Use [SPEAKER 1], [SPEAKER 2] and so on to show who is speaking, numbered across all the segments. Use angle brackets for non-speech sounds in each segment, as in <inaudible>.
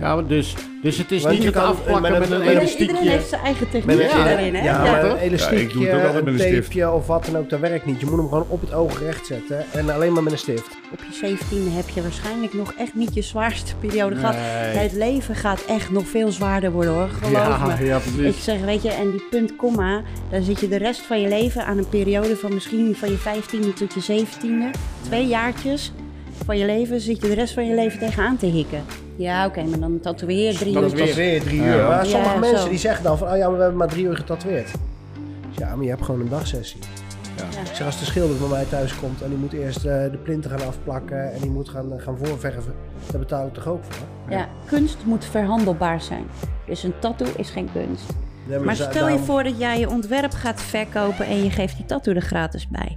[SPEAKER 1] Ja, maar dus, dus het is
[SPEAKER 2] Want
[SPEAKER 1] niet
[SPEAKER 2] je
[SPEAKER 1] het
[SPEAKER 2] kan- met
[SPEAKER 1] afplakken
[SPEAKER 2] een-
[SPEAKER 1] met een
[SPEAKER 2] met een-
[SPEAKER 1] elastiek.
[SPEAKER 3] Iedereen, iedereen
[SPEAKER 2] elastiekje.
[SPEAKER 3] heeft zijn eigen techniek
[SPEAKER 2] Met een,
[SPEAKER 1] Ja,
[SPEAKER 3] daarin, hè?
[SPEAKER 2] ja,
[SPEAKER 3] Ja.
[SPEAKER 2] maar
[SPEAKER 1] toch?
[SPEAKER 2] een elastiekje,
[SPEAKER 4] Ja, ik doe het ook altijd
[SPEAKER 2] een,
[SPEAKER 4] met een stift.
[SPEAKER 2] tapeje of wat dan ook, dat werkt niet. Je moet hem gewoon op het oog recht zetten en alleen maar met een stift.
[SPEAKER 3] Op je 17 heb je waarschijnlijk nog echt niet je zwaarste periode gehad.
[SPEAKER 1] Nee.
[SPEAKER 3] Het leven gaat echt nog veel zwaarder worden hoor, geloof
[SPEAKER 1] Ja,
[SPEAKER 3] me.
[SPEAKER 1] ja,
[SPEAKER 3] Ik
[SPEAKER 1] precies.
[SPEAKER 3] zeg, weet je, en die punt, komma, dan zit je de rest van je leven aan een periode van misschien van je 15e tot je 17e. Twee jaartjes van je leven zit je de rest van je leven tegenaan te hikken. Ja, oké, maar dan tatoeëer drie uur.
[SPEAKER 1] Tatoeëer.
[SPEAKER 3] tot-
[SPEAKER 2] Dat weer drie
[SPEAKER 1] Ja.
[SPEAKER 2] uur. Maar
[SPEAKER 3] Ja,
[SPEAKER 2] sommige mensen
[SPEAKER 3] zo.
[SPEAKER 2] die zeggen dan van, oh ja, maar we hebben maar drie uur getatoeëerd. Ja, maar je hebt gewoon een dagsessie.
[SPEAKER 1] Ja.
[SPEAKER 2] Ik zeg, als de schilder bij mij thuis komt en die moet eerst eh, de plinten gaan afplakken en die moet gaan, eh, gaan voorverven, daar betaal ik toch ook voor?
[SPEAKER 3] Ja, kunst moet verhandelbaar zijn. Dus een tattoo is geen kunst.
[SPEAKER 2] Nee,
[SPEAKER 3] Maar
[SPEAKER 2] dus, eh,
[SPEAKER 3] stel je
[SPEAKER 2] daarom-
[SPEAKER 3] voor dat jij je ontwerp gaat verkopen en je geeft die tattoo er gratis bij.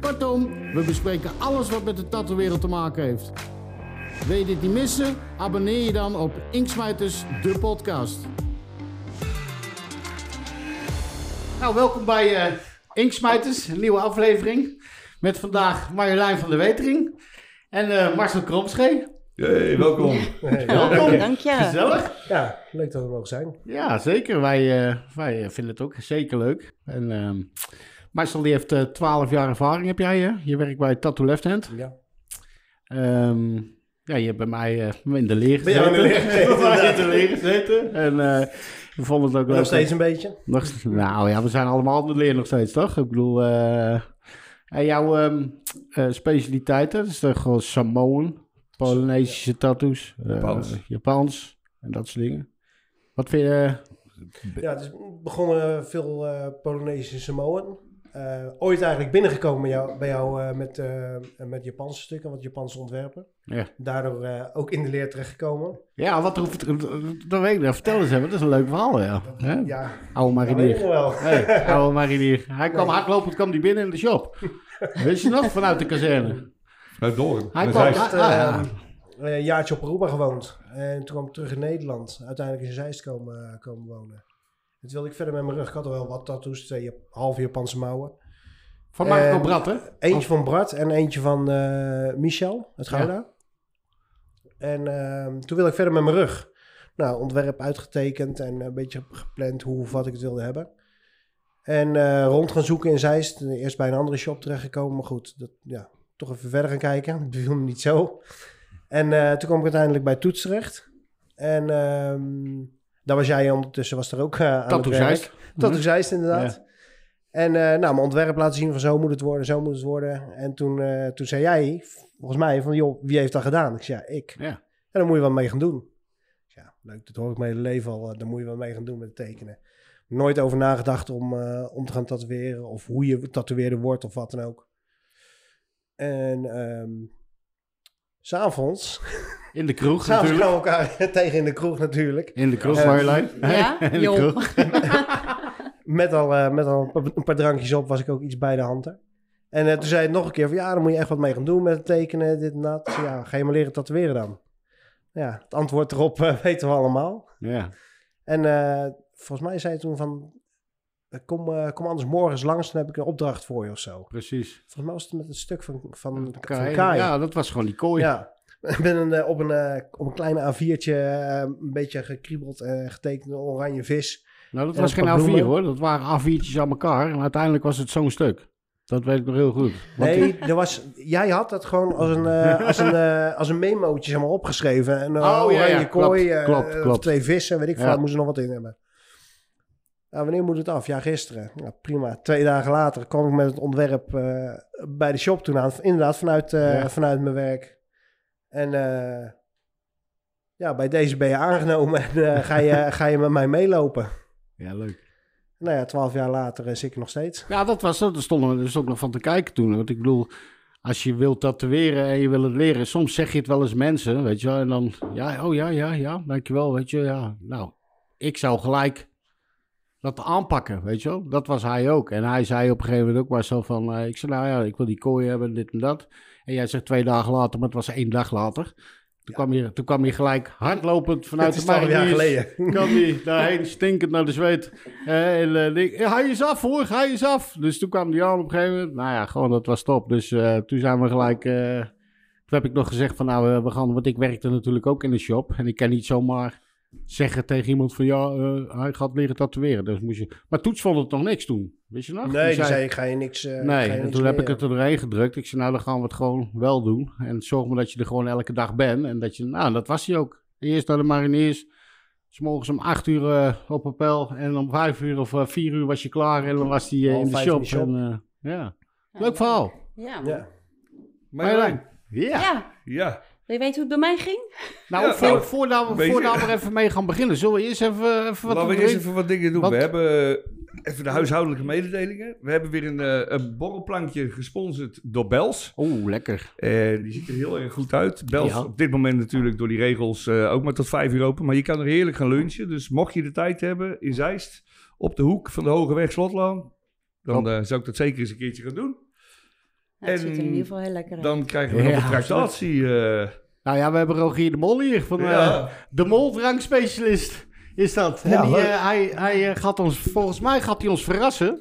[SPEAKER 5] Kortom, we bespreken alles wat met de tattoo-wereld te maken heeft. Wil je dit niet missen? Abonneer je dan op Inksmijters, de podcast. Nou, welkom bij eh, Inksmijters, een nieuwe aflevering. Met vandaag Marjolein van der Wetering en eh, Marcel Kromschee.
[SPEAKER 4] Hey, welkom.
[SPEAKER 3] Welkom, dank je.
[SPEAKER 5] Gezellig.
[SPEAKER 2] Ja, leuk dat we er mogen zijn.
[SPEAKER 5] Ja, zeker. Wij, eh, wij eh, vinden het ook zeker leuk. En ehm, Marcel die heeft eh, 12 jaar ervaring, heb jij. hè? Je werkt bij Tattoo Left Hand.
[SPEAKER 2] Ja.
[SPEAKER 5] Ehm, ja, je hebt bij mij eh, in de leer
[SPEAKER 2] Bij jou
[SPEAKER 5] gezeten.
[SPEAKER 2] in de leer gezeten,
[SPEAKER 5] Bij mij in de leer gezeten. En eh we vonden het ook leuk.
[SPEAKER 2] Nog steeds een beetje.
[SPEAKER 5] Nog steeds- nou ja, we zijn allemaal in de leer nog steeds, toch? Ik bedoel, eh, en jouw ehm, eh, specialiteiten, dat is toch gewoon Samoan, Polynesische tattoos, eh,
[SPEAKER 4] Japans.
[SPEAKER 5] Japans en dat soort dingen. Wat vind je...
[SPEAKER 2] Ja, het is begonnen veel eh Polonese en Samoan. Eh, ooit eigenlijk binnengekomen bij jou, bij jou eh, met, eh, met Japanse stukken, wat Japanse ontwerpen.
[SPEAKER 5] Ja.
[SPEAKER 2] Daardoor eh, ook in de leer terechtgekomen.
[SPEAKER 5] ja, wat hoeft... Dat weet ik niet. Vertel eens even, dat is een leuk verhaal, ja. Hè?
[SPEAKER 2] Ja,
[SPEAKER 5] Oude
[SPEAKER 2] dat weet ik
[SPEAKER 5] marinier.
[SPEAKER 2] nog wel.
[SPEAKER 5] Hey, <laughs> oude marinier. Hij kwam hardlopend kwam die binnen in de shop. Wist je nog? Vanuit de kazerne.
[SPEAKER 4] Uit Doorn.
[SPEAKER 5] Hij
[SPEAKER 4] Met
[SPEAKER 5] kwam-
[SPEAKER 4] Zeist.
[SPEAKER 5] hij-
[SPEAKER 2] Eh,
[SPEAKER 5] Ah, ja.
[SPEAKER 2] Een jaartje op Aruba gewoond. En toen kwam ik terug in Nederland. Uiteindelijk in Zeist komen, eh, komen wonen. Toen wilde ik verder met mijn rug. Ik had al wel wat tattoos. Twee Jap- halve Japanse mouwen.
[SPEAKER 5] Van Marco
[SPEAKER 2] En-
[SPEAKER 5] Brat, hè?
[SPEAKER 2] Eentje van Bart en eentje van eh, Michel uit Gouda. En ehm, toen wilde ik verder met mijn rug. Nou, ontwerp uitgetekend en een beetje gepland hoe of wat ik het wilde hebben. En eh, rond gaan zoeken in Zeist. Eerst bij een andere shop terechtgekomen. Maar goed, dat, ja, toch even verder gaan kijken. <laughs> Het beviel me niet zo. En eh, toen kwam ik uiteindelijk bij Toets terecht. En ehm, daar was jij ondertussen was er ook eh, aan
[SPEAKER 5] Tattoo
[SPEAKER 2] het werk.
[SPEAKER 5] Zeist.
[SPEAKER 2] Dat is Zeist inderdaad. En eh, nou, mijn ontwerp laten zien van zo moet het worden, zo moet het worden. En toen, eh, toen zei jij, volgens mij, van joh, wie heeft dat gedaan? Ik zei, ja, ik.
[SPEAKER 5] Ja.
[SPEAKER 2] En dan moet je wat mee gaan doen. Ik zei, Ja, leuk, dat hoor ik mijn hele leven al. eh, Daar moet je wat mee gaan doen met het tekenen. Nooit over nagedacht om, eh, om te gaan tatoeëren of hoe je tatoeëerder wordt of wat dan ook. En ehm, s s'avonds, <laughs>
[SPEAKER 5] In de kroeg
[SPEAKER 2] s'avonds
[SPEAKER 5] natuurlijk.
[SPEAKER 2] kwamen we elkaar <laughs> tegen in de kroeg natuurlijk.
[SPEAKER 5] In de kroeg,
[SPEAKER 2] Eh, <laughs> Ja.
[SPEAKER 5] Marjolein.
[SPEAKER 3] Ja,
[SPEAKER 5] In de
[SPEAKER 3] joh.
[SPEAKER 5] kroeg.
[SPEAKER 2] met al, eh, met al een, paar, een paar drankjes op was ik ook iets bij de hand. hè. En eh, toen zei het nog een keer van ja, dan moet je echt wat mee gaan doen met het tekenen, dit en dat. Ik zei, Ja, ga je maar leren tatoeëren dan. Ja, het antwoord erop eh, <laughs> weten we allemaal.
[SPEAKER 5] Ja.
[SPEAKER 2] En eh, volgens mij zei hij toen van eh, kom, eh, kom anders morgen eens langs, dan heb ik een opdracht voor je of zo.
[SPEAKER 5] Precies.
[SPEAKER 2] Volgens mij was het met een stuk van, van, van
[SPEAKER 5] Kai.
[SPEAKER 2] Kai.
[SPEAKER 5] Ja, dat was gewoon die kooi.
[SPEAKER 2] Ja. <laughs> Ik ben een, eh, op, een, eh, op een kleine A4'tje eh, een beetje gekriebeld, eh getekend oranje vis.
[SPEAKER 5] Nou, dat
[SPEAKER 2] En
[SPEAKER 5] was
[SPEAKER 2] een
[SPEAKER 5] geen
[SPEAKER 2] paar
[SPEAKER 5] A4
[SPEAKER 2] bloemen.
[SPEAKER 5] hoor. Dat waren A4'tjes aan elkaar. En uiteindelijk was het zo'n stuk. Dat weet ik nog heel goed. Want die-
[SPEAKER 2] Nee, er was, jij had dat gewoon als een,
[SPEAKER 5] <laughs>
[SPEAKER 2] eh, als een, eh, als een memootje zeg maar, opgeschreven. Een eh,
[SPEAKER 5] Oh, ja,
[SPEAKER 2] oranje
[SPEAKER 5] ja,
[SPEAKER 2] kooi,
[SPEAKER 5] klopt,
[SPEAKER 2] eh,
[SPEAKER 5] klopt,
[SPEAKER 2] of
[SPEAKER 5] klopt.
[SPEAKER 2] twee vissen, weet ik veel.
[SPEAKER 5] Ja.
[SPEAKER 2] daar moest er nog wat in hebben. Nou, wanneer moet het af? Ja, gisteren. Ja, prima. Twee dagen later kwam ik met het ontwerp eh, bij de shop toen aan. Inderdaad, vanuit, eh,
[SPEAKER 5] Ja.
[SPEAKER 2] vanuit mijn werk. En eh, ja, bij deze ben je aangenomen en eh, ga,
[SPEAKER 5] <laughs>
[SPEAKER 2] je, ga je met mij meelopen.
[SPEAKER 5] Ja, leuk.
[SPEAKER 2] Nou ja, twaalf jaar later eh, zit ik er nog steeds.
[SPEAKER 5] Ja, dat was dat. Daar stonden we dus ook nog van te kijken toen. Want ik bedoel, als je wilt tatoeëren en je wil het leren, soms zeg je het wel eens mensen, weet je wel. En dan, ja, oh ja, ja, ja, dankjewel, weet je, ja. Nou, ik zou gelijk dat aanpakken, weet je wel. Dat was hij ook. En hij zei op een gegeven moment ook maar zo van, eh, ik zei, nou ja, ik wil die kooi hebben, dit en dat. En jij zegt twee dagen later, maar het was één dag later. Toen, kwam, je, toen kwam je gelijk hardlopend vanuit
[SPEAKER 2] Het is
[SPEAKER 5] de markt.
[SPEAKER 2] 12 jaar
[SPEAKER 5] hier.
[SPEAKER 2] geleden.
[SPEAKER 5] <laughs> Kan niet. Daarheen stinkend naar de zweet. Eh, en, eh, ding. Ja, hij is af hoor, hij is af. Dus toen kwam die aan op een gegeven moment. Nou ja, gewoon dat was top. Dus eh, toen zijn we gelijk... eh, toen heb ik nog gezegd van nou, eh, we gaan... Want ik werkte natuurlijk ook in de shop. En ik kan niet zomaar zeggen tegen iemand van ja, eh, hij gaat leren tatoeëren. Dus moest je... Maar Toets vond het nog niks toen. Wist je nog?
[SPEAKER 2] Nee,
[SPEAKER 5] Die
[SPEAKER 2] die zei, ga je niks... eh, ga
[SPEAKER 5] Nee,
[SPEAKER 2] je
[SPEAKER 5] en
[SPEAKER 2] niks
[SPEAKER 5] toen heb
[SPEAKER 2] meer,
[SPEAKER 5] ik het er doorheen gedrukt. Ik zei, nou, dan gaan we het gewoon wel doen. En zorg maar dat je er gewoon elke dag bent. En dat je, nou, dat was hij ook. Eerst naar de mariniers. 's morgens om acht uur eh, op appel. En om vijf uur of eh, vier uur was je klaar. En dan was hij eh,
[SPEAKER 2] Half
[SPEAKER 5] in de
[SPEAKER 2] vijf in
[SPEAKER 5] shop.
[SPEAKER 2] de shop.
[SPEAKER 5] En, eh, ja. Leuk verhaal.
[SPEAKER 3] Ja.
[SPEAKER 2] ja.
[SPEAKER 3] Ja.
[SPEAKER 2] Ja.
[SPEAKER 4] Marjolein.
[SPEAKER 5] Ja.
[SPEAKER 4] Ja.
[SPEAKER 3] Wil je weten hoe het bij mij ging?
[SPEAKER 5] Nou,
[SPEAKER 4] Ja,
[SPEAKER 5] voor,
[SPEAKER 4] nou,
[SPEAKER 5] voordat, we,
[SPEAKER 4] beetje.
[SPEAKER 5] voordat we er even mee gaan beginnen, zullen we eerst even, even wat
[SPEAKER 4] Laten we
[SPEAKER 5] doen?
[SPEAKER 4] eerst even wat dingen doen.
[SPEAKER 5] Want-
[SPEAKER 4] We hebben eh, even de huishoudelijke mededelingen. We hebben weer een, eh, een borrelplankje gesponsord door Bels.
[SPEAKER 5] Oeh, lekker.
[SPEAKER 4] Eh, die ziet er heel erg goed uit. Bels
[SPEAKER 5] Ja.
[SPEAKER 4] op dit moment natuurlijk door die regels eh, ook maar tot vijf uur open. Maar je kan er heerlijk gaan lunchen. Dus mocht je de tijd hebben in Zeist, op de hoek van de Hoge Weg Slotlaan, dan eh, zou ik dat zeker eens een keertje gaan doen.
[SPEAKER 3] Nou, het
[SPEAKER 4] En
[SPEAKER 3] ziet er in ieder geval heel lekker uit.
[SPEAKER 4] Dan krijgen we
[SPEAKER 5] Ja,
[SPEAKER 4] nog een tractatie. eh,
[SPEAKER 5] Nou ja, we hebben Rogier de Mol hier. Van, eh,
[SPEAKER 4] ja.
[SPEAKER 5] De moldrankspecialist is dat.
[SPEAKER 2] Ja,
[SPEAKER 5] en die,
[SPEAKER 2] leuk.
[SPEAKER 5] eh, hij, hij eh, gaat ons, volgens mij gaat hij ons verrassen.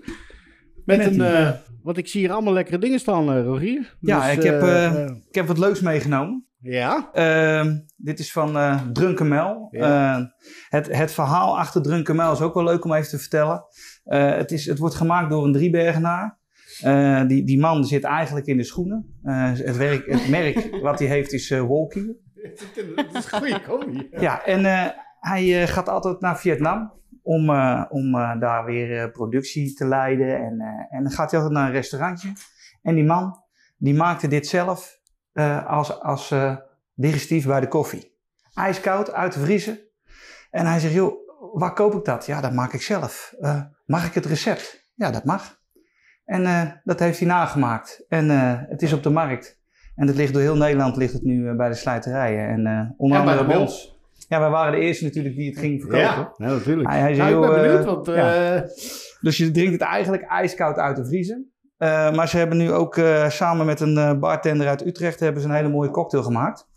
[SPEAKER 5] Met, een, eh, want ik zie hier allemaal lekkere dingen staan, eh, Rogier.
[SPEAKER 6] Ja, ik heb,
[SPEAKER 5] eh,
[SPEAKER 6] eh,
[SPEAKER 5] eh,
[SPEAKER 6] Ik heb wat leuks meegenomen.
[SPEAKER 5] ja,
[SPEAKER 6] Ehm, dit is van eh Drunken Mel.
[SPEAKER 5] Ja.
[SPEAKER 6] Eh, het, het verhaal achter Drunken Mel is ook wel leuk om even te vertellen. Eh, het, is, het wordt gemaakt door een driebergenaar. Eh, die, die man zit eigenlijk in de schoenen. Eh, het, werk, het merk wat hij heeft is eh Wolkie.
[SPEAKER 5] <laughs> dat is een goede combi.
[SPEAKER 6] Ja, en eh, hij eh, gaat altijd naar Vietnam om, eh, om eh, daar weer eh, productie te leiden. En, eh, en dan gaat hij altijd naar een restaurantje. En die man, die maakte dit zelf eh, als, als eh, digestief bij de koffie. Ijskoud, uit de vriezer. En hij zegt, joh, waar koop ik dat? Ja, dat maak ik zelf. Eh, mag ik het recept? Ja, dat mag. En eh, dat heeft hij nagemaakt. En eh, het is op de markt. En het ligt door heel Nederland ligt het nu eh, bij de slijterijen. En eh onder
[SPEAKER 5] En bij
[SPEAKER 6] andere
[SPEAKER 5] de
[SPEAKER 6] bij
[SPEAKER 5] mol.
[SPEAKER 6] ons. Ja, wij waren de eerste natuurlijk die het ging verkopen.
[SPEAKER 5] Ja, ja, natuurlijk.
[SPEAKER 6] Hij- hij is
[SPEAKER 5] Nou, ik
[SPEAKER 6] heel,
[SPEAKER 5] ben benieuwd,
[SPEAKER 6] eh,
[SPEAKER 5] want eh,
[SPEAKER 6] Dus je drinkt het eigenlijk ijskoud uit de vriezer. Eh, maar ze hebben nu ook eh, samen met een eh, bartender uit Utrecht hebben ze een hele mooie cocktail gemaakt.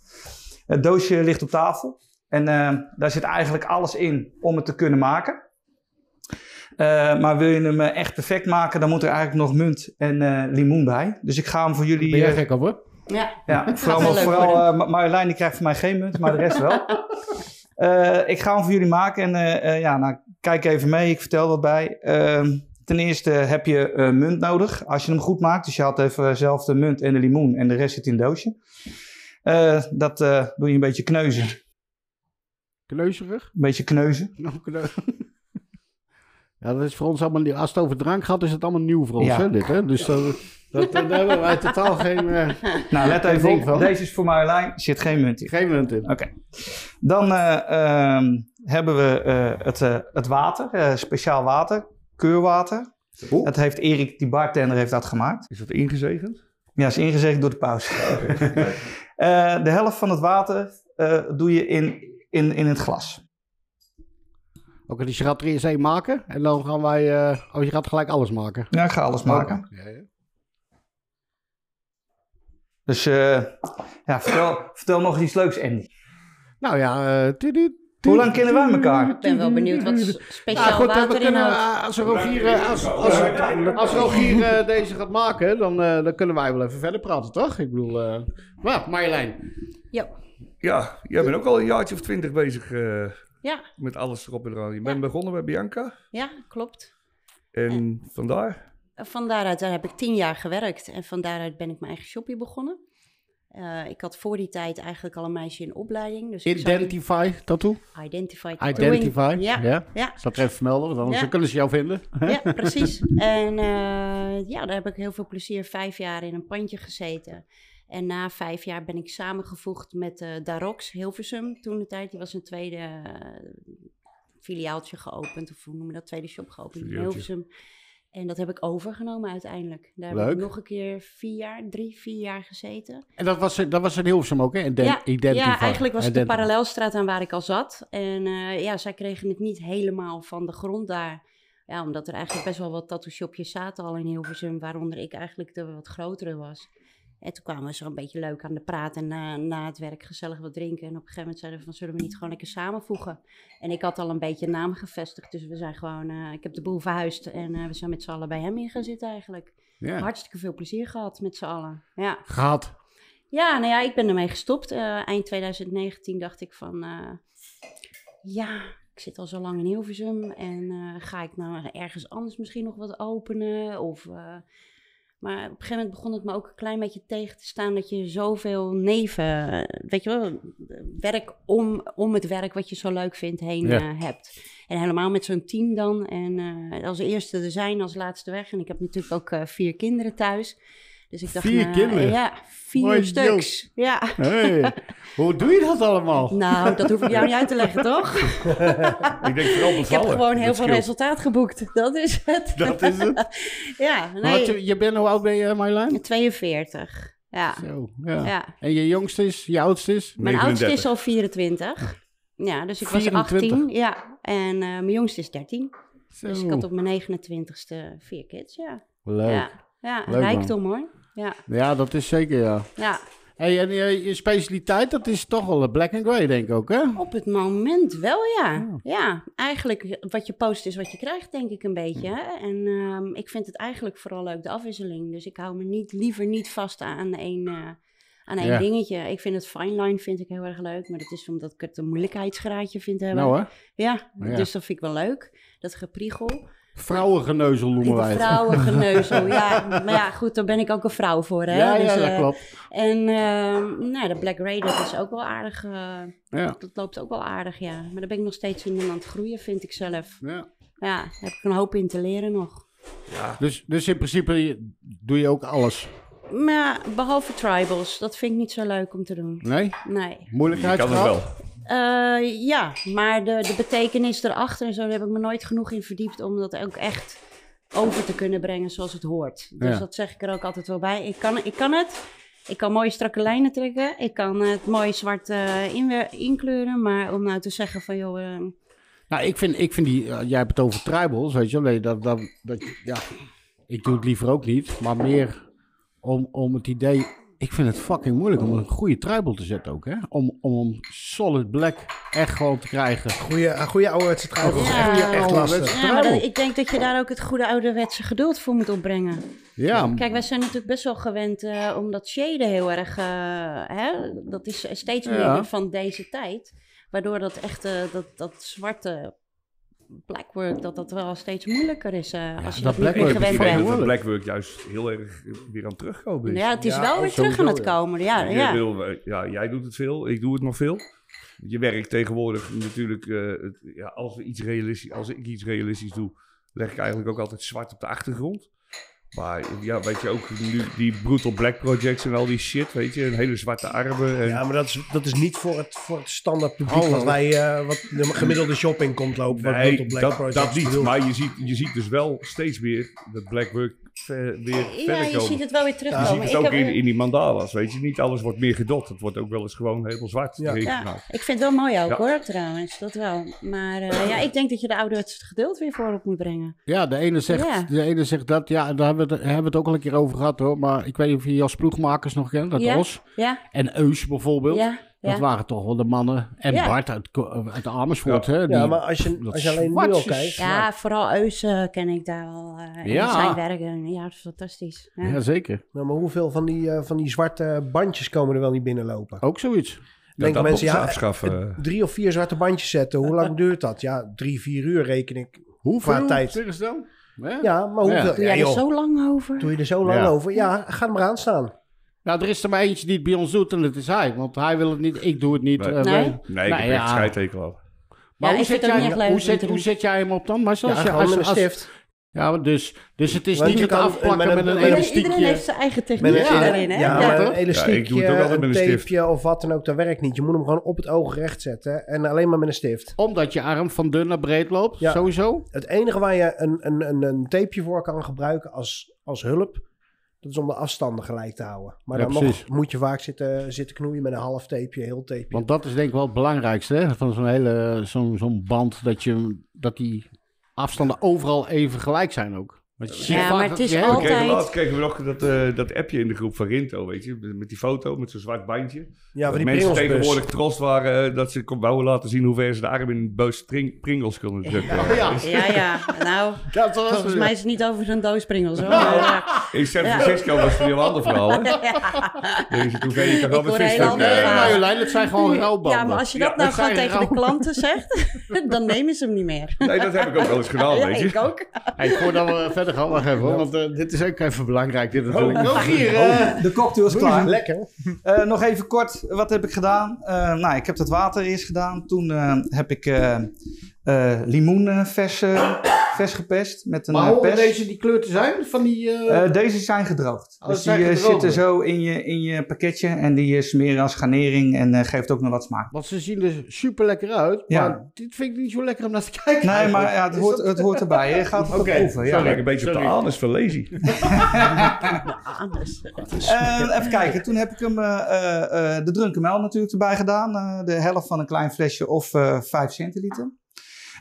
[SPEAKER 6] Het doosje ligt op tafel. En eh, daar zit eigenlijk alles in om het te kunnen maken. Eh, maar wil je hem eh, echt perfect maken, dan moet er eigenlijk nog munt en eh, limoen bij. Dus ik ga hem voor jullie...
[SPEAKER 5] ben jij
[SPEAKER 6] eh,
[SPEAKER 5] gek op, hè?
[SPEAKER 3] Ja.
[SPEAKER 6] ja, <laughs> vooral,
[SPEAKER 3] wel leuk
[SPEAKER 6] vooral
[SPEAKER 3] worden.
[SPEAKER 6] eh, Ma- Marjolein die krijgt van mij geen munt, maar de rest
[SPEAKER 3] <laughs>
[SPEAKER 6] wel. Eh, ik ga hem voor jullie maken en eh, eh, ja, nou, kijk even mee, ik vertel wat bij. Ehm, ten eerste heb je eh, munt nodig als je hem goed maakt. Dus je haalt even zelf de munt en de limoen en de rest zit in een doosje. Eh, dat eh, doe je een beetje kneuzen.
[SPEAKER 5] Kneuzerig.
[SPEAKER 6] Een beetje kneuzen.
[SPEAKER 5] <laughs> Nou, kneu- <laughs> Ja, dat is voor ons allemaal nieuw. Als het over drank gaat, is het allemaal nieuw voor ons,
[SPEAKER 6] Ja.
[SPEAKER 5] hè, dit, hè? Dus
[SPEAKER 6] <laughs>
[SPEAKER 5] dat, dat, daar hebben wij totaal geen, eh,
[SPEAKER 6] Nou, let
[SPEAKER 5] Geen
[SPEAKER 6] even
[SPEAKER 5] ding van.
[SPEAKER 6] op. Deze is voor Marjolein, zit geen munt in.
[SPEAKER 5] geen munt in.
[SPEAKER 6] Oké. Dan eh, ehm, hebben we eh, het, eh, het water, eh, speciaal water, keurwater.
[SPEAKER 4] Oeh.
[SPEAKER 6] Dat heeft Erik, die bartender, heeft dat gemaakt.
[SPEAKER 4] Is dat ingezegend?
[SPEAKER 6] Ja, is ingezegd door de paus.
[SPEAKER 5] <laughs>
[SPEAKER 6] <laughs> Eh, de helft van het water eh, doe je in, in, in het glas.
[SPEAKER 5] Oké, dus je gaat er eerst één maken en dan gaan wij... eh, oh, je gaat gelijk alles maken.
[SPEAKER 6] Ja, ik ga alles maken.
[SPEAKER 5] Oh, Ja, ja.
[SPEAKER 6] Dus eh, ja, vertel, vertel nog eens iets leuks, Andy.
[SPEAKER 5] Nou ja, eh, tudu, tudu,
[SPEAKER 6] Hoe lang kennen wij elkaar?
[SPEAKER 3] Ik ben wel benieuwd <laughs> wat
[SPEAKER 5] tudu.
[SPEAKER 3] s-
[SPEAKER 5] Ja,
[SPEAKER 3] speciaal
[SPEAKER 5] goed, eh, we
[SPEAKER 3] water
[SPEAKER 5] kunnen,
[SPEAKER 3] inhoudt.
[SPEAKER 5] eh, als Rogier, eh, als, als, als Rogier eh, deze gaat maken, dan, eh, dan kunnen wij wel even verder praten, toch? Ik bedoel, eh maar Marjolein.
[SPEAKER 3] Ja.
[SPEAKER 4] Ja, jij bent ook al een jaartje of twintig bezig eh,
[SPEAKER 3] Ja.
[SPEAKER 4] met alles erop en eraan. Je bent begonnen bij Bianca.
[SPEAKER 3] ja, klopt.
[SPEAKER 4] En vandaar?
[SPEAKER 3] Van daaruit daar heb ik tien jaar gewerkt en van daaruit ben ik mijn eigen shopje begonnen. Eh, ik had voor die tijd eigenlijk al een meisje in opleiding. Dus ik zou-
[SPEAKER 5] Identify, tattoo?
[SPEAKER 3] Identify. tattooing.
[SPEAKER 5] Identify,
[SPEAKER 3] Ja,
[SPEAKER 5] ja.
[SPEAKER 3] ja,
[SPEAKER 5] Zal ik er even vermelden, want anders
[SPEAKER 3] Ja.
[SPEAKER 5] kunnen ze jou vinden.
[SPEAKER 3] ja, precies. En eh, ja, daar heb ik heel veel plezier vijf jaar in een pandje gezeten. En na vijf jaar ben ik samengevoegd met eh Darox Hilversum toen de tijd. Die was een tweede eh, filiaaltje geopend, of hoe noem je dat, tweede shop geopend in
[SPEAKER 4] Filiaaltje.
[SPEAKER 3] Hilversum. En dat heb ik overgenomen uiteindelijk. Daar heb
[SPEAKER 5] Leuk.
[SPEAKER 3] ik nog een keer vier jaar, drie, vier jaar gezeten.
[SPEAKER 5] En dat was, dat was in Hilversum ook, hè? Ident-
[SPEAKER 3] ja,
[SPEAKER 5] Identify.
[SPEAKER 3] ja, eigenlijk was het de
[SPEAKER 5] Ident-
[SPEAKER 3] parallelstraat aan waar ik al zat. En eh, ja, zij kregen het niet helemaal van de grond daar. Ja, omdat er eigenlijk best wel wat tattoo shopjes zaten al in Hilversum, waaronder ik eigenlijk de wat grotere was. En toen kwamen we zo een beetje leuk aan de praat en na, na het werk gezellig wat drinken. En op een gegeven moment zeiden we van, zullen we niet gewoon lekker samenvoegen? En ik had al een beetje een naam gevestigd, dus we zijn gewoon, eh, ik heb de boel verhuisd en eh, we zijn met z'n allen bij hem in gaan zitten eigenlijk.
[SPEAKER 5] Ja.
[SPEAKER 3] Hartstikke veel plezier gehad met z'n allen, ja.
[SPEAKER 5] Gehad.
[SPEAKER 3] Ja, nou ja, ik ben ermee gestopt. Eh, eind 2019 dacht ik van, eh, ja, ik zit al zo lang in Hilversum en eh, ga ik nou ergens anders misschien nog wat openen? Of, eh, maar op een gegeven moment begon het me ook een klein beetje tegen te staan dat je zoveel neven, eh, weet je wel, werk om, om het werk wat je zo leuk vindt heen
[SPEAKER 5] Ja.
[SPEAKER 3] eh, hebt. En helemaal met zo'n team dan. En eh, als eerste er zijn, als laatste weg. En ik heb natuurlijk ook eh, vier kinderen thuis. Dus ik dacht,
[SPEAKER 5] Vier
[SPEAKER 3] nou,
[SPEAKER 5] kinderen?
[SPEAKER 3] Ja, vier
[SPEAKER 5] Mooi
[SPEAKER 3] stuks. Ja.
[SPEAKER 5] Hey. Hoe doe je dat allemaal?
[SPEAKER 3] Nou, dat hoef ik jou niet uit te leggen, toch?
[SPEAKER 4] Ik denk vooral bevallen.
[SPEAKER 3] Ik heb gewoon heel
[SPEAKER 4] Dat
[SPEAKER 3] veel
[SPEAKER 4] scheelt.
[SPEAKER 3] resultaat geboekt. Dat is het.
[SPEAKER 5] Dat is het.
[SPEAKER 3] Ja, nee.
[SPEAKER 5] Want je, je bent, hoe oud ben je, Marjolein?
[SPEAKER 3] 42. Ja.
[SPEAKER 5] Zo, ja.
[SPEAKER 3] ja.
[SPEAKER 5] En je jongste is, je oudste is?
[SPEAKER 3] Mijn oudste
[SPEAKER 4] 39.
[SPEAKER 3] is al 24. Ja, dus ik
[SPEAKER 5] 24.
[SPEAKER 3] was 18. Ja. En eh, mijn jongste is 13.
[SPEAKER 5] Zo.
[SPEAKER 3] Dus ik had op mijn 29ste vier kids. Ja.
[SPEAKER 5] Leuk. Ja.
[SPEAKER 3] Ja. Ja,
[SPEAKER 5] Leuk, man.
[SPEAKER 3] rijkdom hoor. Ja,
[SPEAKER 5] dat is zeker, ja.
[SPEAKER 3] ja.
[SPEAKER 5] Hey, en eh, je, je specialiteit, dat is toch wel eh, black and grey, denk ik ook, hè?
[SPEAKER 3] Op het moment wel, ja. Ja, eigenlijk wat je post is wat je krijgt, denk ik een beetje. hè. En ehm, ik vind het eigenlijk vooral leuk, de afwisseling. Dus ik hou me niet, liever niet vast aan één, eh, aan één
[SPEAKER 5] Ja.
[SPEAKER 3] dingetje. Ik vind het fine line vind ik heel erg leuk. Maar dat is omdat ik het een moeilijkheidsgraadje vind hebben.
[SPEAKER 5] Nou, hè?
[SPEAKER 3] ja,
[SPEAKER 5] Ja.
[SPEAKER 3] dus dat vind ik wel leuk. Dat gepriegel.
[SPEAKER 5] Vrouwengeneuzel noemen wij het. <laughs>
[SPEAKER 3] Vrouwengeneuzel, ja. Maar ja, goed, daar ben ik ook een vrouw voor, hè.
[SPEAKER 5] Ja, ja,
[SPEAKER 3] Dus,
[SPEAKER 5] dat
[SPEAKER 3] eh,
[SPEAKER 5] klopt.
[SPEAKER 3] En ehm, nou, de Black Ray, dat is ook wel aardig... eh,
[SPEAKER 5] Ja.
[SPEAKER 3] dat loopt ook wel aardig, ja. Maar daar ben ik nog steeds in aan het groeien, vind ik zelf.
[SPEAKER 5] Ja.
[SPEAKER 3] Ja, daar heb ik een hoop in te leren nog.
[SPEAKER 5] Dus, dus in principe je- doe je ook alles.
[SPEAKER 3] Maar ja, behalve tribals, dat vind ik niet zo leuk om te doen.
[SPEAKER 5] Nee?
[SPEAKER 3] Nee.
[SPEAKER 4] Je
[SPEAKER 5] Moeilijkheid
[SPEAKER 4] kan het wel.
[SPEAKER 3] Eh, ja, maar de, de betekenis erachter en zo, daar heb ik me nooit genoeg in verdiept om dat ook echt over te kunnen brengen zoals het hoort. Dus
[SPEAKER 5] Ja.
[SPEAKER 3] dat zeg ik er ook altijd wel bij. Ik kan, ik kan het. Ik kan mooie strakke lijnen trekken. Ik kan het mooi zwart eh, inwe- inkleuren. Maar om nou te zeggen van joh, eh,
[SPEAKER 5] Nou, ik vind, ik vind die, eh, jij hebt het over tribals, weet je wel. Nee, dat, dat, dat, ja, ik doe het liever ook niet, maar meer om, om het idee... Ik vind het fucking moeilijk om een goede tribal te zetten ook, hè. Om, om een solid black echt gewoon te krijgen.
[SPEAKER 2] Goeie, een goede ouderwetse trui.
[SPEAKER 5] Oh,
[SPEAKER 3] Ja.
[SPEAKER 2] Goeie, echt lastig.
[SPEAKER 5] ouderwetse.
[SPEAKER 3] Ja, maar dat-
[SPEAKER 5] Trouwens.
[SPEAKER 3] ik denk dat je daar ook het goede ouderwetse geduld voor moet opbrengen.
[SPEAKER 5] Ja,
[SPEAKER 3] Kijk, wij zijn natuurlijk best wel gewend eh, om dat shaden heel erg... eh, hè? Dat is steeds meer
[SPEAKER 5] Ja.
[SPEAKER 3] van deze tijd. Waardoor dat echte, dat, dat zwarte blackwork, dat dat wel steeds moeilijker is eh, als je
[SPEAKER 5] dat
[SPEAKER 3] dat, niet meer
[SPEAKER 5] blackwork is
[SPEAKER 4] Ik
[SPEAKER 3] gewend
[SPEAKER 5] wel-
[SPEAKER 4] denk
[SPEAKER 3] bent.
[SPEAKER 4] dat de Blackwork juist heel erg weer aan het terugkomen is.
[SPEAKER 3] Ja, het is
[SPEAKER 2] Ja,
[SPEAKER 3] wel weer terug
[SPEAKER 2] sowieso,
[SPEAKER 3] aan het
[SPEAKER 2] ja.
[SPEAKER 3] komen. Ja,
[SPEAKER 4] Je
[SPEAKER 3] ja.
[SPEAKER 4] wil, eh, ja, jij doet het veel, ik doe het nog veel. Je werkt tegenwoordig natuurlijk, eh, het- ja, als, we iets realistisch, als ik iets realistisch doe, leg ik eigenlijk ook altijd zwart op de achtergrond. Maar ja, weet je ook, nu die Brutal Black Projects en al die shit, weet je, en hele zwarte armen. En,
[SPEAKER 2] Ja, maar dat is, dat is niet voor het, voor het standaard publiek
[SPEAKER 5] Hallo.
[SPEAKER 2] wat wij, eh, wat de gemiddelde shop in komt lopen. wat
[SPEAKER 4] nee,
[SPEAKER 2] Brutal Black
[SPEAKER 4] dat,
[SPEAKER 2] Project
[SPEAKER 4] dat niet.
[SPEAKER 2] bedoelt.
[SPEAKER 4] Maar je ziet, je ziet dus wel steeds meer dat Blackwork ver, weer
[SPEAKER 3] Ja,
[SPEAKER 4] verder
[SPEAKER 3] je
[SPEAKER 4] komen.
[SPEAKER 3] ziet het wel weer
[SPEAKER 4] Je
[SPEAKER 3] terugkomen.
[SPEAKER 4] ziet het
[SPEAKER 3] Ik
[SPEAKER 4] ook
[SPEAKER 3] heb-
[SPEAKER 4] in, in die mandala's, weet je. Niet alles wordt meer gedot. Het wordt ook wel eens gewoon helemaal zwart Nou,
[SPEAKER 2] Ja.
[SPEAKER 4] erin
[SPEAKER 3] Ja,
[SPEAKER 4] gemaakt.
[SPEAKER 3] ik vind het wel mooi ook
[SPEAKER 4] Ja.
[SPEAKER 3] hoor, trouwens. Dat wel. Maar eh, ja, ik denk dat je de ouderwetse het geduld weer voorop moet brengen.
[SPEAKER 5] ja, de, ene zegt,
[SPEAKER 3] Ja.
[SPEAKER 5] de ene zegt dat. Ja, daar hebben we het, hebben we het ook al een keer over gehad hoor. Maar ik weet niet of je Jas Ploegmakers nog kent, dat
[SPEAKER 3] Ja.
[SPEAKER 5] Os.
[SPEAKER 3] Ja,
[SPEAKER 5] En Eus bijvoorbeeld.
[SPEAKER 3] ja, ja.
[SPEAKER 5] Dat waren toch wel de mannen. En
[SPEAKER 3] Ja.
[SPEAKER 5] Bart uit, Ko- uit Amersfoort. Hè, die,
[SPEAKER 2] Ja, maar als je,
[SPEAKER 5] dat
[SPEAKER 2] als je alleen nu al
[SPEAKER 5] zwartjes.
[SPEAKER 2] kijkt.
[SPEAKER 3] Ja, vooral Eus eh, ken ik daar wel. eh en
[SPEAKER 5] Ja.
[SPEAKER 3] zijn werken. Ja, dat is fantastisch. Ja.
[SPEAKER 5] ja, zeker.
[SPEAKER 2] Nou, maar hoeveel van die, eh, van die zwarte bandjes komen er wel niet binnenlopen?
[SPEAKER 5] Ook zoiets.
[SPEAKER 4] Dat,
[SPEAKER 2] Denken
[SPEAKER 4] dat
[SPEAKER 2] mensen,
[SPEAKER 4] mensen,
[SPEAKER 2] ja,
[SPEAKER 4] afschaffen. eh.
[SPEAKER 2] Drie of vier zwarte bandjes zetten, hoe lang duurt dat? Ja, drie, vier uur reken ik.
[SPEAKER 5] Hoeveel?
[SPEAKER 2] Qua tijd.
[SPEAKER 5] Zeg eens dan. Hè?
[SPEAKER 2] Ja, maar hoeveel?
[SPEAKER 3] Doe
[SPEAKER 2] Ja,
[SPEAKER 3] jij er
[SPEAKER 2] joh.
[SPEAKER 3] zo lang over?
[SPEAKER 2] Doe je er zo lang
[SPEAKER 5] Ja.
[SPEAKER 2] over? Ja, ga er maar aan staan.
[SPEAKER 5] Nou, er is er maar eentje die het bij ons doet en dat is hij. Want hij wil het niet, ik doe het niet.
[SPEAKER 4] Nee.
[SPEAKER 5] eh,
[SPEAKER 4] Nee?
[SPEAKER 5] wij-
[SPEAKER 4] Nee, ik
[SPEAKER 5] Nou
[SPEAKER 4] heb
[SPEAKER 5] ja.
[SPEAKER 4] echt scheidtekel aan.
[SPEAKER 5] Maar
[SPEAKER 3] Ja,
[SPEAKER 5] hoe,
[SPEAKER 3] ik
[SPEAKER 5] zet
[SPEAKER 3] vind het ook
[SPEAKER 5] jij,
[SPEAKER 3] niet echt leuk
[SPEAKER 5] hoe,
[SPEAKER 3] om te
[SPEAKER 5] zet,
[SPEAKER 3] doen.
[SPEAKER 5] hoe zet jij hem op dan? Maar
[SPEAKER 2] Ja,
[SPEAKER 5] als, je-
[SPEAKER 2] gewoon
[SPEAKER 5] als,
[SPEAKER 2] met een
[SPEAKER 5] als-
[SPEAKER 2] stift.
[SPEAKER 5] Ja, maar dus, dus het is
[SPEAKER 2] Want
[SPEAKER 5] niet
[SPEAKER 2] je
[SPEAKER 5] het
[SPEAKER 2] kan-
[SPEAKER 5] afplakken
[SPEAKER 2] met een-
[SPEAKER 5] met een
[SPEAKER 2] met een-
[SPEAKER 5] elastiekje.
[SPEAKER 3] Iedereen heeft zijn eigen
[SPEAKER 2] Met
[SPEAKER 3] techniek
[SPEAKER 2] een,
[SPEAKER 5] Ja,
[SPEAKER 3] daarin, hè?
[SPEAKER 2] ja,
[SPEAKER 5] Ja,
[SPEAKER 2] maar
[SPEAKER 5] toch?
[SPEAKER 2] een
[SPEAKER 4] Ja, ik
[SPEAKER 2] elastiekje,
[SPEAKER 4] doe het ook altijd
[SPEAKER 2] een
[SPEAKER 4] met een stift.
[SPEAKER 2] tapeje of wat dan ook, dat werkt niet. Je moet hem gewoon op het oog recht zetten en alleen maar met een stift.
[SPEAKER 5] Omdat je arm van dun naar breed loopt,
[SPEAKER 2] Ja.
[SPEAKER 5] sowieso.
[SPEAKER 2] Het enige waar je een, een, een, een tapeje voor kan gebruiken als, als hulp, dat is om de afstanden gelijk te houden. Maar
[SPEAKER 5] Ja,
[SPEAKER 2] dan
[SPEAKER 5] precies.
[SPEAKER 2] nog moet je vaak zitten, zitten knoeien met een half tapeje, heel tapeje.
[SPEAKER 5] Want dat is denk ik wel het belangrijkste hè, van zo'n hele zo'n zo'n band. Dat, je, dat die afstanden overal even gelijk zijn ook. Want je ziet
[SPEAKER 3] Ja,
[SPEAKER 5] vaak
[SPEAKER 3] maar
[SPEAKER 5] dat
[SPEAKER 3] het is
[SPEAKER 5] je hebt-
[SPEAKER 4] We kregen
[SPEAKER 3] Altijd.
[SPEAKER 4] laatst kregen we nog dat, eh, dat appje in de groep van Rinto, weet je. Met die foto, met zo'n zwart bandje.
[SPEAKER 2] ja, van
[SPEAKER 4] dat
[SPEAKER 2] die dus.
[SPEAKER 4] mensen
[SPEAKER 2] pringelsbus.
[SPEAKER 4] tegenwoordig trots waren eh, dat ze kon wouden laten zien hoe ver ze de arm in een beus pring- Pringles konden drukken.
[SPEAKER 3] Ja, ja.
[SPEAKER 2] <laughs>
[SPEAKER 3] Nou,
[SPEAKER 5] Dat was-
[SPEAKER 3] volgens mij is het niet over zo'n doos pringels, hoor. Maar, eh,
[SPEAKER 4] In San Francisco was het weer een ander verhaal, hè? Deze toen je kan
[SPEAKER 3] Ik
[SPEAKER 4] gewoon met
[SPEAKER 3] hoor hele
[SPEAKER 4] visdoeken.
[SPEAKER 3] andere
[SPEAKER 5] Nee,
[SPEAKER 4] Ja.
[SPEAKER 5] maar Jolijn, dat zijn gewoon rouwbanden.
[SPEAKER 3] Ja, maar als je dat
[SPEAKER 4] Ja,
[SPEAKER 3] nou
[SPEAKER 4] dat
[SPEAKER 3] gewoon
[SPEAKER 5] zijn
[SPEAKER 3] tegen de
[SPEAKER 5] rauw-
[SPEAKER 3] klanten zegt, <laughs> dan nemen ze hem niet meer.
[SPEAKER 4] Nee, dat heb ik ook wel eens gedaan,
[SPEAKER 3] Ja,
[SPEAKER 4] Oh, weet je.
[SPEAKER 3] ik ook.
[SPEAKER 5] Hey, voordat we <laughs> verder gaan, wacht even. hoor, Want eh, dit is ook even belangrijk. Dit natuurlijk. Oh,
[SPEAKER 7] hier,
[SPEAKER 5] eh,
[SPEAKER 6] De cocktail is klaar.
[SPEAKER 2] Lekker.
[SPEAKER 6] Eh, nog even kort, wat heb ik gedaan? Eh, nou, ik heb dat water eerst gedaan. Toen eh, heb ik eh eh, limoen eh, vers, eh, <coughs> vers gepest met een
[SPEAKER 5] Maar
[SPEAKER 6] eh,
[SPEAKER 5] horen
[SPEAKER 6] pers.
[SPEAKER 5] deze oh, die kleur te zijn? Van die... eh,
[SPEAKER 6] Eh, deze zijn gedroogd.
[SPEAKER 5] Oh,
[SPEAKER 6] dus
[SPEAKER 5] ze
[SPEAKER 6] die
[SPEAKER 5] zijn
[SPEAKER 6] eh,
[SPEAKER 5] gedroogd.
[SPEAKER 6] zitten zo in je, in je pakketje en die eh, smeren als garnering en eh, geeft ook nog wat smaak.
[SPEAKER 5] Want ze zien er super lekker uit.
[SPEAKER 6] Ja.
[SPEAKER 5] Maar dit vind ik niet zo lekker om naar te kijken.
[SPEAKER 6] Nee,
[SPEAKER 5] eigenlijk.
[SPEAKER 6] maar ja, het,
[SPEAKER 5] Is
[SPEAKER 6] hoort,
[SPEAKER 5] dat-
[SPEAKER 6] het hoort erbij. Je gaat
[SPEAKER 5] <laughs>
[SPEAKER 6] het
[SPEAKER 5] Oké,
[SPEAKER 6] proeven.
[SPEAKER 4] Ja,
[SPEAKER 6] Ja.
[SPEAKER 4] lijkt een beetje op de
[SPEAKER 5] Sorry.
[SPEAKER 4] anus van Lazy.
[SPEAKER 3] Anders.
[SPEAKER 6] Eh, even kijken, toen heb ik hem eh, eh, eh, de Drunkemel natuurlijk erbij gedaan. eh, de helft van een klein flesje of eh 5 centiliter.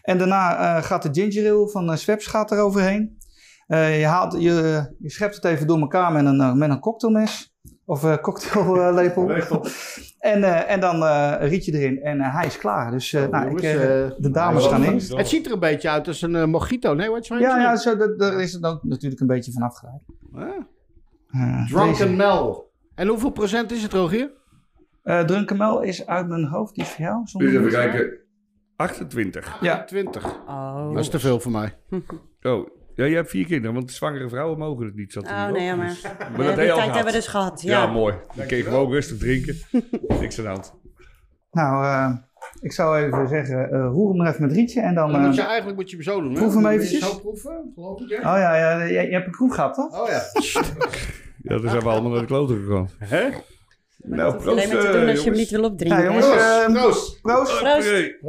[SPEAKER 6] En daarna eh, gaat de ginger ale van eh Sweps gaat er overheen. Eh, je, haalt, je, je schept het even door elkaar met een, eh, met een cocktailmes. Of eh <laughs> cocktaillepel.
[SPEAKER 4] Lepel.
[SPEAKER 6] en, eh, en dan eh, riet je erin en eh, hij is klaar. Dus eh,
[SPEAKER 5] Oh,
[SPEAKER 6] nou,
[SPEAKER 5] jongens,
[SPEAKER 6] ik, eh,
[SPEAKER 5] eh,
[SPEAKER 6] de dames gaan in.
[SPEAKER 5] Het ziet er een beetje uit als een eh, mojito. Nee, wat is
[SPEAKER 6] Ja, ja zo, dat- daar is het ook natuurlijk een beetje van afgeleid.
[SPEAKER 5] Ah.
[SPEAKER 6] Eh,
[SPEAKER 5] Drunken Mel. En hoeveel procent is het, Rogier?
[SPEAKER 6] Eh Drunkenmel is uit mijn hoofd, die voor jou. zonder
[SPEAKER 4] Dus even
[SPEAKER 6] moeite.
[SPEAKER 4] kijken. 28.
[SPEAKER 6] Ja,
[SPEAKER 5] 20.
[SPEAKER 3] Oh.
[SPEAKER 5] Dat is te veel voor mij.
[SPEAKER 4] Oh, ja, jij hebt vier kinderen, want zwangere vrouwen mogen het niet. Zat er
[SPEAKER 3] Oh,
[SPEAKER 4] niet op.
[SPEAKER 3] nee, maar...
[SPEAKER 4] Dus-
[SPEAKER 3] Ja,
[SPEAKER 4] dat
[SPEAKER 3] die
[SPEAKER 4] heb je al
[SPEAKER 3] tijd
[SPEAKER 4] gehad.
[SPEAKER 3] hebben we dus gehad,
[SPEAKER 4] Ja,
[SPEAKER 3] ja.
[SPEAKER 4] mooi. Dan kun je gewoon rustig drinken. Niks aan de hand.
[SPEAKER 6] nou, eh, ik zou even zeggen, eh, roer hem er even met Rietje en dan...
[SPEAKER 5] Dan moet je
[SPEAKER 6] eh,
[SPEAKER 5] eigenlijk moet je hem zo doen. hè?
[SPEAKER 6] proef hem
[SPEAKER 5] Moet je
[SPEAKER 6] eventjes.
[SPEAKER 5] Zo proeven, geloof ik. hè?
[SPEAKER 6] oh ja, ja je, je hebt een kroeg gehad, toch?
[SPEAKER 5] Oh ja.
[SPEAKER 4] Ja, dan zijn we allemaal naar de kloten gegaan.
[SPEAKER 5] Hè?
[SPEAKER 3] Maar
[SPEAKER 4] Nou,
[SPEAKER 3] dat hoef je alleen maar te
[SPEAKER 4] proost,
[SPEAKER 3] doen als
[SPEAKER 4] eh,
[SPEAKER 3] je hem
[SPEAKER 4] jongens.
[SPEAKER 3] niet wil opdrinken.
[SPEAKER 6] Ja, jongens,
[SPEAKER 3] hè?
[SPEAKER 5] Ehm,
[SPEAKER 6] eh,
[SPEAKER 5] Proost.
[SPEAKER 6] proost.
[SPEAKER 3] Proost.
[SPEAKER 4] Hey,
[SPEAKER 6] Ik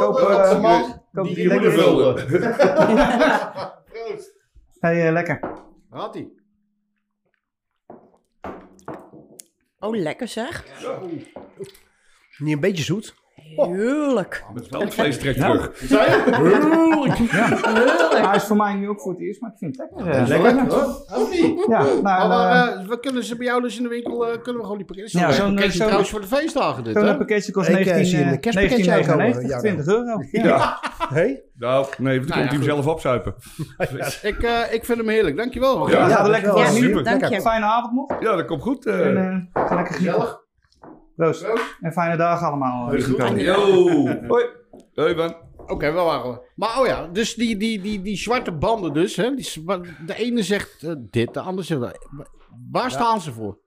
[SPEAKER 6] hoop, eh,
[SPEAKER 5] Proost, man.
[SPEAKER 6] ik
[SPEAKER 5] Die
[SPEAKER 6] hoop dat je
[SPEAKER 4] je moet
[SPEAKER 6] lekker
[SPEAKER 4] er
[SPEAKER 6] is.
[SPEAKER 5] wil.
[SPEAKER 4] vullen.
[SPEAKER 5] Proost.
[SPEAKER 6] Hey, eh, lekker.
[SPEAKER 5] Had hij.
[SPEAKER 3] Oh, lekker zeg.
[SPEAKER 2] Niet een beetje zoet.
[SPEAKER 3] Heerlijk.
[SPEAKER 4] Het tandvlees trekt
[SPEAKER 6] Nou.
[SPEAKER 4] terug.
[SPEAKER 6] Hij is voor mij nu ook voor het eerst, maar ik vind het lekker. eh,
[SPEAKER 5] Lekker hoor. Had hij.
[SPEAKER 6] Ja, nou,
[SPEAKER 5] Maar,
[SPEAKER 6] en, eh,
[SPEAKER 5] eh, we kunnen ze bij jou dus in de winkel eh, kunnen we gewoon die pakketjes.
[SPEAKER 6] Ja,
[SPEAKER 5] Ja,
[SPEAKER 6] zo'n- eh,
[SPEAKER 5] zo'n
[SPEAKER 6] zo'n-
[SPEAKER 5] trouwens voor de feestdagen dit.
[SPEAKER 6] Zo'n
[SPEAKER 5] hè?
[SPEAKER 6] pakketje kost
[SPEAKER 2] Ik, eh, zie
[SPEAKER 6] 19,
[SPEAKER 2] een
[SPEAKER 6] eh,
[SPEAKER 2] kerstpakketje aankomen,
[SPEAKER 6] 19,99,
[SPEAKER 2] Jarno.
[SPEAKER 6] 20 euro. Ja.
[SPEAKER 4] Ja.
[SPEAKER 2] Hey?
[SPEAKER 4] Nou, nee, want dan komt hij hem
[SPEAKER 5] goed.
[SPEAKER 4] zelf
[SPEAKER 5] <laughs>
[SPEAKER 4] opzuipen.
[SPEAKER 5] Ik, eh, ik vind hem heerlijk. Dankjewel.
[SPEAKER 4] Ja.
[SPEAKER 6] Ja, lekker
[SPEAKER 2] dankjewel.
[SPEAKER 6] voor
[SPEAKER 4] Super.
[SPEAKER 3] Dank je.
[SPEAKER 6] Fijne avond nog.
[SPEAKER 4] Ja, dat komt goed. eh.
[SPEAKER 6] En, eh, ga lekker genieten.
[SPEAKER 5] Gezellig.
[SPEAKER 6] Proost. En fijne dagen allemaal. eh.
[SPEAKER 4] Yo. Hoi. Hoi, man.
[SPEAKER 5] Oké, wel waren we. Maar oh ja, dus die, die, die, die zwarte banden dus. Hè, die, zwa- de ene zegt eh, dit, de ander zegt dat. Waar staan ze voor?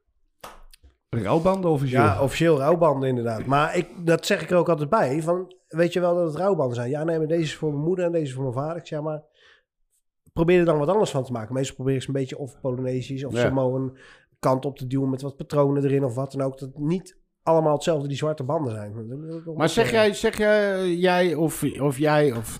[SPEAKER 4] Rouwbanden officieel.
[SPEAKER 2] Ja, officieel rouwbanden inderdaad. Maar ik, dat zeg ik er ook altijd bij. Van, weet je wel dat het rouwbanden zijn? Ja, nee, maar deze is voor mijn moeder en deze is voor mijn vader. Ik zeg maar, probeer er dan wat anders van te maken. Meestal probeer ik ze een beetje of Polynesisch of
[SPEAKER 5] Ja.
[SPEAKER 2] Samoan kant op te duwen met wat patronen erin of wat dan ook. Dat niet allemaal hetzelfde die zwarte banden zijn. Dat wil ik ook
[SPEAKER 5] Maar zeg
[SPEAKER 2] zeggen.
[SPEAKER 5] jij, zeg jij, jij of, of jij of...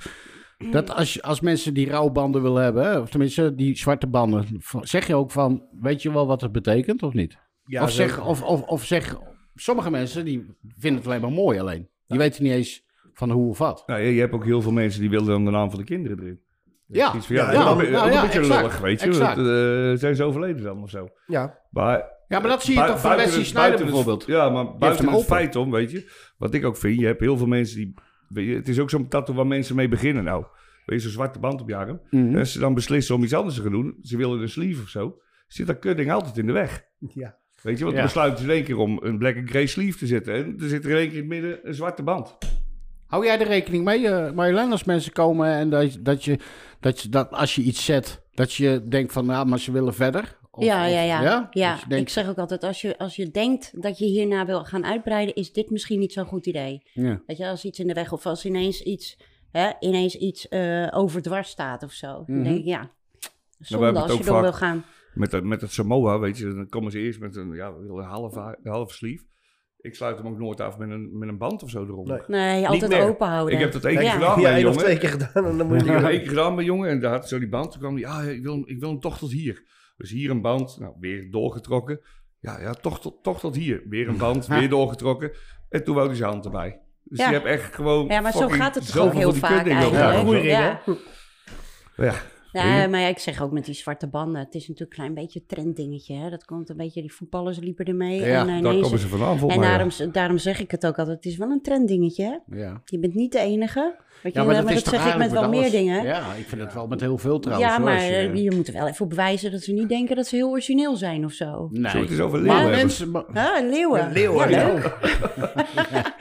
[SPEAKER 5] Dat als, je- als mensen die rouwbanden willen hebben, hè, of tenminste die zwarte banden, v- zeg je ook van, weet je wel wat het betekent of niet?
[SPEAKER 2] Ja,
[SPEAKER 5] of,
[SPEAKER 2] zo-
[SPEAKER 5] zeg, of, of, of zeg, sommige mensen die vinden het alleen maar mooi alleen. Die weten niet eens van hoe of wat.
[SPEAKER 4] Nou, je je hebt ook heel veel mensen die willen dan de naam van de kinderen erin.
[SPEAKER 5] Ja,
[SPEAKER 4] Iets van,
[SPEAKER 2] Ja,
[SPEAKER 4] ja, dat
[SPEAKER 5] ja,
[SPEAKER 4] is ook
[SPEAKER 5] nou
[SPEAKER 4] een
[SPEAKER 5] ja,
[SPEAKER 4] beetje
[SPEAKER 5] exact,
[SPEAKER 4] lullig, weet je.
[SPEAKER 5] exact.
[SPEAKER 4] want, eh, zijn ze overleden dan of zo?
[SPEAKER 2] Ja,
[SPEAKER 4] Maar,
[SPEAKER 5] Ja, maar dat zie je toch van Wesley Sneijder bijvoorbeeld.
[SPEAKER 4] Het, ja, maar buiten
[SPEAKER 5] hem
[SPEAKER 4] het
[SPEAKER 5] open.
[SPEAKER 4] feit om, weet je. Wat ik ook vind, je hebt heel veel mensen die... weet je, het is ook zo'n tattoo waar mensen mee beginnen nou. Weet je, zo'n zwarte band op je arm.
[SPEAKER 5] Mhm.
[SPEAKER 4] En als ze dan beslissen om iets anders te gaan doen. Ze willen een sleeve of zo. Zit dat kutding altijd in de weg.
[SPEAKER 2] ja.
[SPEAKER 4] Weet je, want
[SPEAKER 5] Ja.
[SPEAKER 4] dan besluiten ze in één keer om een black and grey sleeve te zetten. En er zit er in één keer in het midden een zwarte band.
[SPEAKER 5] Hou jij er rekening mee, eh, Marjolein, als mensen komen en dat, je- dat, je, dat, je, dat als je iets zet, dat je denkt van, nou, maar ze willen verder? Of-
[SPEAKER 3] ja,
[SPEAKER 5] of-
[SPEAKER 3] ja, ja. ja?
[SPEAKER 4] Dus
[SPEAKER 5] Dat je denkt-
[SPEAKER 3] ik zeg ook altijd, als je, als je denkt dat je hierna wil gaan uitbreiden, is dit misschien niet zo'n goed idee.
[SPEAKER 5] ja.
[SPEAKER 3] Weet je, als iets in de weg of als ineens iets hè, ineens iets eh overdwars staat of zo. Dan denk ik, ja, zonde
[SPEAKER 4] Mhm. hebben
[SPEAKER 3] als
[SPEAKER 4] het
[SPEAKER 3] je
[SPEAKER 4] ook
[SPEAKER 3] door
[SPEAKER 4] vaak-
[SPEAKER 3] wil gaan.
[SPEAKER 4] Met dat, met dat Samoa, weet je, dan komen ze eerst met een, ja, een half, half sleeve. Ik sluit hem ook nooit af met een, met een band of zo eronder.
[SPEAKER 2] Nee.
[SPEAKER 3] Nee, altijd
[SPEAKER 4] meer.
[SPEAKER 3] open houden.
[SPEAKER 4] Ik heb dat één
[SPEAKER 3] Oh, Ja.
[SPEAKER 4] keer
[SPEAKER 2] Ja, <laughs> één
[SPEAKER 4] gedaan, bij een
[SPEAKER 2] of
[SPEAKER 4] jongen.
[SPEAKER 2] twee keer gedaan en dan moet je
[SPEAKER 4] Ik heb één keer gedaan bij een jongen en daar had zo die band. Toen kwam die, ja, ik wil, hem- ik wil hem toch tot hier. Dus hier een band, nou, weer doorgetrokken. Ja, ja, toch tot, toch tot hier. Weer een
[SPEAKER 2] <laughs>
[SPEAKER 4] band, weer doorgetrokken. En toen wou hij zijn hand erbij. Dus
[SPEAKER 3] Ja.
[SPEAKER 4] je hebt echt gewoon
[SPEAKER 3] Ja, maar zo
[SPEAKER 4] fucking
[SPEAKER 3] gaat het toch
[SPEAKER 4] zoveel
[SPEAKER 3] ook heel
[SPEAKER 4] van die
[SPEAKER 3] vaak
[SPEAKER 4] kutdingen op
[SPEAKER 3] eigenlijk.
[SPEAKER 2] Ja,
[SPEAKER 4] elkaar.
[SPEAKER 2] groeiring,
[SPEAKER 3] Ja.
[SPEAKER 2] hè?
[SPEAKER 4] Ja,
[SPEAKER 3] Ja, eh, maar ja, ik zeg ook met die zwarte banden. Het is natuurlijk een klein beetje een trenddingetje. Hè? Dat komt een beetje, die voetballers liepen ermee.
[SPEAKER 5] Ja,
[SPEAKER 3] en, eh,
[SPEAKER 4] daar
[SPEAKER 3] ineens-
[SPEAKER 4] komen ze vanaf
[SPEAKER 3] en
[SPEAKER 4] volgens mij.
[SPEAKER 3] daarom, daarom zeg ik het ook altijd. Het is wel een trenddingetje. Hè?
[SPEAKER 5] Ja.
[SPEAKER 3] Je bent niet de enige. Weet je,
[SPEAKER 5] Ja,
[SPEAKER 3] eh, maar dat,
[SPEAKER 5] is toch
[SPEAKER 3] zeg ik met
[SPEAKER 5] eigenlijk
[SPEAKER 3] wel meer
[SPEAKER 5] alles.
[SPEAKER 3] dingen. Ja,
[SPEAKER 5] Ja, ik vind het wel met heel veel trouwens. hoor,
[SPEAKER 3] maar
[SPEAKER 5] als je-
[SPEAKER 3] eh, je moet er wel even op wijzen dat ze niet denken dat ze heel origineel zijn of zo.
[SPEAKER 5] Nee.
[SPEAKER 4] Zullen we het eens over
[SPEAKER 5] Maar
[SPEAKER 4] leeuwen hebben?
[SPEAKER 5] mensen... maar-
[SPEAKER 3] Ah, leeuwen.
[SPEAKER 2] Leeuwen,
[SPEAKER 3] Ja,
[SPEAKER 2] ja.
[SPEAKER 3] leuk. ja.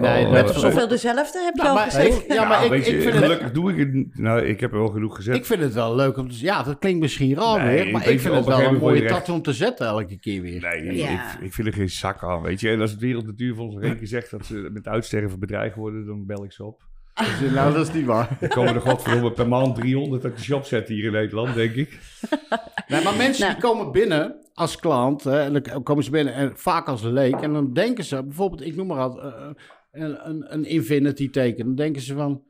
[SPEAKER 5] Nee,
[SPEAKER 4] Oh,
[SPEAKER 5] net
[SPEAKER 4] eh,
[SPEAKER 5] zo-
[SPEAKER 3] Zoveel dezelfde heb je
[SPEAKER 5] Nou,
[SPEAKER 3] al
[SPEAKER 5] maar
[SPEAKER 3] gezegd.
[SPEAKER 5] ik- ja, maar
[SPEAKER 4] Nou,
[SPEAKER 5] ik, ik
[SPEAKER 4] weet je,
[SPEAKER 5] vind het,
[SPEAKER 4] gelukkig doe ik het. niet. Nou, ik heb er wel genoeg gezet.
[SPEAKER 5] ik vind het wel leuk om te Ja, dat klinkt misschien raar
[SPEAKER 4] Nee,
[SPEAKER 5] weer,
[SPEAKER 4] ik
[SPEAKER 5] maar
[SPEAKER 4] weet
[SPEAKER 5] ik vind het
[SPEAKER 4] je, op een
[SPEAKER 5] wel
[SPEAKER 4] gegeven
[SPEAKER 5] een
[SPEAKER 4] moment
[SPEAKER 5] mooie
[SPEAKER 4] word je
[SPEAKER 5] tat om te zetten elke keer weer.
[SPEAKER 4] Nee,
[SPEAKER 3] Ja.
[SPEAKER 4] ik, ik vind er geen zak aan, weet je. En als het Wereldnatuur volgens mij één keer zegt dat ze met uitsterven bedreigd worden, dan bel ik ze op. <laughs>
[SPEAKER 5] nou, dat is niet waar.
[SPEAKER 4] Dan komen er godverdomme per maand 300 dat de shop zetten hier in Nederland, denk ik.
[SPEAKER 5] Nee, maar mensen die komen binnen als klant, hè, en dan komen ze binnen en vaak als leek, en dan denken ze, bijvoorbeeld, ik noem maar wat, eh, een, een, een infinity teken. Dan denken ze van,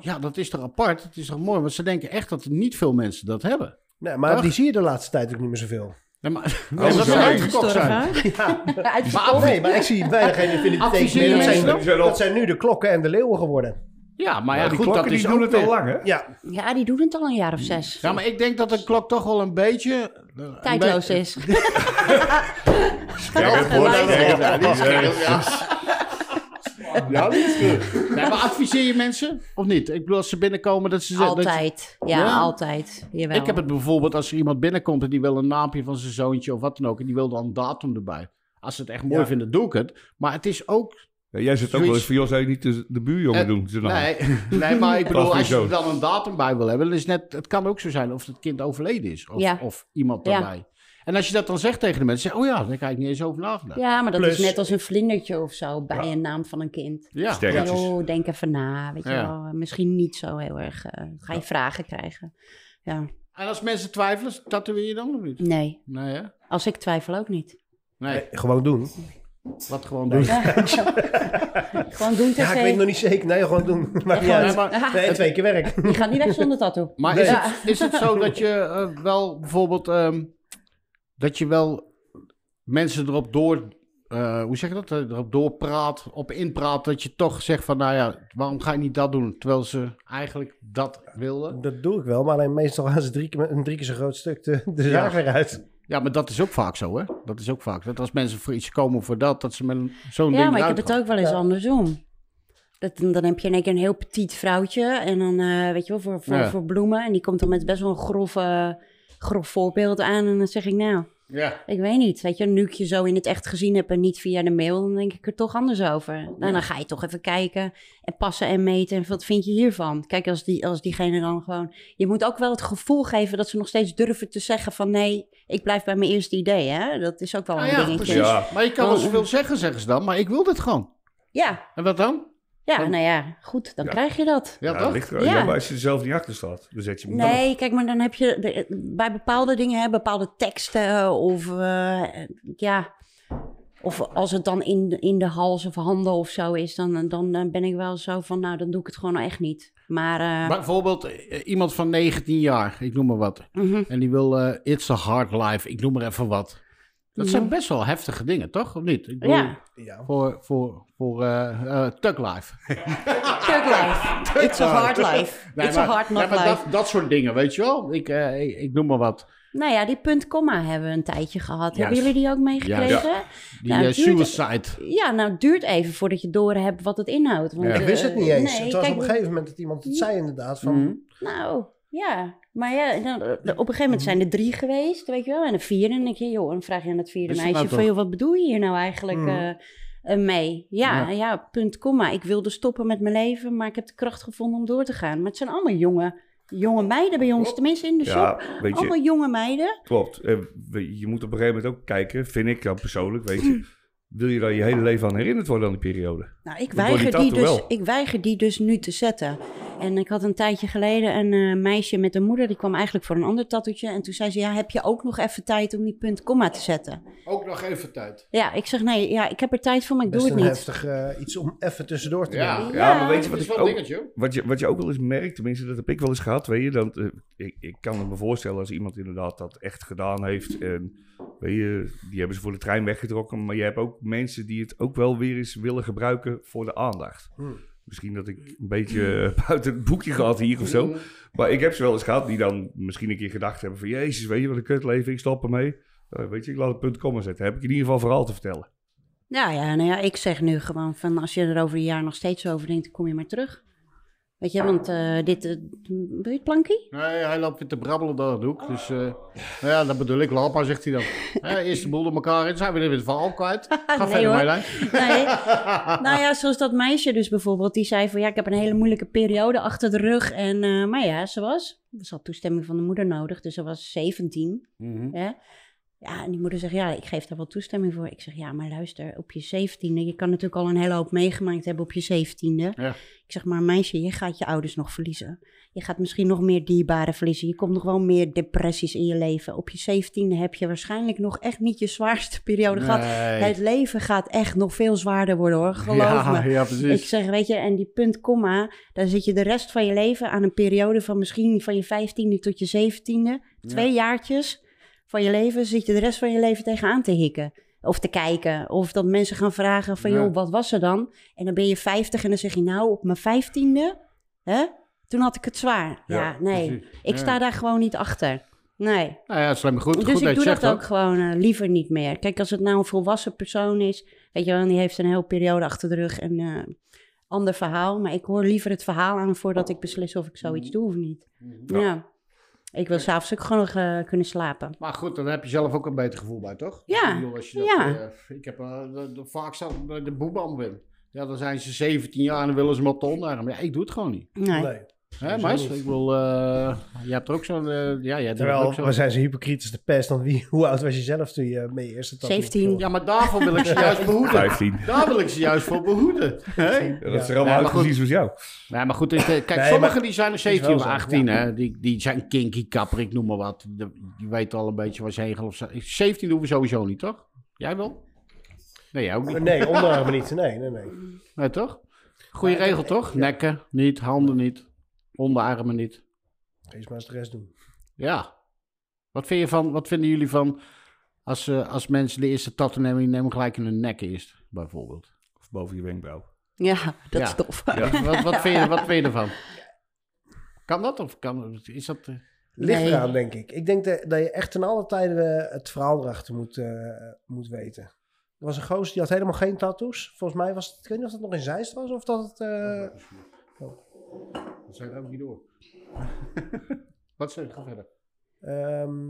[SPEAKER 5] ja, dat is toch apart, dat is toch mooi, want ze denken echt dat niet veel mensen dat hebben.
[SPEAKER 2] Nee, maar
[SPEAKER 5] Dag.
[SPEAKER 2] die zie je de laatste tijd ook niet meer zoveel.
[SPEAKER 5] Nee, maar,
[SPEAKER 4] Oh,
[SPEAKER 5] omdat
[SPEAKER 4] zo.
[SPEAKER 5] ze uitgekocht zijn.
[SPEAKER 3] Uitgestorven, hè?
[SPEAKER 2] Ja,
[SPEAKER 3] <laughs> Uitverkocht.
[SPEAKER 2] nee, maar ik zie bijna geen infinity tekens
[SPEAKER 5] Adviseer
[SPEAKER 2] meer. Dat
[SPEAKER 5] je
[SPEAKER 2] zijn,
[SPEAKER 5] mensen
[SPEAKER 4] dan?
[SPEAKER 2] dat zijn nu de klokken en de leeuwen geworden.
[SPEAKER 5] Ja, maar ja,
[SPEAKER 4] Nou, die
[SPEAKER 5] goed,
[SPEAKER 4] klokken
[SPEAKER 5] dat
[SPEAKER 4] die
[SPEAKER 5] is
[SPEAKER 4] doen
[SPEAKER 5] ook
[SPEAKER 4] het al
[SPEAKER 5] weer-
[SPEAKER 4] lang, hè?
[SPEAKER 2] Ja,
[SPEAKER 3] Ja, die doen het al een jaar of zes.
[SPEAKER 5] Ja, maar ik denk dat een klok toch wel een beetje... een
[SPEAKER 3] Tijdloos
[SPEAKER 5] beetje-
[SPEAKER 3] is.
[SPEAKER 4] Kijk, het wordt-
[SPEAKER 3] Gewijzigd.
[SPEAKER 4] Ja, die is-
[SPEAKER 5] Ja, dat is goed. Nee, maar adviseer je mensen of niet? Ik bedoel, als ze binnenkomen dat ze... zeggen- dat je-
[SPEAKER 3] Altijd. Ja,
[SPEAKER 5] Ja.
[SPEAKER 3] altijd. Jawel.
[SPEAKER 5] Ik heb het bijvoorbeeld als er iemand binnenkomt en die wil een naampje van zijn zoontje of wat dan ook. En die wil dan een datum erbij. Als ze het echt mooi
[SPEAKER 2] Ja.
[SPEAKER 5] vinden, doe ik het. Maar het is ook...
[SPEAKER 4] Ja, Jij zit ook wel eens van, joh, zou je niet de, de buurjongen
[SPEAKER 5] Eh,
[SPEAKER 4] doen? Ze nou, dan.
[SPEAKER 5] Nee, nee, maar ik
[SPEAKER 4] Dat
[SPEAKER 5] bedoel,
[SPEAKER 4] is
[SPEAKER 5] als je
[SPEAKER 4] zo.
[SPEAKER 5] er dan een datum bij wil hebben. Dan is net, het kan ook zo zijn of het kind overleden is. Of,
[SPEAKER 3] Ja.
[SPEAKER 5] of iemand
[SPEAKER 3] Ja.
[SPEAKER 5] daarbij. En als je dat dan zegt tegen de mensen. Zeg, oh ja, daar kijk ik niet eens over nagedacht. Ja.
[SPEAKER 3] Ja, maar dat
[SPEAKER 2] Plus-
[SPEAKER 3] is net als een vlindertje of zo bij een naam van een kind.
[SPEAKER 4] Sterk.
[SPEAKER 3] Ja,
[SPEAKER 4] Sterretjes.
[SPEAKER 3] joh, denk even na, weet je
[SPEAKER 5] Ja.
[SPEAKER 3] wel. Misschien niet zo heel erg. eh, ga je vragen krijgen. Ja,
[SPEAKER 5] En als mensen twijfelen, tatoeëer je dan of niet?
[SPEAKER 3] nee.
[SPEAKER 5] Nee, hè?
[SPEAKER 3] Als ik twijfel ook niet.
[SPEAKER 5] Nee,
[SPEAKER 2] gewoon doen.
[SPEAKER 5] wat gewoon doen.
[SPEAKER 3] Gewoon doen
[SPEAKER 2] Ja,
[SPEAKER 3] tegen.
[SPEAKER 2] ik weet nog niet zeker. Nee, gewoon doen. Maakt niet
[SPEAKER 3] Ja,
[SPEAKER 2] uit.
[SPEAKER 5] maar-
[SPEAKER 2] Nee, twee keer werk.
[SPEAKER 3] Je gaat niet weg zonder tattoo.
[SPEAKER 5] Maar
[SPEAKER 2] Nee.
[SPEAKER 5] is,
[SPEAKER 3] Ja.
[SPEAKER 5] het, <laughs> is het zo dat je eh, wel bijvoorbeeld ehm, dat je wel mensen erop door, eh, hoe zeg je dat, Eh, erop doorpraat, op inpraat, dat je toch zegt van, nou ja, waarom ga je niet dat doen, terwijl ze eigenlijk dat wilden?
[SPEAKER 2] Dat doe ik wel, maar alleen meestal gaan ze drie keer, met een drie keer zo groot stuk de, de zaag weer uit.
[SPEAKER 5] Ja, maar dat is ook vaak zo, hè? Dat is ook vaak. Dat als mensen voor iets komen voor dat, dat ze met een- zo'n
[SPEAKER 3] Ja,
[SPEAKER 5] ding Nou,
[SPEAKER 3] maar ik
[SPEAKER 5] eruit
[SPEAKER 3] heb het
[SPEAKER 5] gaan.
[SPEAKER 3] ook wel eens andersom. Dat, dan heb je in één keer een heel petit vrouwtje. En dan, eh, weet je wel, voor, voor,
[SPEAKER 5] Ja.
[SPEAKER 3] voor bloemen. En die komt dan met best wel een grof, eh, grof voorbeeld aan. En dan zeg ik, nou,
[SPEAKER 5] Ja.
[SPEAKER 3] ik weet niet. Weet je, nu ik je zo in het echt gezien heb en niet via de mail, dan denk ik er toch anders over. Nou, dan ga je toch even kijken en passen en meten. En wat vind je hiervan? Kijk, als, die, als diegene dan gewoon. Je moet ook wel het gevoel geven dat ze nog steeds durven te zeggen: van nee, ik blijf bij mijn eerste idee. Hè? Dat is ook wel een
[SPEAKER 5] Ah ja,
[SPEAKER 3] dingetje.
[SPEAKER 5] precies.
[SPEAKER 4] Ja.
[SPEAKER 5] Maar je kan wel zoveel zeggen, zeggen ze dan, maar ik wil dit gewoon.
[SPEAKER 3] Ja,
[SPEAKER 5] En wat dan?
[SPEAKER 3] ja, nou ja, goed, dan krijg je dat.
[SPEAKER 5] Ja,
[SPEAKER 4] Ja,
[SPEAKER 5] toch?
[SPEAKER 4] nou, dat ligt er-
[SPEAKER 3] Ja.
[SPEAKER 4] ja, maar als je er zelf niet achter staat, dan zet je hem wel.
[SPEAKER 3] Nee, kijk, maar dan heb je de- bij bepaalde dingen, hè, bepaalde teksten of eh, ja. Of als het dan in, de- in de hals of handen of zo is, dan, dan eh, ben ik wel zo van, nou, dan doe ik het gewoon echt niet. Maar, eh,
[SPEAKER 5] Maar Bijvoorbeeld eh, iemand van 19 jaar, ik noem maar wat.
[SPEAKER 3] mhm.
[SPEAKER 5] En die wil eh, It's a Hard Life, ik noem maar even wat. Dat zijn best wel heftige dingen, toch? Of niet? Ik bedoel,
[SPEAKER 3] ja,
[SPEAKER 2] Ja.
[SPEAKER 5] Voor, voor, voor eh eh Tug Life. <laughs>
[SPEAKER 3] Kirk life. <laughs> It's a hard life.
[SPEAKER 5] Nee,
[SPEAKER 3] It's
[SPEAKER 5] maar-
[SPEAKER 3] a hard not
[SPEAKER 5] nee, maar
[SPEAKER 3] life.
[SPEAKER 5] dat, dat soort dingen, weet je wel? Ik, eh, ik, ik noem maar wat.
[SPEAKER 3] Nou ja, die punt comma hebben we een tijdje gehad. Hebben
[SPEAKER 5] Juist.
[SPEAKER 3] jullie die ook meegekregen? Ja.
[SPEAKER 5] Die
[SPEAKER 3] Nou,
[SPEAKER 5] eh,
[SPEAKER 3] het duurt-
[SPEAKER 5] suicide.
[SPEAKER 3] nou, het duurt even voordat je doorhebt wat het inhoudt. Want,
[SPEAKER 5] Ja.
[SPEAKER 2] Ik wist het
[SPEAKER 3] eh,
[SPEAKER 2] niet eens.
[SPEAKER 3] nee,
[SPEAKER 2] het was
[SPEAKER 3] kijk,
[SPEAKER 2] op een gegeven moment dat iemand het zei inderdaad. Van,
[SPEAKER 3] Nou, ja. Maar ja, dan, op een gegeven moment zijn er drie geweest, weet je wel. En een vierde. En ik, joh, dan vraag je aan dat vierde
[SPEAKER 5] Is dat
[SPEAKER 3] meisje
[SPEAKER 5] nou
[SPEAKER 3] van,
[SPEAKER 5] toch?
[SPEAKER 3] joh, wat bedoel je hier nou eigenlijk
[SPEAKER 2] Mhm.
[SPEAKER 3] eh, eh, mee? Ja, ja, punt, komma. Ik wilde stoppen met mijn leven, maar ik heb de kracht gevonden om door te gaan. Maar het zijn allemaal jonge, jonge meiden bij ons, tenminste in de shop.
[SPEAKER 4] Ja, weet
[SPEAKER 5] Oh,
[SPEAKER 4] je,
[SPEAKER 3] Allemaal jonge meiden.
[SPEAKER 4] Klopt. Eh, we- je moet op een gegeven moment ook kijken, vind ik dan persoonlijk, weet je. Wil je daar je hele leven aan herinnerd worden aan die periode?
[SPEAKER 3] Nou, ik
[SPEAKER 4] Bonnie
[SPEAKER 3] weiger, die
[SPEAKER 4] Tattoo
[SPEAKER 3] dus,
[SPEAKER 4] wel.
[SPEAKER 3] ik weiger die dus nu te zetten. En ik had een tijdje geleden een eh, meisje met een moeder, die kwam eigenlijk voor een ander tattoetje. En toen zei ze, ja, heb je ook nog even tijd om die punt komma te zetten?
[SPEAKER 5] Ook nog even tijd.
[SPEAKER 3] Ja, ik zeg, nee, ja, ik heb er tijd voor, maar ik
[SPEAKER 2] Best
[SPEAKER 3] doe
[SPEAKER 2] een
[SPEAKER 3] het niet.
[SPEAKER 2] heftig eh, iets om even tussendoor te
[SPEAKER 5] Ja.
[SPEAKER 2] doen.
[SPEAKER 4] Ja,
[SPEAKER 3] Ja,
[SPEAKER 4] maar weet je
[SPEAKER 5] Dat
[SPEAKER 4] wat
[SPEAKER 5] is
[SPEAKER 4] ik
[SPEAKER 5] wel een
[SPEAKER 4] ook...
[SPEAKER 5] dingetje. hoor.
[SPEAKER 4] Wat je, wat je ook wel eens merkt, tenminste, dat heb ik wel eens gehad, weet je. Dan, eh, ik, ik kan het me voorstellen als iemand inderdaad dat echt gedaan heeft. En, weet je, die hebben ze voor de trein weggetrokken. Maar je hebt ook mensen die het ook wel weer eens willen gebruiken voor de aandacht.
[SPEAKER 5] Hm.
[SPEAKER 2] Hmm.
[SPEAKER 4] Misschien dat ik een beetje eh, <laughs> buiten het boekje gehad hier of zo. Maar ik heb ze wel eens gehad die dan misschien een keer gedacht hebben van... Jezus, weet je, wat een kutleven, ik stop ermee. Eh, weet je, ik laat het punt komma zetten. Heb ik in ieder geval verhaal te vertellen.
[SPEAKER 3] Nou ja, nou ja, ik zeg nu gewoon van als je er over een jaar nog steeds over denkt, dan kom je maar terug. Weet je, want eh, dit, eh, wil je het plankie?
[SPEAKER 5] Nee, hij loopt weer te brabbelen door het hoek. Dus, eh, nou ja, dat bedoel ik. Laat maar, zegt hij
[SPEAKER 3] <laughs>
[SPEAKER 5] dan. Hè, eerst de boel door elkaar in. Zijn we er weer van al kwijt? Ga
[SPEAKER 3] Ah, Nee,
[SPEAKER 5] verder,
[SPEAKER 3] hoor.
[SPEAKER 5] Marjolein.
[SPEAKER 3] Nee. nou ja, zoals dat meisje dus bijvoorbeeld, die zei van ja, ik heb een hele moeilijke periode achter de rug. En, eh, maar ja, ze was, ze had toestemming van de moeder nodig, dus ze was 17.
[SPEAKER 5] Mhm.
[SPEAKER 3] Hè? Ja, en die moeder zegt, ja, ik geef daar wel toestemming voor. Ik zeg, ja, maar luister, op je zeventiende, je kan natuurlijk al een hele hoop meegemaakt hebben op je zeventiende.
[SPEAKER 5] Ja.
[SPEAKER 3] Ik zeg, maar meisje, je gaat je ouders nog verliezen. Je gaat misschien nog meer dierbaren verliezen. Je komt nog wel meer depressies in je leven. Op je zeventiende heb je waarschijnlijk nog echt niet je zwaarste periode gehad.
[SPEAKER 5] Nee.
[SPEAKER 3] Het leven gaat echt nog veel zwaarder worden hoor, geloof
[SPEAKER 5] ja,
[SPEAKER 3] me.
[SPEAKER 5] ja,
[SPEAKER 3] Ik
[SPEAKER 5] precies.
[SPEAKER 3] zeg, weet je, en die punt, komma, daar zit je de rest van je leven aan een periode van misschien van je vijftiende tot je zeventiende, twee jaartjes van je leven, zit je de rest van je leven tegenaan te hikken. Of te kijken, of dat mensen gaan vragen van,
[SPEAKER 5] Ja.
[SPEAKER 3] joh, wat was er dan? En dan ben je vijftig en dan zeg je, nou, op mijn vijftiende, hè, toen had ik het zwaar. Ja,
[SPEAKER 4] Ja,
[SPEAKER 3] nee,
[SPEAKER 5] precies.
[SPEAKER 3] ik sta
[SPEAKER 5] Ja.
[SPEAKER 3] daar gewoon niet achter. Nee.
[SPEAKER 5] Nou ja, slim goed.
[SPEAKER 3] Dus
[SPEAKER 5] goed
[SPEAKER 3] ik
[SPEAKER 5] dat je
[SPEAKER 3] doe
[SPEAKER 5] zegt
[SPEAKER 3] dat ook
[SPEAKER 5] hoor.
[SPEAKER 3] gewoon eh, liever niet meer. Kijk, als het nou een volwassen persoon is, weet je wel, en die heeft een hele periode achter de rug en eh ander verhaal. Maar ik hoor liever het verhaal aan voordat ik beslis of ik zoiets
[SPEAKER 4] Mm-hmm.
[SPEAKER 3] doe of niet. Ja. Ik wil s'avonds ook gewoon nog eh, kunnen slapen.
[SPEAKER 5] Maar goed, dan heb je zelf ook een beter gevoel bij, toch?
[SPEAKER 3] Ja,
[SPEAKER 5] Ik bedoel, als je dat,
[SPEAKER 3] ja.
[SPEAKER 5] eh, ik heb eh, de- de- vaak zelf bij de boebam win. Ja, dan zijn ze 17 jaar en dan willen ze me op de onderarm. Ja, ik doe het gewoon niet.
[SPEAKER 3] Nee.
[SPEAKER 2] Nee.
[SPEAKER 5] Hè,
[SPEAKER 2] Zo
[SPEAKER 5] meis?
[SPEAKER 2] niet.
[SPEAKER 5] Ik wil, eh je hebt er ook zo'n, eh, ja, jij doet er ook
[SPEAKER 2] Terwijl,
[SPEAKER 5] zo'n.
[SPEAKER 2] we zijn ze hypocriet als de pest. Want wie, hoe oud was je zelf toen je mee eerste tattoo
[SPEAKER 3] 17.
[SPEAKER 5] Ja, maar daarvoor wil ik ze juist behoeden.
[SPEAKER 4] 15.
[SPEAKER 5] Daar wil ik ze juist voor behoeden.
[SPEAKER 3] Dus, eh,
[SPEAKER 5] hè?
[SPEAKER 4] Ja, dat
[SPEAKER 5] Ja,
[SPEAKER 4] is er
[SPEAKER 5] maar
[SPEAKER 4] allemaal uit
[SPEAKER 5] goed.
[SPEAKER 4] precies zoals jou.
[SPEAKER 5] Nee, maar goed, het, eh, kijk,
[SPEAKER 2] Nee,
[SPEAKER 5] sommigen
[SPEAKER 2] maar-
[SPEAKER 5] die zijn nog
[SPEAKER 2] is wel
[SPEAKER 5] 17 of
[SPEAKER 2] zo,
[SPEAKER 5] 18,
[SPEAKER 2] ja.
[SPEAKER 5] hè? Die, die zijn kinky kapper, ik noem maar wat. De- Je weet al een beetje waar ze heen gaan. of ze- 17 doen we sowieso niet, toch? Jij wel? Nee, jij ook niet.
[SPEAKER 2] Nee, onderarmen niet. Nee, nee, nee.
[SPEAKER 5] Nee, toch? Goeie
[SPEAKER 2] Maar-
[SPEAKER 5] regel, toch?
[SPEAKER 2] ja.
[SPEAKER 5] Nekken niet, handen niet, onderarmen niet.
[SPEAKER 2] Eens maar eens de rest doen.
[SPEAKER 5] Ja. Wat, vind je van, wat vinden jullie van als, eh, als mensen de eerste tattoo nemen, die nemen gelijk in hun nek eerst, bijvoorbeeld?
[SPEAKER 4] Of boven je wenkbrauw.
[SPEAKER 3] Ja, dat
[SPEAKER 5] Ja.
[SPEAKER 3] is tof.
[SPEAKER 5] Wat, wat, vind je, wat vind je ervan?
[SPEAKER 2] <laughs>
[SPEAKER 5] Kan dat of kan, is dat... eh,
[SPEAKER 2] Ligt
[SPEAKER 3] Nee.
[SPEAKER 2] eraan, denk ik. Ik denk dat, dat je echt ten alle tijden eh, het verhaal erachter moet, eh, moet weten. Er was een gozer die had helemaal geen tattoos. Volgens mij was het, ik weet niet of dat nog in Zeist was of dat het... eh,
[SPEAKER 5] Dat oh. zijn ook niet door. <laughs> Wat zeg ga verder?
[SPEAKER 2] ehm,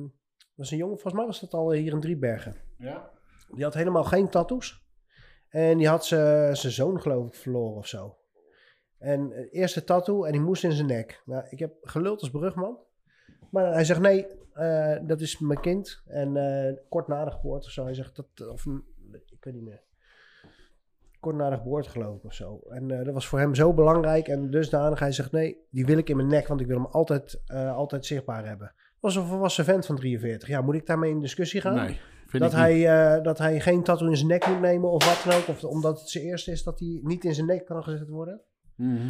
[SPEAKER 2] was een jongen, volgens mij was dat al hier in Driebergen.
[SPEAKER 5] Ja?
[SPEAKER 2] Die had helemaal geen tattoos. En die had zijn zoon, geloof ik, verloren of zo. En eh, eerste tattoo en die moest in zijn nek. Nou, ik heb geluld als brugman. Maar hij zegt: Nee, eh, dat is mijn kind. En eh, kort na de geboorte of zo. Hij zegt dat. Of, mm, ik weet niet meer. Kort na de geboorte, geloof ik, of zo. En eh, dat was voor hem zo belangrijk en dusdanig. Hij zegt: Nee, die wil ik in mijn nek, want ik wil hem altijd, eh, altijd zichtbaar hebben. Was een volwassen vent van 43. Ja, moet ik daarmee in discussie gaan?
[SPEAKER 5] Nee, vind
[SPEAKER 2] dat
[SPEAKER 5] ik niet.
[SPEAKER 2] hij, eh, dat hij geen tattoo in zijn nek moet nemen of wat dan ook. Of omdat het zijn eerste is dat hij niet in zijn nek kan gezet worden.
[SPEAKER 5] Mhm.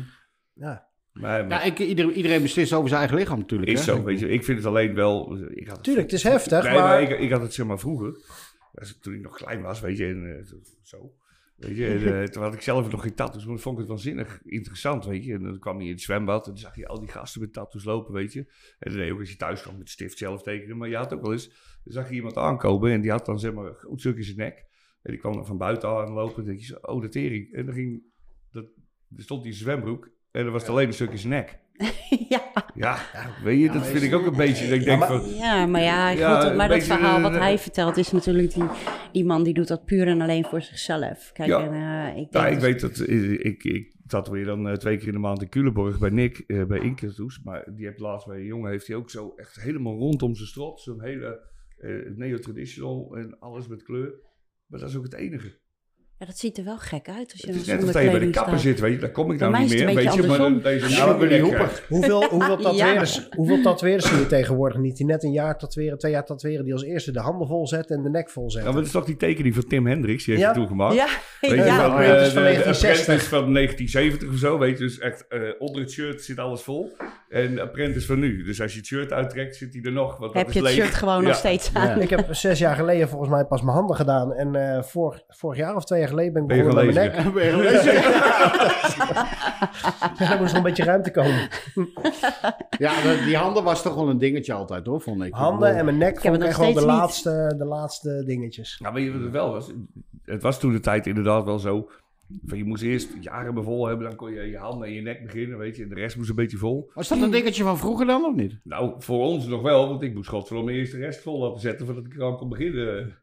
[SPEAKER 2] Ja.
[SPEAKER 4] Maar, maar
[SPEAKER 5] Ja, ik, iedereen, iedereen beslist over zijn eigen lichaam natuurlijk. <laughs>
[SPEAKER 4] is
[SPEAKER 5] hè?
[SPEAKER 4] zo, weet je. Ik vind het alleen wel... Ik had het
[SPEAKER 2] Tuurlijk, het is heftig,
[SPEAKER 4] Nee,
[SPEAKER 2] maar...
[SPEAKER 4] maar ik, ik had het zeg maar vroeger, als ik- toen ik nog klein was, weet je, en eh, zo- zo. Weet je, en, eh, toen had ik zelf nog geen tattoos, maar vond ik het waanzinnig interessant, weet je. En dan kwam je in het zwembad en dan zag je al die gasten met tattoos lopen, weet je. En dan deed je ook als je thuis kwam met stift zelf tekenen, maar je had ook wel eens, dan zag je iemand aankomen en die had dan zeg maar een groot stuk in zijn nek. En die kwam dan van buiten aanlopen en dan denk je zo, oh, dat tering. En dan ging, dat, er stond die zwembroek en er was het alleen een stuk in zijn nek.
[SPEAKER 3] <laughs> ja.
[SPEAKER 4] Ja, weet je, dat vind ik ook een beetje, dat ik denk
[SPEAKER 2] maar-
[SPEAKER 4] van... nou,
[SPEAKER 3] ja, maar ja,
[SPEAKER 4] Ja,
[SPEAKER 3] goed,
[SPEAKER 4] een
[SPEAKER 3] maar dat
[SPEAKER 4] beetje,
[SPEAKER 3] verhaal wat
[SPEAKER 4] eh,
[SPEAKER 3] hij vertelt is natuurlijk die, die man die doet dat puur en alleen voor zichzelf. Kijk,
[SPEAKER 4] Ja.
[SPEAKER 3] en, eh, ik
[SPEAKER 4] Ja,
[SPEAKER 3] denk
[SPEAKER 4] ik weet dat. eh, Ik, ik tatoeëer dan eh, twee keer in de maand in Culemborg bij Nick, eh,
[SPEAKER 3] Ah.
[SPEAKER 4] bij Inkatoes. Maar die heeft laatst bij een jongen, heeft hij ook zo echt helemaal rondom zijn strot. Zo'n hele eh neo-traditional en alles met kleur. Maar dat is ook het enige.
[SPEAKER 3] Ja, dat ziet er wel gek uit als je
[SPEAKER 4] Het
[SPEAKER 3] dan
[SPEAKER 4] is net
[SPEAKER 3] zonder
[SPEAKER 4] of dat je bij de
[SPEAKER 3] kleding
[SPEAKER 4] kapper
[SPEAKER 3] staat.
[SPEAKER 4] zit, weet je. Daar kom ik
[SPEAKER 3] Bij
[SPEAKER 4] nou
[SPEAKER 3] mij
[SPEAKER 4] niet
[SPEAKER 3] is het
[SPEAKER 4] meer,
[SPEAKER 3] een
[SPEAKER 4] weet
[SPEAKER 3] beetje
[SPEAKER 4] je. Maar eh,
[SPEAKER 3] andersom.
[SPEAKER 4] deze
[SPEAKER 5] Ja, maar bij die
[SPEAKER 4] hoepen.
[SPEAKER 2] Hoeveel, hoeveel,
[SPEAKER 3] <laughs> Ja.
[SPEAKER 2] tatoeëerders, hoeveel tatoeëerders zie je tegenwoordig niet? Die net een jaar tatoeëren, twee jaar tatoeëren, die als eerste de handen vol zetten en de nek vol
[SPEAKER 4] Ja, maar
[SPEAKER 2] zetten.
[SPEAKER 4] dat Nou, is toch die tekening van Tim Hendricks, die heeft
[SPEAKER 2] Ja.
[SPEAKER 4] hij toen gemaakt.
[SPEAKER 3] Ja,
[SPEAKER 4] Weet je,
[SPEAKER 3] ja.
[SPEAKER 4] wel,
[SPEAKER 2] maar
[SPEAKER 4] eh,
[SPEAKER 2] het is van
[SPEAKER 4] de-
[SPEAKER 2] 1960.
[SPEAKER 4] De Apprentice van 1970 of zo, weet je. Dus echt, eh, onder het shirt zit alles vol. En Apprentice van nu. Dus als je het shirt uittrekt, zit hij er nog. Want dat
[SPEAKER 3] heb
[SPEAKER 4] is
[SPEAKER 3] je het
[SPEAKER 4] leeg.
[SPEAKER 3] shirt gewoon
[SPEAKER 4] Ja.
[SPEAKER 3] nog steeds aan.
[SPEAKER 2] Ik heb zes jaar geleden volgens mij pas mijn handen gedaan. En eh, vorig, vorig jaar of twee jaar geleden ben ik
[SPEAKER 4] Ben je
[SPEAKER 2] begonnen met mijn
[SPEAKER 4] gelezen?
[SPEAKER 2] nek.
[SPEAKER 5] Ben je gelezen?
[SPEAKER 2] Dus Er moest nog een beetje ruimte komen.
[SPEAKER 5] ja, dat- die handen was toch wel een dingetje altijd hoor, vond ik.
[SPEAKER 2] Handen en mijn nek
[SPEAKER 3] heb
[SPEAKER 2] vond
[SPEAKER 3] het
[SPEAKER 2] ik
[SPEAKER 3] nog
[SPEAKER 2] echt wel de
[SPEAKER 3] steeds niet.
[SPEAKER 2] laatste, de laatste dingetjes.
[SPEAKER 4] Nou, weet je wat het wel was? Het was toen de tijd inderdaad wel zo. Van je moest eerst je armen vol hebben, dan kon je je handen en je nek beginnen, weet je. En de rest moest een beetje vol.
[SPEAKER 5] Was dat een dingetje van vroeger dan of niet?
[SPEAKER 4] Nou, voor ons nog wel, want ik moest godverdomme eerst de rest vol laten zetten voordat ik eraan kon beginnen.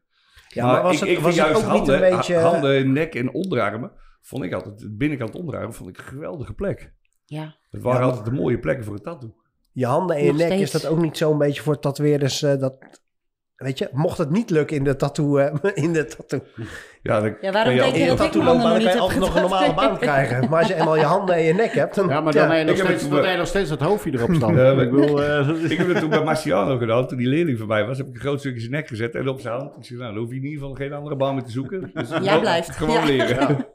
[SPEAKER 2] Ja, maar, was
[SPEAKER 4] ik,
[SPEAKER 2] het,
[SPEAKER 4] ik
[SPEAKER 2] was
[SPEAKER 4] vind
[SPEAKER 2] het ook
[SPEAKER 4] juist handen,
[SPEAKER 2] niet een beetje...
[SPEAKER 4] ha- handen, nek en onderarmen, vond ik altijd, de binnenkant onderarmen, vond ik een geweldige plek.
[SPEAKER 3] Ja.
[SPEAKER 4] Het waren
[SPEAKER 2] Ja, maar-
[SPEAKER 4] altijd de mooie plekken voor een tattoo.
[SPEAKER 2] Je handen en je
[SPEAKER 3] Nog
[SPEAKER 2] nek,
[SPEAKER 3] steeds.
[SPEAKER 2] is dat ook niet zo'n beetje voor tatoeëerders eh, dat... Weet je, mocht het niet lukken in de tattoo... eh, <laughs> in de tattoo,
[SPEAKER 4] Ja, dan
[SPEAKER 3] Ja, waarom
[SPEAKER 4] kan
[SPEAKER 3] denk
[SPEAKER 2] in
[SPEAKER 3] je
[SPEAKER 2] de
[SPEAKER 3] dat ik
[SPEAKER 2] tattoo
[SPEAKER 3] mijn
[SPEAKER 2] dan
[SPEAKER 3] handen
[SPEAKER 2] kan je
[SPEAKER 3] nog niet
[SPEAKER 2] altijd
[SPEAKER 3] heb
[SPEAKER 2] nog een normale
[SPEAKER 3] gedacht?
[SPEAKER 2] baan krijgen. Maar als je eenmaal je handen en je nek hebt, dan...
[SPEAKER 5] Ja, maar dan heb je nog
[SPEAKER 4] Ik heb
[SPEAKER 5] steeds-
[SPEAKER 4] het-
[SPEAKER 5] dan heb je nog steeds dat hoofdje erop staan.
[SPEAKER 4] <laughs> Ja, maar-
[SPEAKER 5] ik bedoel, eh,
[SPEAKER 4] Ik heb het toen bij Marciano gedaan, toen die leerling van mij was, heb ik een groot stukje in zijn nek gezet en op zijn hand. Ik zei, nou, dan hoef je in ieder geval geen andere baan meer te
[SPEAKER 3] <laughs>
[SPEAKER 4] zoeken. Dus gewoon-
[SPEAKER 3] blijft.
[SPEAKER 4] Gewoon
[SPEAKER 3] Ja.
[SPEAKER 4] leren.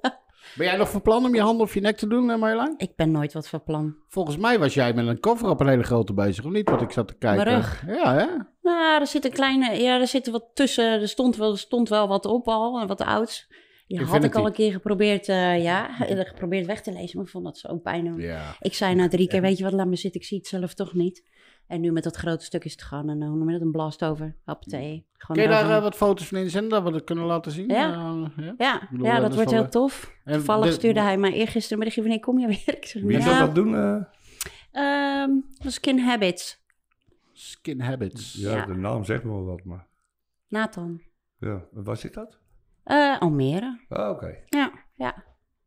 [SPEAKER 5] ben jij nog van plan om je handen of je nek te doen, eh, Marjolein?
[SPEAKER 3] Ik ben nooit wat van plan.
[SPEAKER 5] Volgens mij was jij met een cover op een hele grote bezig, of niet? Want ik zat te kijken.
[SPEAKER 3] Mijn rug.
[SPEAKER 5] Ja, hè?
[SPEAKER 3] Nou, er zit een kleine, ja, er zit wat tussen. Er stond wel, er stond wel wat op al, en wat ouds. Die had ik
[SPEAKER 5] Infinity.
[SPEAKER 3] al een keer geprobeerd, eh, ja, <laughs> geprobeerd weg te lezen, maar ik vond dat zo pijn. doen.
[SPEAKER 5] Ja.
[SPEAKER 3] Ik zei na drie keer, weet je wat, laat me zitten, ik zie het zelf toch niet. En nu met dat grote stuk is het gewoon een, hoe noem je dat, een blast over. Hoppatee. Gewoon
[SPEAKER 5] Kun je daar
[SPEAKER 3] eroverheen.
[SPEAKER 5] eh, wat foto's van inzenden, dat we dat kunnen laten zien?
[SPEAKER 3] Ja.
[SPEAKER 5] Eh, ja.
[SPEAKER 3] Ja,
[SPEAKER 5] bedoel,
[SPEAKER 3] ja,
[SPEAKER 5] eh,
[SPEAKER 3] dat,
[SPEAKER 5] dat is
[SPEAKER 3] wordt
[SPEAKER 5] wel,
[SPEAKER 3] heel tof.
[SPEAKER 5] En
[SPEAKER 3] Toevallig
[SPEAKER 5] de-
[SPEAKER 3] stuurde hij mij eergisteren berichtje wanneer kom je weer? Ik zeg,
[SPEAKER 4] Wie
[SPEAKER 3] nou,
[SPEAKER 4] zou dat doen? eh?
[SPEAKER 3] ehm, dat is Skin Habits.
[SPEAKER 5] Skin Habits.
[SPEAKER 4] Ja,
[SPEAKER 3] Ja.
[SPEAKER 4] de naam zegt me wel wat, maar...
[SPEAKER 3] Nathan.
[SPEAKER 4] Ja, waar zit dat?
[SPEAKER 3] Eh, Almere.
[SPEAKER 4] Ah, oké.
[SPEAKER 3] Ja, ja.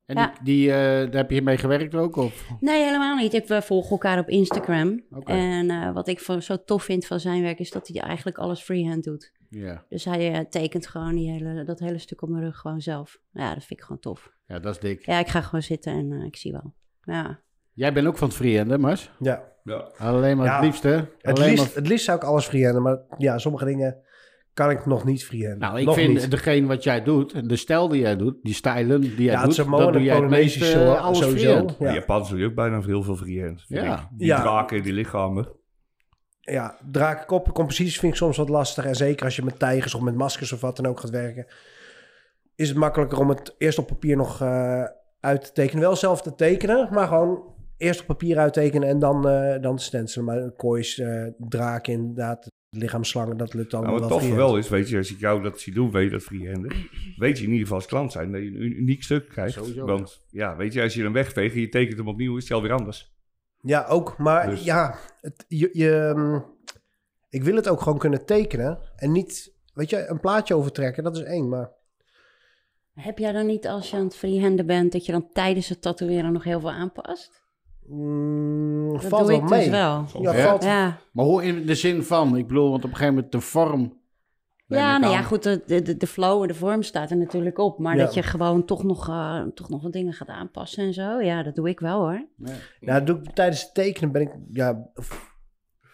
[SPEAKER 5] En
[SPEAKER 3] Ja.
[SPEAKER 5] Die, die, eh, daar heb je mee gewerkt ook? Of?
[SPEAKER 3] Nee, helemaal niet. Ik, we volgen elkaar op Instagram.
[SPEAKER 5] Oké.
[SPEAKER 3] En eh, wat ik van, zo tof vind van zijn werk is dat hij eigenlijk alles freehand doet.
[SPEAKER 5] Ja.
[SPEAKER 3] Dus hij eh, tekent gewoon die hele, dat hele stuk op mijn rug gewoon zelf. Ja, dat vind ik gewoon tof.
[SPEAKER 5] ja, dat is dik.
[SPEAKER 3] Ja, ik ga gewoon zitten en eh, ik zie wel. Ja.
[SPEAKER 5] Jij bent ook van het freehand, hè, Mars?
[SPEAKER 2] Ja.
[SPEAKER 4] Ja.
[SPEAKER 5] Alleen maar
[SPEAKER 2] Ja.
[SPEAKER 5] het liefste.
[SPEAKER 2] Het,
[SPEAKER 5] Alleen
[SPEAKER 2] liefst,
[SPEAKER 5] maar-
[SPEAKER 2] het liefst zou ik alles freehanden, maar ja, sommige dingen kan ik nog niet freehanden.
[SPEAKER 5] Nou, ik
[SPEAKER 2] nog
[SPEAKER 5] vind
[SPEAKER 2] niet.
[SPEAKER 5] degene wat jij doet, en de stijl die jij doet, die stijlen die jij
[SPEAKER 2] Ja, het
[SPEAKER 5] doet,
[SPEAKER 2] is mooi
[SPEAKER 5] dat doe jij het meest
[SPEAKER 2] Polynesisch
[SPEAKER 5] eh, alles
[SPEAKER 2] sowieso.
[SPEAKER 5] freehand.
[SPEAKER 4] De
[SPEAKER 2] Ja.
[SPEAKER 4] Japans doe je ook bijna heel veel freehand. vind
[SPEAKER 5] Ja.
[SPEAKER 4] ik. Die
[SPEAKER 2] Ja.
[SPEAKER 4] draken, die lichamen.
[SPEAKER 2] ja, drakenkoppen, composities vind ik soms wat lastig. En zeker als je met tijgers of met maskers of wat dan ook gaat werken, is het makkelijker om het eerst op papier nog eh, uit te tekenen. Wel zelf te tekenen, maar gewoon eerst op papier uittekenen en dan, eh dan stencelen. Maar koois, eh, draken inderdaad, lichaamslangen, dat lukt allemaal
[SPEAKER 4] Nou, wat
[SPEAKER 2] wel
[SPEAKER 4] tof
[SPEAKER 2] freehand.
[SPEAKER 4] wel is, weet je, als ik jou dat zie doen, weet je dat freehanden, weet je in ieder geval als klant zijn dat je een u- uniek stuk krijgt.
[SPEAKER 5] Sowieso,
[SPEAKER 4] Want ja, weet je, als je hem wegveegt en je tekent hem opnieuw, is het alweer anders.
[SPEAKER 2] Ja, ook. Maar
[SPEAKER 4] Dus-
[SPEAKER 2] ja, het, je, je, ehm, ik wil het ook gewoon kunnen tekenen. En niet, weet je, een plaatje overtrekken, dat is één. Maar
[SPEAKER 3] Heb jij dan niet als je aan het freehanden bent, dat je dan tijdens het tatoeëren nog heel veel aanpast?
[SPEAKER 2] mm,
[SPEAKER 3] Dat
[SPEAKER 2] valt
[SPEAKER 3] doe
[SPEAKER 2] wel
[SPEAKER 3] ik
[SPEAKER 2] mee.
[SPEAKER 3] dus wel.
[SPEAKER 2] Ja,
[SPEAKER 5] Ja.
[SPEAKER 2] valt,
[SPEAKER 3] Ja,
[SPEAKER 5] Maar hoe in de zin van? Ik bedoel, want op een gegeven moment de vorm. neem
[SPEAKER 3] ja
[SPEAKER 5] ik
[SPEAKER 3] nou
[SPEAKER 5] aan.
[SPEAKER 3] ja, goed, de, de, de flow en de vorm staat er natuurlijk op. Maar
[SPEAKER 2] Ja.
[SPEAKER 3] dat je gewoon toch nog, eh, toch nog wat dingen gaat aanpassen en zo, ja, dat doe ik wel hoor.
[SPEAKER 2] Nou, dat doe ik tijdens het tekenen ben ik, ja, f-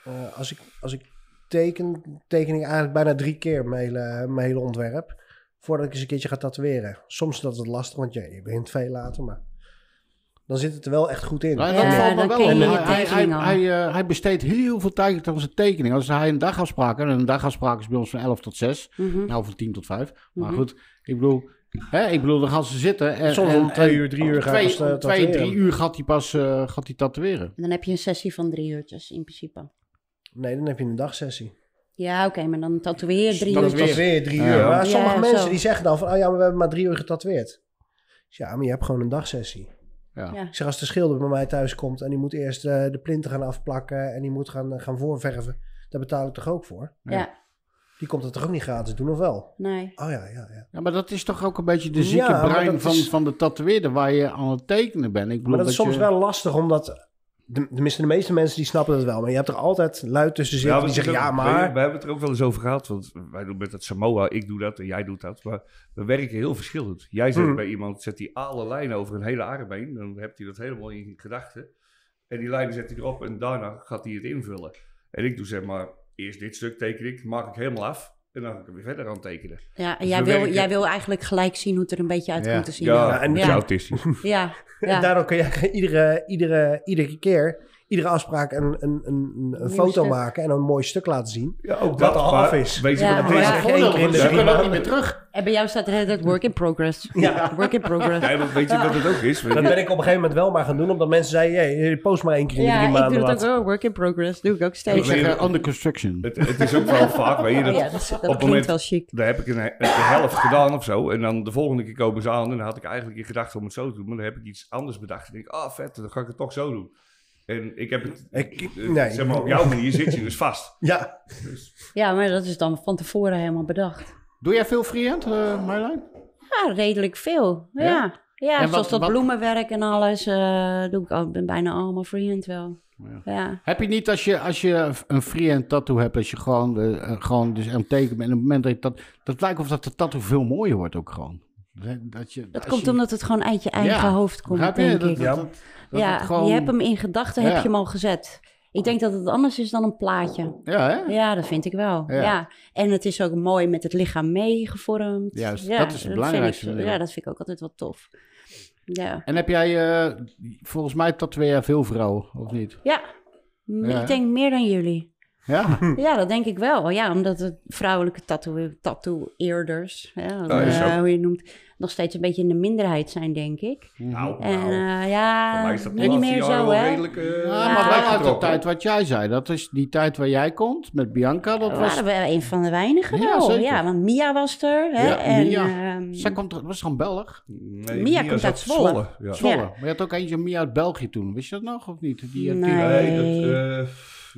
[SPEAKER 2] eh, als ik, als ik teken, teken ik eigenlijk bijna drie keer mijn hele, mijn hele ontwerp. Voordat ik eens een keertje ga tatoeëren. Soms is dat wat lastig, want ja, je begint veel later, maar dan zit het er wel echt goed in.
[SPEAKER 5] Nou,
[SPEAKER 3] Ja,
[SPEAKER 5] dat valt me
[SPEAKER 3] dan
[SPEAKER 5] wel
[SPEAKER 3] ken je
[SPEAKER 5] op.
[SPEAKER 3] je
[SPEAKER 5] Hij, hij,
[SPEAKER 3] tekening al.
[SPEAKER 5] hij, eh, hij besteedt heel veel tijd aan zijn tekening. Als hij een dagafspraak, en een dagafspraak is bij ons van 11 tot 6,
[SPEAKER 3] Mhm.
[SPEAKER 5] nou van 10 tot 5. Maar
[SPEAKER 3] Mhm.
[SPEAKER 5] goed, ik bedoel, hè, ik bedoel, dan gaan ze zitten. En,
[SPEAKER 2] Soms
[SPEAKER 5] en-
[SPEAKER 2] om twee
[SPEAKER 5] en
[SPEAKER 2] uur, drie uur
[SPEAKER 5] om
[SPEAKER 2] gaat hij
[SPEAKER 5] twee,
[SPEAKER 2] pas, eh,
[SPEAKER 5] om twee,
[SPEAKER 2] tatoeëren.
[SPEAKER 5] drie uur gaat hij pas eh, gaat hij tatoeëren.
[SPEAKER 3] En dan heb je een sessie van drie uurtjes in principe.
[SPEAKER 2] Nee, dan heb je een dagsessie.
[SPEAKER 3] Ja, oké, maar dan tatoeëer drie
[SPEAKER 5] Dat
[SPEAKER 2] Dat
[SPEAKER 5] is
[SPEAKER 2] is
[SPEAKER 5] weer-
[SPEAKER 3] uurtjes.
[SPEAKER 2] weer drie uur.
[SPEAKER 5] Ja.
[SPEAKER 2] Maar
[SPEAKER 3] Ja,
[SPEAKER 2] sommige mensen
[SPEAKER 3] zo.
[SPEAKER 2] die zeggen dan van, oh ja, maar we hebben maar drie uur getatoeëerd. Ik zeg, ja, maar je hebt gewoon een dagsessie.
[SPEAKER 5] Ja.
[SPEAKER 3] Ja.
[SPEAKER 2] Ik zeg, als de schilder bij mij thuis komt en die moet eerst eh, de plinten gaan afplakken en die moet gaan, eh, gaan voorverven, daar betaal ik toch ook voor?
[SPEAKER 3] Ja.
[SPEAKER 2] Die komt dat toch ook niet gratis doen, of wel?
[SPEAKER 3] nee.
[SPEAKER 2] Oh ja, ja, ja.
[SPEAKER 5] Ja, maar dat is toch ook een beetje de zieke
[SPEAKER 2] Ja, maar
[SPEAKER 5] brein
[SPEAKER 2] dat
[SPEAKER 5] van,
[SPEAKER 2] is-
[SPEAKER 5] van de tatoeëerder waar je aan het tekenen bent. Ik bedoel
[SPEAKER 2] Maar dat is soms
[SPEAKER 5] je-
[SPEAKER 2] wel lastig, omdat de, tenminste, de meeste mensen die snappen dat wel. Maar je hebt er altijd luid tussen zitten
[SPEAKER 4] we
[SPEAKER 2] die zeggen,
[SPEAKER 4] hebben-
[SPEAKER 2] ja,
[SPEAKER 4] weet
[SPEAKER 2] maar...
[SPEAKER 4] je, We hebben het er ook wel eens over gehad. Want wij doen met dat Samoa, ik doe dat en jij doet dat. Maar we werken heel verschillend. Jij zet
[SPEAKER 2] Mhm.
[SPEAKER 4] bij iemand, zet die alle lijnen over een hele arm heen. Dan hebt hij dat helemaal in gedachten. En die lijnen zet hij erop en daarna gaat hij het invullen. En ik doe zeg maar, eerst dit stuk teken ik, maak ik helemaal af. En dan ga ik er weer verder aan tekenen.
[SPEAKER 3] Ja, en
[SPEAKER 4] Dus
[SPEAKER 3] jij
[SPEAKER 4] we
[SPEAKER 3] wil,
[SPEAKER 4] werken-
[SPEAKER 3] jij wil eigenlijk gelijk zien hoe het er een beetje uit
[SPEAKER 5] Ja.
[SPEAKER 3] moet te zien.
[SPEAKER 4] Ja,
[SPEAKER 2] en-
[SPEAKER 4] en
[SPEAKER 3] ja.
[SPEAKER 4] autistisch.
[SPEAKER 3] ja, ja.
[SPEAKER 5] <laughs>
[SPEAKER 2] En daardoor kun je <laughs> iedere, iedere, iedere keer, iedere afspraak een, een, een, een
[SPEAKER 3] Nieuw
[SPEAKER 2] foto
[SPEAKER 3] stuk.
[SPEAKER 2] maken en een mooi stuk laten zien.
[SPEAKER 4] Ja, ook
[SPEAKER 2] Wat
[SPEAKER 4] dat
[SPEAKER 2] al
[SPEAKER 4] maar
[SPEAKER 2] af is.
[SPEAKER 4] Weet je
[SPEAKER 3] Ja,
[SPEAKER 4] wat
[SPEAKER 3] maar
[SPEAKER 4] het is?
[SPEAKER 3] ja.
[SPEAKER 5] geen
[SPEAKER 2] één keer in de
[SPEAKER 5] Ze
[SPEAKER 2] drie
[SPEAKER 5] kunnen ook niet
[SPEAKER 2] maanden.
[SPEAKER 5] meer terug.
[SPEAKER 3] En bij jou staat er het work in progress.
[SPEAKER 2] Ja.
[SPEAKER 3] Work in progress.
[SPEAKER 4] Nee, maar weet je wat het ook is?
[SPEAKER 2] Dat ben ik op een gegeven moment wel maar gaan doen, omdat mensen zeiden, hey, post maar één keer in de
[SPEAKER 3] Ja,
[SPEAKER 2] drie
[SPEAKER 3] ik doe
[SPEAKER 2] maanden
[SPEAKER 3] het ook
[SPEAKER 2] wat.
[SPEAKER 3] wel. Work in progress doe ik ook
[SPEAKER 5] Ik
[SPEAKER 3] steeds.
[SPEAKER 5] zeg
[SPEAKER 4] weet
[SPEAKER 5] eh,
[SPEAKER 4] het.
[SPEAKER 5] under construction.
[SPEAKER 4] Het, het is ook wel vaak, weet je, dat,
[SPEAKER 3] Oh ja, dat, is- dat
[SPEAKER 4] op het
[SPEAKER 3] klinkt
[SPEAKER 4] moment-
[SPEAKER 3] wel chic.
[SPEAKER 4] Daar heb ik een, he- de helft gedaan of zo. En dan de volgende keer komen ze aan. En dan had ik eigenlijk in gedachten om het zo te doen. Maar dan heb ik iets anders bedacht. En denk ik, ah vet, dan ga ik het toch zo doen. En ik heb het,
[SPEAKER 2] Ik-
[SPEAKER 4] eh,
[SPEAKER 2] nee.
[SPEAKER 4] zeg maar, op jouw manier zit je dus vast.
[SPEAKER 2] Ja,
[SPEAKER 3] Ja, maar dat is dan van tevoren helemaal bedacht.
[SPEAKER 5] Doe jij veel freehand, eh Marjolein?
[SPEAKER 3] Ja, redelijk veel. Ja, ja.
[SPEAKER 5] En
[SPEAKER 3] zoals
[SPEAKER 5] wat-
[SPEAKER 3] dat
[SPEAKER 5] wat-
[SPEAKER 3] bloemenwerk en alles eh, doe ik al, ben bijna allemaal freehand wel. Ja.
[SPEAKER 5] Heb je niet als je, als je een freehand tattoo hebt, als je gewoon, eh, eh, gewoon dus aan het tekenen bent, en op het moment dat je dat, dat lijkt of dat de tattoo veel mooier wordt ook gewoon. Dat, je,
[SPEAKER 3] Dat
[SPEAKER 5] als
[SPEAKER 3] komt
[SPEAKER 5] je-
[SPEAKER 3] omdat het gewoon uit je eigen hoofd komt,
[SPEAKER 5] Begrijp je?
[SPEAKER 3] denk
[SPEAKER 5] Dat-
[SPEAKER 3] ik.
[SPEAKER 5] dat- dat- dat
[SPEAKER 3] ja,
[SPEAKER 5] het gewoon-
[SPEAKER 3] je hebt hem in gedachten, heb
[SPEAKER 5] Ja.
[SPEAKER 3] je hem al gezet. Ik denk dat het anders is dan een plaatje.
[SPEAKER 5] Ja, hè?
[SPEAKER 3] Ja, dat vind ik wel.
[SPEAKER 5] Ja.
[SPEAKER 3] Ja. En het is ook mooi met het lichaam meegevormd.
[SPEAKER 5] Juist,
[SPEAKER 3] ja,
[SPEAKER 5] dat is het
[SPEAKER 3] vind
[SPEAKER 5] belangrijkste,
[SPEAKER 3] Ik,
[SPEAKER 5] ja.
[SPEAKER 3] ja, dat vind ik ook altijd wel tof. Ja,
[SPEAKER 5] En heb jij, eh, volgens mij tatoeëer jij veel vrouwen, of niet?
[SPEAKER 3] ja.
[SPEAKER 5] Ja, Hm. hè?
[SPEAKER 3] ik denk meer dan jullie.
[SPEAKER 5] Ja?
[SPEAKER 3] Ja, dat denk ik wel. Ja, omdat het vrouwelijke tattoo- tattoo-eerders, ja,
[SPEAKER 4] Ja, is
[SPEAKER 3] eh,
[SPEAKER 4] ook-
[SPEAKER 3] hoe je het noemt, nog steeds een beetje in de minderheid zijn, denk ik.
[SPEAKER 4] Nou,
[SPEAKER 3] En eh,
[SPEAKER 4] nou. voor
[SPEAKER 3] ja,
[SPEAKER 4] mij is dat de
[SPEAKER 3] niet
[SPEAKER 4] laatste
[SPEAKER 3] meer
[SPEAKER 4] jaren
[SPEAKER 3] zo,
[SPEAKER 4] wel
[SPEAKER 3] hè?
[SPEAKER 4] redelijk, eh,
[SPEAKER 5] Ja,
[SPEAKER 3] Ja.
[SPEAKER 5] maar wel uit de
[SPEAKER 4] uitgetrokken.
[SPEAKER 5] tijd wat jij zei. Dat is die tijd waar jij komt met Bianca. Dat
[SPEAKER 3] We
[SPEAKER 5] was,
[SPEAKER 3] waren wel een van de weinigen
[SPEAKER 5] Ja,
[SPEAKER 3] wel.
[SPEAKER 5] zeker.
[SPEAKER 3] Ja, want Mia was er. Hè?
[SPEAKER 5] Ja,
[SPEAKER 3] en,
[SPEAKER 5] Mia.
[SPEAKER 3] ehm,
[SPEAKER 5] zij komt, was van Belg.
[SPEAKER 4] Nee,
[SPEAKER 3] Mia komt
[SPEAKER 4] zat
[SPEAKER 3] uit Zwolle.
[SPEAKER 4] ja.
[SPEAKER 5] Zwolle.
[SPEAKER 3] Ja.
[SPEAKER 5] Maar je had ook eentje Mia uit België toen. Wist je dat nog of niet? Die,
[SPEAKER 3] Nee.
[SPEAKER 4] Nee, dat, eh,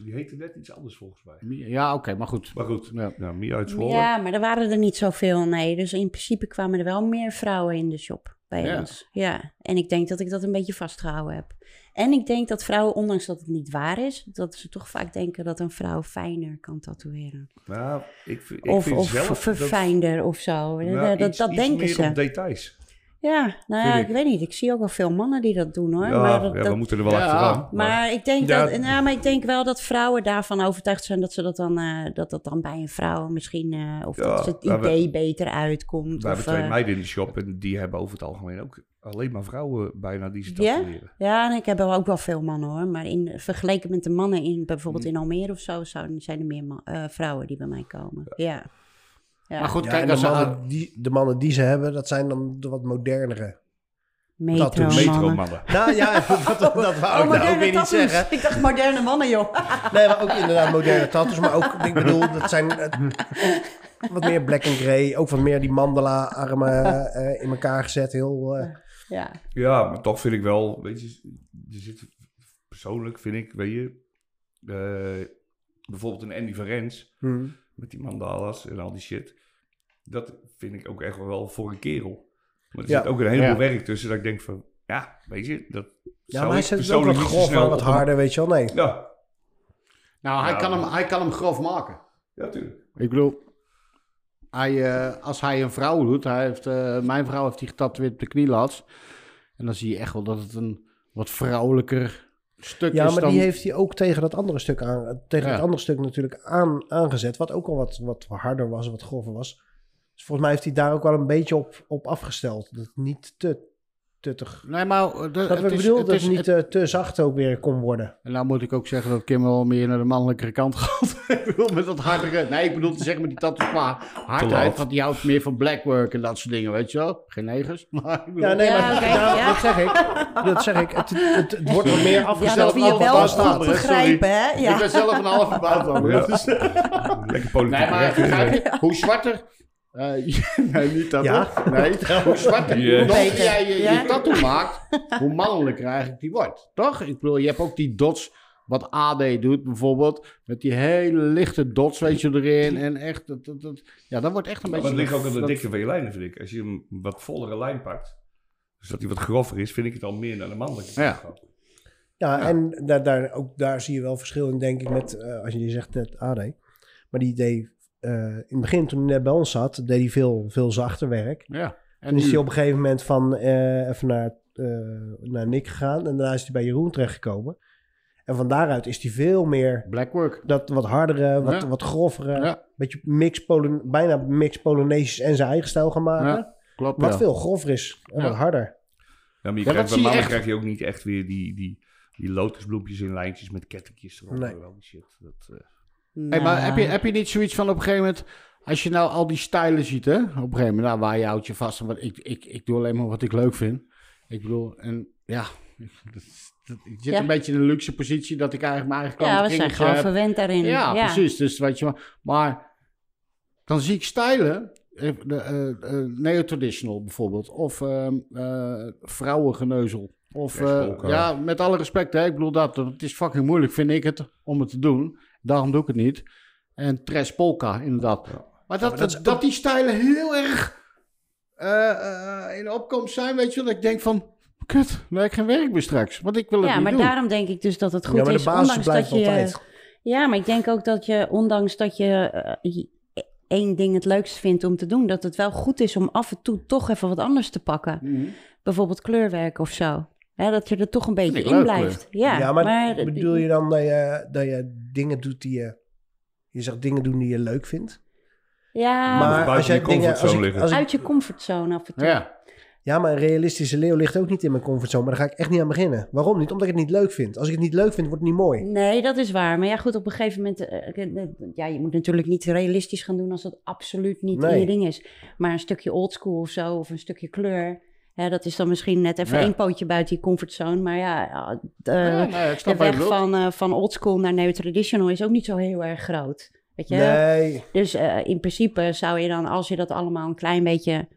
[SPEAKER 4] die heette net iets anders volgens mij.
[SPEAKER 5] Mia- ja, oké, maar goed.
[SPEAKER 4] Maar goed,
[SPEAKER 5] Ja.
[SPEAKER 4] ja, Mia Nou, uit Zwolle.
[SPEAKER 3] ja, maar er waren er niet zoveel, nee. Dus in principe kwamen er wel meer vrouwen in de shop bij
[SPEAKER 5] Ja.
[SPEAKER 3] ons. Ja, en ik denk dat ik dat een beetje vastgehouden heb. En ik denk dat vrouwen, ondanks dat het niet waar is, dat ze toch vaak denken dat een vrouw fijner kan tatoeëren.
[SPEAKER 4] Nou, ik, vind- ik
[SPEAKER 3] of
[SPEAKER 4] vind
[SPEAKER 3] of
[SPEAKER 4] zelf dat-
[SPEAKER 3] verfijnder of zo.
[SPEAKER 4] nou,
[SPEAKER 3] dat dat,
[SPEAKER 4] iets-
[SPEAKER 3] dat
[SPEAKER 4] iets
[SPEAKER 3] denken
[SPEAKER 4] meer
[SPEAKER 3] ze.
[SPEAKER 4] op details.
[SPEAKER 3] Ja, nou ja,
[SPEAKER 4] Vind
[SPEAKER 3] ik.
[SPEAKER 4] ik.
[SPEAKER 3] weet niet. Ik zie ook wel veel mannen die dat doen hoor.
[SPEAKER 4] ja,
[SPEAKER 3] maar, dat,
[SPEAKER 4] ja, we
[SPEAKER 3] dat-
[SPEAKER 4] moeten er wel
[SPEAKER 5] Ja.
[SPEAKER 4] achteraan.
[SPEAKER 3] maar, ik denk
[SPEAKER 2] Ja.
[SPEAKER 3] dat, nou, maar ik denk wel dat vrouwen daarvan overtuigd zijn dat ze dat dan, eh, dat dat dan bij een vrouw misschien. eh, of
[SPEAKER 4] Ja,
[SPEAKER 3] dat het
[SPEAKER 4] maar we-
[SPEAKER 3] idee beter uitkomt.
[SPEAKER 4] We
[SPEAKER 3] of,
[SPEAKER 4] hebben twee
[SPEAKER 3] eh,
[SPEAKER 4] meiden in de shop en die hebben over het algemeen ook alleen maar vrouwen bijna die ze
[SPEAKER 3] Ja?
[SPEAKER 4] tatoeëren.
[SPEAKER 3] Ja, en ik heb wel ook wel veel mannen hoor. Maar in, vergeleken met de mannen in bijvoorbeeld in Almere of zo, zouden- zijn er meer ma- eh, vrouwen die bij mij komen. Ja. Ja,
[SPEAKER 5] Maar goed,
[SPEAKER 2] Ja, en
[SPEAKER 5] kijk,
[SPEAKER 2] de,
[SPEAKER 5] als ze
[SPEAKER 2] mannen die, de mannen die ze hebben, dat zijn dan de wat modernere.
[SPEAKER 3] metro
[SPEAKER 2] tattoos.
[SPEAKER 3] mannen.
[SPEAKER 4] Metromannen.
[SPEAKER 2] Nou ja, <laughs> dat, dat wou ik
[SPEAKER 3] Oh,
[SPEAKER 2] nou ook
[SPEAKER 3] moderne
[SPEAKER 2] weer niet zeggen.
[SPEAKER 3] tattoos. Ik dacht moderne mannen, joh.
[SPEAKER 2] Nee, maar ook inderdaad moderne tattoos. Maar ook, ik bedoel, dat zijn eh, wat meer black and grey. Ook wat meer die mandala-armen eh, in elkaar gezet. Heel, eh,
[SPEAKER 3] Ja,
[SPEAKER 4] Ja, maar toch vind ik wel, weet je, je zit, persoonlijk vind ik, weet je, eh, bijvoorbeeld een Andy van Rens
[SPEAKER 2] hmm.
[SPEAKER 4] met die mandalas en al die shit. Dat vind ik ook echt wel voor een kerel. Maar er
[SPEAKER 2] Ja.
[SPEAKER 4] zit ook een heleboel
[SPEAKER 5] Ja.
[SPEAKER 4] werk tussen dat ik denk van, ja, weet je, dat
[SPEAKER 2] Ja,
[SPEAKER 4] zou
[SPEAKER 2] maar hij
[SPEAKER 4] ik
[SPEAKER 2] zet het ook wat
[SPEAKER 4] persoonlijk niet zo
[SPEAKER 2] grof
[SPEAKER 4] snel
[SPEAKER 2] en wat
[SPEAKER 4] op een-
[SPEAKER 2] harder, weet je wel. Nee.
[SPEAKER 4] Ja,
[SPEAKER 5] Nou, hij,
[SPEAKER 4] Ja.
[SPEAKER 5] kan hem, hij kan hem grof maken.
[SPEAKER 4] ja, tuurlijk.
[SPEAKER 5] Ik bedoel, hij, eh, als hij een vrouw doet, hij heeft, eh, mijn vrouw heeft die getatoeëerd op de knielats. En dan zie je echt wel dat het een wat vrouwelijker stuk
[SPEAKER 2] Ja,
[SPEAKER 5] is
[SPEAKER 2] maar
[SPEAKER 5] dan...
[SPEAKER 2] die heeft hij ook tegen dat andere stuk, aan, tegen
[SPEAKER 5] Ja.
[SPEAKER 2] dat andere stuk natuurlijk aan, aangezet. Wat ook al wat, wat harder was, wat grover was. Dus volgens mij heeft hij daar ook wel een beetje op, op afgesteld. Dat het niet te tuttig.
[SPEAKER 5] Nee, maar... eh, de-
[SPEAKER 2] Dat
[SPEAKER 5] het
[SPEAKER 2] ik
[SPEAKER 5] is-
[SPEAKER 2] bedoel,
[SPEAKER 5] het
[SPEAKER 2] dat
[SPEAKER 5] is-
[SPEAKER 2] het niet
[SPEAKER 5] het-
[SPEAKER 2] eh, te zacht ook weer kon worden.
[SPEAKER 5] En nou moet ik ook zeggen dat Kim wel meer naar de mannelijkere kant <laughs> gaat. ik bedoel, met dat hardere... Nee, ik bedoel te zeggen met die tattoos qua hardheid.
[SPEAKER 4] laat.
[SPEAKER 5] Want die houdt meer van blackwork en dat soort dingen, weet je wel? Geen negers, <laughs> maar ik bedoel...
[SPEAKER 2] Ja, nee,
[SPEAKER 3] Ja,
[SPEAKER 2] maar
[SPEAKER 3] oké,
[SPEAKER 2] daarom-
[SPEAKER 3] ja.
[SPEAKER 2] dat zeg ik. Dat zeg ik. Het, het, het wordt wat meer
[SPEAKER 3] ja
[SPEAKER 2] afgesteld.
[SPEAKER 3] dat we je
[SPEAKER 5] allemaal
[SPEAKER 3] wel
[SPEAKER 5] daar
[SPEAKER 3] goed
[SPEAKER 5] staat, hè, sorry.
[SPEAKER 3] begrijpen, hè?
[SPEAKER 5] Ik
[SPEAKER 3] Ja.
[SPEAKER 5] ben zelf een halve
[SPEAKER 2] <laughs>
[SPEAKER 5] baan van.
[SPEAKER 4] Ja.
[SPEAKER 5] dat is-
[SPEAKER 4] Lekker politiek.
[SPEAKER 5] Nee, maar
[SPEAKER 4] correct, hè?
[SPEAKER 5] begrijp je? Hoe zwarter... eh, <laughs> nee, niet dat
[SPEAKER 2] <laughs> Ja.
[SPEAKER 5] hoor. Nee, hoe zwarter
[SPEAKER 4] Yes.
[SPEAKER 5] hoe donkerder
[SPEAKER 3] Beter.
[SPEAKER 5] jij je,
[SPEAKER 3] Ja.
[SPEAKER 5] je tattoo maakt, hoe mannelijker eigenlijk die wordt. Toch? Ik bedoel, je hebt ook die dots, wat AD doet bijvoorbeeld, met die hele lichte dots, weet je, erin. En echt, dat, dat, dat- ja, dat wordt echt een
[SPEAKER 4] Maar
[SPEAKER 5] beetje...
[SPEAKER 4] het ligt ook aan de
[SPEAKER 5] dat-
[SPEAKER 4] dikte van je lijnen, vind ik. Als je een wat vollere lijn pakt, dus dat die wat grover is, vind ik het al meer naar de mannelijke kant
[SPEAKER 5] Ja.
[SPEAKER 4] gaan.
[SPEAKER 2] Ja, en daar, daar, ook daar zie je wel verschil in, denk ik, met, eh, als je je zegt net AD. Maar die deed, eh, in het begin toen hij net bij ons zat, deed hij veel, veel zachter werk.
[SPEAKER 5] Ja. En
[SPEAKER 2] En is
[SPEAKER 5] nu?
[SPEAKER 2] hij op een gegeven moment van eh, even naar, eh, naar Nick gegaan. En daarna is hij bij Jeroen terechtgekomen. En van daaruit is hij veel meer
[SPEAKER 5] Blackwork.
[SPEAKER 2] dat wat hardere, wat,
[SPEAKER 5] Ja.
[SPEAKER 2] wat grovere.
[SPEAKER 5] Ja,
[SPEAKER 2] Beetje mix Polen, bijna mix Polonesisch en zijn eigen stijl gaan maken.
[SPEAKER 5] Ja, klopt.
[SPEAKER 2] Wat
[SPEAKER 5] ja.
[SPEAKER 2] veel grover is en
[SPEAKER 5] Ja.
[SPEAKER 2] wat harder.
[SPEAKER 4] Ja, maar je
[SPEAKER 5] Ja, dat
[SPEAKER 4] krijgt, bij
[SPEAKER 5] zie je
[SPEAKER 4] mama
[SPEAKER 5] echt.
[SPEAKER 4] krijg je ook niet echt weer die, die, die lotusbloempjes in lijntjes met kettingjes erop.
[SPEAKER 2] Nee.
[SPEAKER 4] Wel die shit. Dat, eh,
[SPEAKER 5] Hey, maar
[SPEAKER 3] Nou,
[SPEAKER 5] heb je, heb je niet zoiets van op een gegeven moment, als je nou al die stijlen ziet, hè? Op een gegeven moment, nou, waar je houdt je vast. Want ik, ik, ik doe alleen maar wat ik leuk vind. Ik bedoel, en ja, <laughs> dat, dat- ik zit
[SPEAKER 3] Ja.
[SPEAKER 5] een beetje in een luxe positie dat ik eigenlijk mijn eigen kant
[SPEAKER 3] Ja, we zijn
[SPEAKER 5] eh,
[SPEAKER 3] gewoon verwend daarin.
[SPEAKER 5] Ja, precies. Dus weet je wel. Maar dan zie ik stijlen. eh, De, eh eh, neo-traditional bijvoorbeeld. Of ehm eh, vrouwengeneuzel. Of, eh,
[SPEAKER 4] Westpolka.
[SPEAKER 5] ja, met alle respect. Hè, ik bedoel dat. want Het is fucking moeilijk, vind ik het, om het te doen. Daarom doe ik het niet. En trash polka, inderdaad. Maar dat, dat, dat die stijlen heel erg eh, eh, in opkomst zijn, weet je wel. Dat ik denk van, kut, nee, ik geen werk meer straks. Want ik wil het
[SPEAKER 3] Ja,
[SPEAKER 5] niet
[SPEAKER 3] maar
[SPEAKER 5] doen.
[SPEAKER 3] daarom denk ik dus dat het goed
[SPEAKER 2] ja, maar
[SPEAKER 3] is.
[SPEAKER 2] de basis
[SPEAKER 3] ondanks
[SPEAKER 2] blijft
[SPEAKER 3] dat je, eh,
[SPEAKER 2] altijd.
[SPEAKER 3] Ja, maar ik denk ook dat je, ondanks dat je eh, je- één ding het leukst vindt om te doen, dat het wel goed is om af en toe toch even wat anders te pakken.
[SPEAKER 5] Mhm.
[SPEAKER 3] Bijvoorbeeld kleurwerk of zo. Hè, dat je er toch een beetje
[SPEAKER 5] ik
[SPEAKER 3] in
[SPEAKER 5] leuk,
[SPEAKER 3] blijft. Ja,
[SPEAKER 2] Ja, maar, bedoel je dan dat je, dat je dingen doet die je... Je zegt dingen doen die je leuk vindt.
[SPEAKER 3] Ja,
[SPEAKER 4] maar
[SPEAKER 2] maar als
[SPEAKER 4] buiten
[SPEAKER 2] jij
[SPEAKER 4] je
[SPEAKER 2] dingen... Als
[SPEAKER 4] comfortzone
[SPEAKER 2] ik,
[SPEAKER 4] liggen.
[SPEAKER 2] als ik-
[SPEAKER 3] uit je comfortzone af en toe.
[SPEAKER 5] Ja,
[SPEAKER 2] ja, maar een realistische leeuw ligt ook niet in mijn comfortzone. Maar daar ga ik echt niet aan beginnen. Waarom niet? Omdat ik het niet leuk vind. Als ik het niet leuk vind, wordt het niet mooi.
[SPEAKER 3] Nee, dat is waar. Maar ja, goed, op een gegeven moment... eh, ik- eh, ja, je moet natuurlijk niet realistisch gaan doen als dat absoluut niet
[SPEAKER 2] Nee.
[SPEAKER 3] in je ding is. Maar een stukje oldschool of zo, of een stukje kleur... Hè, dat is dan misschien net even
[SPEAKER 5] Ja. Oh
[SPEAKER 3] één pootje buiten je comfortzone. Maar ja, ja, d- eh,
[SPEAKER 5] ja nee, ik
[SPEAKER 3] de
[SPEAKER 5] snap wat je
[SPEAKER 3] weg
[SPEAKER 5] bedoelt.
[SPEAKER 3] van, eh van oldschool naar neo-traditional is ook niet zo heel erg groot. Weet je?
[SPEAKER 2] Nee.
[SPEAKER 3] Dus eh, in principe zou je dan, als je dat allemaal een klein beetje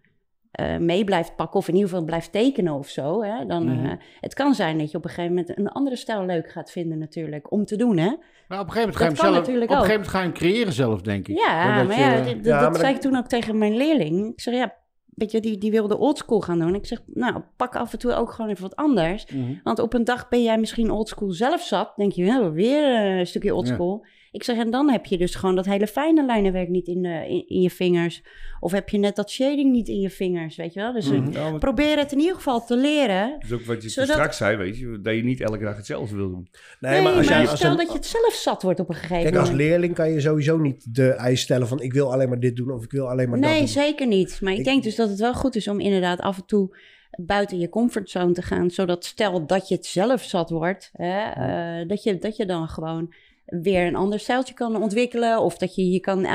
[SPEAKER 3] eh, mee blijft pakken, of in ieder geval blijft tekenen of zo, hè, dan, eh, het kan zijn dat je op een gegeven moment een andere stijl leuk gaat vinden natuurlijk, om te doen, hè?
[SPEAKER 5] Nou, op een gegeven moment
[SPEAKER 3] Dat
[SPEAKER 5] ga je hem
[SPEAKER 3] kan
[SPEAKER 5] zelf, op een
[SPEAKER 3] natuurlijk
[SPEAKER 5] gegeven
[SPEAKER 3] ook.
[SPEAKER 5] moment ga je hem creëren zelf, denk ik.
[SPEAKER 3] Ja,
[SPEAKER 5] Doordat
[SPEAKER 3] maar
[SPEAKER 5] je-
[SPEAKER 3] ja, d- d-
[SPEAKER 2] Ja, maar
[SPEAKER 3] dat
[SPEAKER 2] dan-
[SPEAKER 3] zei ik toen ook tegen mijn leerling. Ik zeg, ja, weet je, die, die wilde oldschool gaan doen. Ik zeg, nou, pak af en toe ook gewoon even wat anders.
[SPEAKER 5] Mhm.
[SPEAKER 3] Want op een dag ben jij misschien oldschool zelf zat. Denk je, nou, weer eh, een stukje oldschool. Ik zeg, en dan heb je dus gewoon dat hele fijne lijnenwerk niet in, de, in, in je vingers. Of heb je net dat shading niet in je vingers, weet je wel. Dus
[SPEAKER 2] Mhm.
[SPEAKER 3] eh,
[SPEAKER 4] ja, want
[SPEAKER 3] probeer het in ieder geval te leren.
[SPEAKER 4] dat is ook wat je
[SPEAKER 3] Zodat-
[SPEAKER 4] straks zei, weet je, dat je niet elke dag hetzelfde wil doen.
[SPEAKER 2] Nee,
[SPEAKER 3] Nee, maar,
[SPEAKER 2] jij-
[SPEAKER 3] stel
[SPEAKER 2] een-
[SPEAKER 3] dat je het zelf zat wordt op een gegeven
[SPEAKER 2] Kijk,
[SPEAKER 3] moment.
[SPEAKER 2] als leerling kan je sowieso niet de eis stellen van... ik wil alleen maar dit doen of ik wil alleen maar dat
[SPEAKER 3] nee,
[SPEAKER 2] doen.
[SPEAKER 3] zeker niet. Maar ik,
[SPEAKER 2] Ik-
[SPEAKER 3] denk dus dat het wel goed is om inderdaad af en toe buiten je comfortzone te gaan. Zodat stel dat je het zelf zat wordt, hè, eh, dat, je, dat je dan gewoon weer een ander stijltje kan ontwikkelen. Of dat je je kan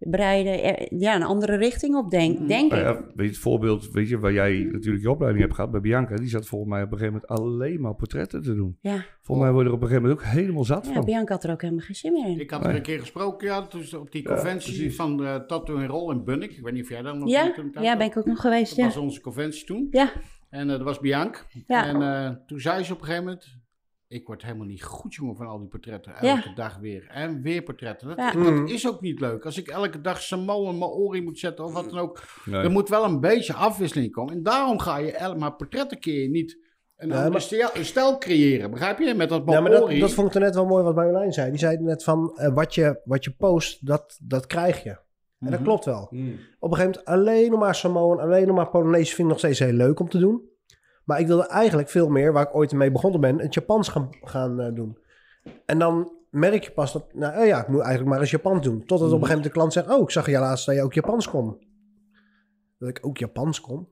[SPEAKER 3] uitbreiden, eh, ja, een andere richting op denk,
[SPEAKER 5] Mm-hmm.
[SPEAKER 3] denk
[SPEAKER 2] Oh
[SPEAKER 4] Nou
[SPEAKER 3] ik.
[SPEAKER 4] ja, weet je, het voorbeeld, weet je, waar jij natuurlijk je opleiding hebt gehad bij Bianca, die zat volgens mij op een gegeven moment alleen maar portretten te doen.
[SPEAKER 3] Ja.
[SPEAKER 4] Volgens mij worden er op een gegeven moment ook helemaal zat
[SPEAKER 2] Oh.
[SPEAKER 3] Ja,
[SPEAKER 4] van.
[SPEAKER 3] Bianca had er ook helemaal geen zin meer in.
[SPEAKER 5] Ik had er een keer gesproken, ja, toen is op die conventie van eh Tattoo en Roll in Bunnik. Ik weet niet of jij daar nog
[SPEAKER 3] Ja,
[SPEAKER 5] niet toen tijd
[SPEAKER 3] ja,
[SPEAKER 5] was.
[SPEAKER 3] ben ik ook nog geweest,
[SPEAKER 5] Dat
[SPEAKER 3] ja.
[SPEAKER 5] was onze conventie toen.
[SPEAKER 3] Ja,
[SPEAKER 5] En eh, dat was Bianc.
[SPEAKER 3] Ja.
[SPEAKER 5] En eh, toen zei ze op een gegeven moment... Ik word helemaal niet goed, jongen, van al die portretten.
[SPEAKER 3] Ja.
[SPEAKER 5] Elke dag weer. En weer portretten. Dat,
[SPEAKER 2] Eh,
[SPEAKER 3] Ja.
[SPEAKER 2] Hmm.
[SPEAKER 5] dat is ook niet leuk. Als ik elke dag Samoa en Maori moet zetten of wat dan ook.
[SPEAKER 4] Nee.
[SPEAKER 5] Er moet wel een beetje afwisseling komen. En daarom ga je el- maar portretten keer je niet een
[SPEAKER 2] Ja,
[SPEAKER 5] andere
[SPEAKER 2] maar-
[SPEAKER 5] stijl, een stijl creëren. Begrijp je? Met dat
[SPEAKER 2] Ja, maar
[SPEAKER 5] Maori.
[SPEAKER 2] dat, dat vond ik er net wel mooi wat Marjolein zei. Die zei net van, eh, wat, je, wat je post, dat, dat krijg je. En dat klopt wel. Op een gegeven moment alleen nog maar Samoan, alleen nog maar Polonesisch vind ik nog steeds heel leuk om te doen. Maar ik wilde eigenlijk veel meer, waar ik ooit mee begonnen ben, het Japans gaan, gaan eh, doen. En dan merk je pas dat, nou oh ja, ik moet eigenlijk maar eens Japans doen. Totdat op een gegeven moment de klant zegt, oh, ik zag je laatst dat je ook Japans kon. Dat ik ook Japans kon.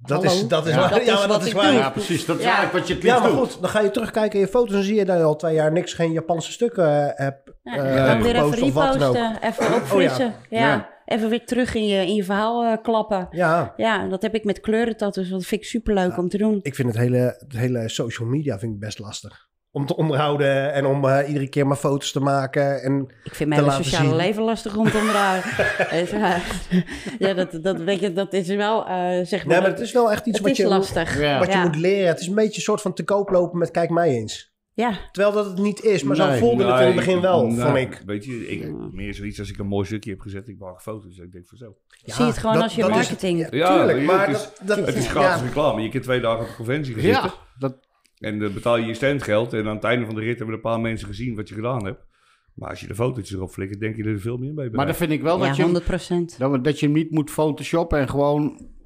[SPEAKER 2] Dat
[SPEAKER 3] Hallo?
[SPEAKER 2] is, dat is
[SPEAKER 5] Ja.
[SPEAKER 2] waar.
[SPEAKER 3] Dat is
[SPEAKER 2] Ja, maar
[SPEAKER 3] wat
[SPEAKER 2] dat is
[SPEAKER 3] ik
[SPEAKER 2] waar.
[SPEAKER 3] doe.
[SPEAKER 5] Ja, precies. Dat is
[SPEAKER 3] Ja.
[SPEAKER 5] eigenlijk wat je het
[SPEAKER 2] Ja,
[SPEAKER 5] liefst
[SPEAKER 2] maar
[SPEAKER 5] doet.
[SPEAKER 2] goed, dan ga je terugkijken in je foto's en zie je dat je al twee jaar niks, geen Japanse stukken eh, hebt.
[SPEAKER 3] Ja,
[SPEAKER 2] eh,
[SPEAKER 3] dan Nou, weer even
[SPEAKER 2] gepost of wat dan ook. Oh
[SPEAKER 3] reposten, even opfrissen. ja.
[SPEAKER 5] Ja.
[SPEAKER 3] even weer terug in je, in je verhaal eh, klappen.
[SPEAKER 2] Ja,
[SPEAKER 3] Ja, dat heb ik met kleurentattoos. Dat vind ik superleuk om te doen.
[SPEAKER 2] ik vind het hele, het hele social media vind ik best lastig. Om te onderhouden en om eh, iedere keer maar foto's te maken. En
[SPEAKER 3] Ik vind mijn
[SPEAKER 2] te
[SPEAKER 3] hele
[SPEAKER 2] laten
[SPEAKER 3] sociale
[SPEAKER 2] zien.
[SPEAKER 3] leven lastig om te <laughs> onderhouden. Het, eh, <laughs> ja, dat, dat, weet je, dat is wel, eh, zeg maar...
[SPEAKER 2] nee, maar het is wel echt iets
[SPEAKER 3] het
[SPEAKER 2] wat,
[SPEAKER 3] is
[SPEAKER 2] je,
[SPEAKER 3] lastig.
[SPEAKER 5] Ja.
[SPEAKER 2] wat je
[SPEAKER 3] Ja.
[SPEAKER 2] moet leren. Het is een beetje een soort van te koop lopen met kijk mij eens.
[SPEAKER 3] Ja,
[SPEAKER 2] Terwijl dat het niet is, maar zo
[SPEAKER 5] Nee.
[SPEAKER 2] voelde het in het begin wel,
[SPEAKER 4] Nee,
[SPEAKER 2] vond ik.
[SPEAKER 4] Weet je, ik, meer zoiets als ik een mooi stukje heb gezet, ik maak foto's en ik denk van zo.
[SPEAKER 2] Ja,
[SPEAKER 3] zie het gewoon
[SPEAKER 2] dat-
[SPEAKER 3] als je
[SPEAKER 2] dat is-
[SPEAKER 3] marketing...
[SPEAKER 2] Tuurlijk,
[SPEAKER 4] weet je,
[SPEAKER 2] maar
[SPEAKER 4] het is,
[SPEAKER 2] dat- dat-
[SPEAKER 4] het is
[SPEAKER 2] ja.
[SPEAKER 4] gratis reclame. Je kunt twee dagen op de conventie gaan
[SPEAKER 5] Ja,
[SPEAKER 4] zitten.
[SPEAKER 5] dat,
[SPEAKER 4] En dan betaal je je standgeld. En aan het einde van de rit hebben een paar mensen gezien wat je gedaan hebt. Maar als je de fotootjes erop flikkert, denk je er veel meer mee
[SPEAKER 5] Maar dan
[SPEAKER 4] bereikt.
[SPEAKER 5] vind ik wel
[SPEAKER 3] Ja,
[SPEAKER 5] dat, je, hem-
[SPEAKER 3] 100 procent.
[SPEAKER 5] dat, dat je hem niet moet photoshoppen en gewoon...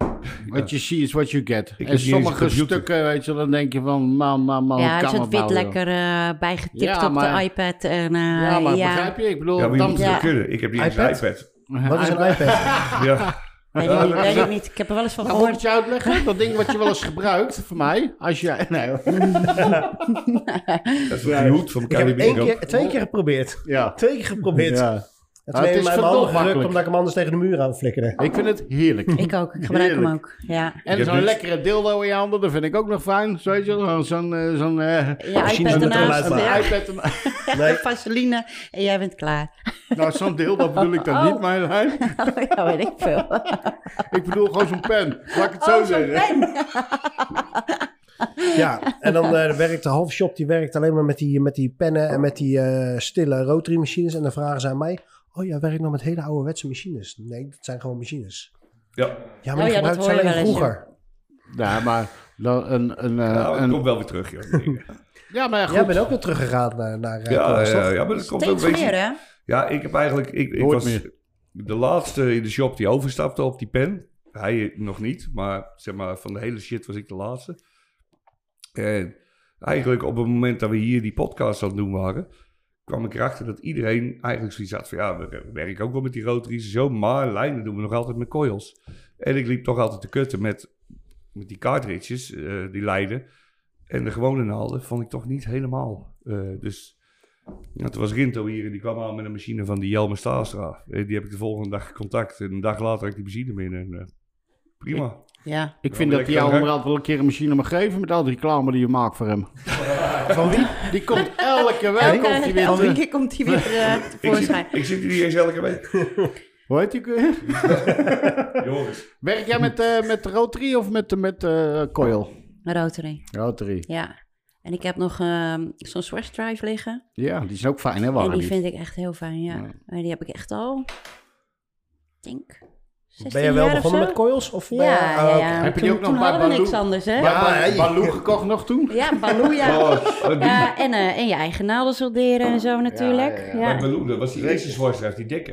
[SPEAKER 5] Wat je ziet is wat je get.
[SPEAKER 4] niet
[SPEAKER 5] En
[SPEAKER 4] eens een
[SPEAKER 5] sommige
[SPEAKER 4] computer.
[SPEAKER 5] stukken, weet je, dan denk je van... Man, man, man,
[SPEAKER 3] Ja,
[SPEAKER 5] hoe
[SPEAKER 3] er
[SPEAKER 5] kan
[SPEAKER 3] zit
[SPEAKER 5] het
[SPEAKER 3] wit
[SPEAKER 5] nou, joh?
[SPEAKER 3] lekker eh, bijgetikt
[SPEAKER 5] Ja,
[SPEAKER 3] op
[SPEAKER 5] maar-
[SPEAKER 3] de iPad. En, eh,
[SPEAKER 5] Ja, maar
[SPEAKER 3] ja,
[SPEAKER 5] begrijp je? Ik bedoel,
[SPEAKER 4] ja, maar je
[SPEAKER 5] dan...
[SPEAKER 4] moet het
[SPEAKER 3] Ja.
[SPEAKER 4] kunnen. Ik heb niet eens een
[SPEAKER 2] iPad?
[SPEAKER 4] iPad.
[SPEAKER 2] Wat is een iPad?
[SPEAKER 4] Ja.
[SPEAKER 3] Weet ik, niet, <laughs> weet ik niet. Ik heb er wel eens van
[SPEAKER 5] Nou, moet ik
[SPEAKER 3] gehoord.
[SPEAKER 5] het je uitleggen? Dat ding wat je wel eens gebruikt, voor mij, als je... <laughs> Nee, hoor.
[SPEAKER 4] Dat is een hoed van
[SPEAKER 2] Ik heb
[SPEAKER 4] Cali
[SPEAKER 2] het één
[SPEAKER 4] Bingo.
[SPEAKER 2] keer, twee keer geprobeerd.
[SPEAKER 5] ja.
[SPEAKER 2] Twee keer geprobeerd.
[SPEAKER 5] Ja.
[SPEAKER 2] En
[SPEAKER 5] Ah,
[SPEAKER 2] toen
[SPEAKER 5] het
[SPEAKER 2] heeft
[SPEAKER 5] is
[SPEAKER 2] mij mijn handen
[SPEAKER 5] verdomd
[SPEAKER 2] gelukt
[SPEAKER 5] makkelijk.
[SPEAKER 2] omdat ik hem anders tegen de muur aan flikkerde.
[SPEAKER 5] Ik vind het heerlijk.
[SPEAKER 3] Ik ook. Ik gebruik hem ook. Ja.
[SPEAKER 5] En
[SPEAKER 4] heb
[SPEAKER 5] zo'n
[SPEAKER 4] niet-
[SPEAKER 5] lekkere dildo in je handen, dat vind ik ook nog fijn. Zo weet je, wel, zo'n... eh, zo'n eh,
[SPEAKER 3] Je
[SPEAKER 2] Misschien
[SPEAKER 3] iPad
[SPEAKER 2] moet het er wel
[SPEAKER 3] ernaast. <laughs>
[SPEAKER 2] uitmaken.
[SPEAKER 3] Ja.
[SPEAKER 5] iPad en-
[SPEAKER 2] Nee.
[SPEAKER 3] Vaseline. En jij bent klaar. <laughs>
[SPEAKER 5] <laughs> Nou, zo'n dildo bedoel ik dan
[SPEAKER 3] Oh.
[SPEAKER 5] niet, mijn lijn.
[SPEAKER 3] ja, weet ik veel.
[SPEAKER 5] Ik bedoel gewoon zo'n pen. Laat ik het zo
[SPEAKER 3] Oh, zo'n
[SPEAKER 5] zeggen.
[SPEAKER 3] pen.
[SPEAKER 2] Ja, en dan eh, werkt de halfshop die werkt alleen maar met die, met die pennen en met die eh, stille rotary machines. En dan vragen ze aan mij, oh jij werkt nog met hele ouderwetse machines. Nee, dat zijn gewoon machines.
[SPEAKER 4] Ja.
[SPEAKER 2] Ja, maar
[SPEAKER 3] Oh
[SPEAKER 2] die
[SPEAKER 3] ja, dat
[SPEAKER 2] gebruikt ze
[SPEAKER 3] hoor je
[SPEAKER 2] alleen
[SPEAKER 3] wel eens, ja.
[SPEAKER 2] vroeger.
[SPEAKER 5] Ja, maar... dan Een, een, eh,
[SPEAKER 4] Nou, dat
[SPEAKER 5] een-
[SPEAKER 4] komt wel weer terug, joh.
[SPEAKER 5] ja, maar goed.
[SPEAKER 2] Jij bent ook weer teruggegaan naar, naar eh,
[SPEAKER 4] Ja,
[SPEAKER 2] Thomas,
[SPEAKER 4] ja,
[SPEAKER 2] toch?
[SPEAKER 4] ja, maar dat komt ook
[SPEAKER 3] Steeds
[SPEAKER 4] weet je-
[SPEAKER 3] meer, hè?
[SPEAKER 4] Ja, ik heb eigenlijk... Ik, ik
[SPEAKER 5] Nooit
[SPEAKER 4] was
[SPEAKER 5] meer.
[SPEAKER 4] de laatste in de shop die overstapte op die pen. Hij eh, nog niet, maar zeg maar van de hele shit was ik de laatste. En eigenlijk op het moment dat we hier die podcast aan het doen waren... kwam ik erachter dat iedereen eigenlijk zoiets had van... ja, we werken ook wel met die rotaries en zo... maar lijnen doen we nog altijd met coils. En ik liep toch altijd te kutten met, met die cartridges, eh, die lijnen... En de gewone naalden vond ik toch niet helemaal. eh, dus ja, toen was Rinto hier en die kwam aan met een machine van die Jelme Staalstra. Eh, Die heb ik de volgende dag contact. En een dag later had ik die machine binnen. En, eh, prima.
[SPEAKER 3] Ja.
[SPEAKER 5] Ik vind
[SPEAKER 4] ben
[SPEAKER 5] dat
[SPEAKER 4] ik
[SPEAKER 5] die
[SPEAKER 4] dan, hè?
[SPEAKER 5] onderhand wel een keer een machine mag geven met al die reclame die je maakt voor hem. <laughs> Van wie? Die komt elke week.
[SPEAKER 3] Elke,
[SPEAKER 5] Komt die weer
[SPEAKER 3] elke
[SPEAKER 5] terug.
[SPEAKER 3] keer komt
[SPEAKER 5] <laughs>
[SPEAKER 3] hij weer eh,
[SPEAKER 4] Ik zit,
[SPEAKER 3] tevoorschijn.
[SPEAKER 4] ik zit hier niet eens elke week.
[SPEAKER 5] Hoe heet die? ook weer?
[SPEAKER 4] Joris.
[SPEAKER 5] Werk jij met, eh met Rotary of met, met eh, Coil?
[SPEAKER 3] Een Rotary,
[SPEAKER 5] Rotary.
[SPEAKER 3] ja. En ik heb nog ehm, zo'n Swash Drive liggen.
[SPEAKER 5] Ja, die is ook fijn, hè?
[SPEAKER 3] en
[SPEAKER 5] Warren?
[SPEAKER 3] die vind ik echt heel fijn, ja.
[SPEAKER 5] Ja.
[SPEAKER 3] En die heb ik echt al, ik denk, 16
[SPEAKER 2] Ben jij wel
[SPEAKER 3] jaar of
[SPEAKER 2] begonnen
[SPEAKER 3] zo?
[SPEAKER 2] met coils? Of ben
[SPEAKER 3] Ja,
[SPEAKER 2] jij-
[SPEAKER 3] ja,
[SPEAKER 2] Ah,
[SPEAKER 3] ja.
[SPEAKER 2] oké.
[SPEAKER 5] Oh, Heb je die
[SPEAKER 3] Toen-
[SPEAKER 5] ook nog
[SPEAKER 3] toen
[SPEAKER 5] bij
[SPEAKER 3] hadden we niks
[SPEAKER 5] Baloo?
[SPEAKER 3] anders, hè?
[SPEAKER 5] Ja,
[SPEAKER 2] Ja,
[SPEAKER 5] maar
[SPEAKER 2] ja.
[SPEAKER 5] Baloo gekocht nog toen?
[SPEAKER 3] Ja, Baloo,
[SPEAKER 5] <laughs>
[SPEAKER 3] ja.
[SPEAKER 4] Oh, die,
[SPEAKER 3] Ja, en, eh, en je eigen naalden solderen en zo natuurlijk.
[SPEAKER 5] ja,
[SPEAKER 3] Ja,
[SPEAKER 5] ja.
[SPEAKER 4] Bij Baloo, dat was die eerste zwartschrijf, die dikke.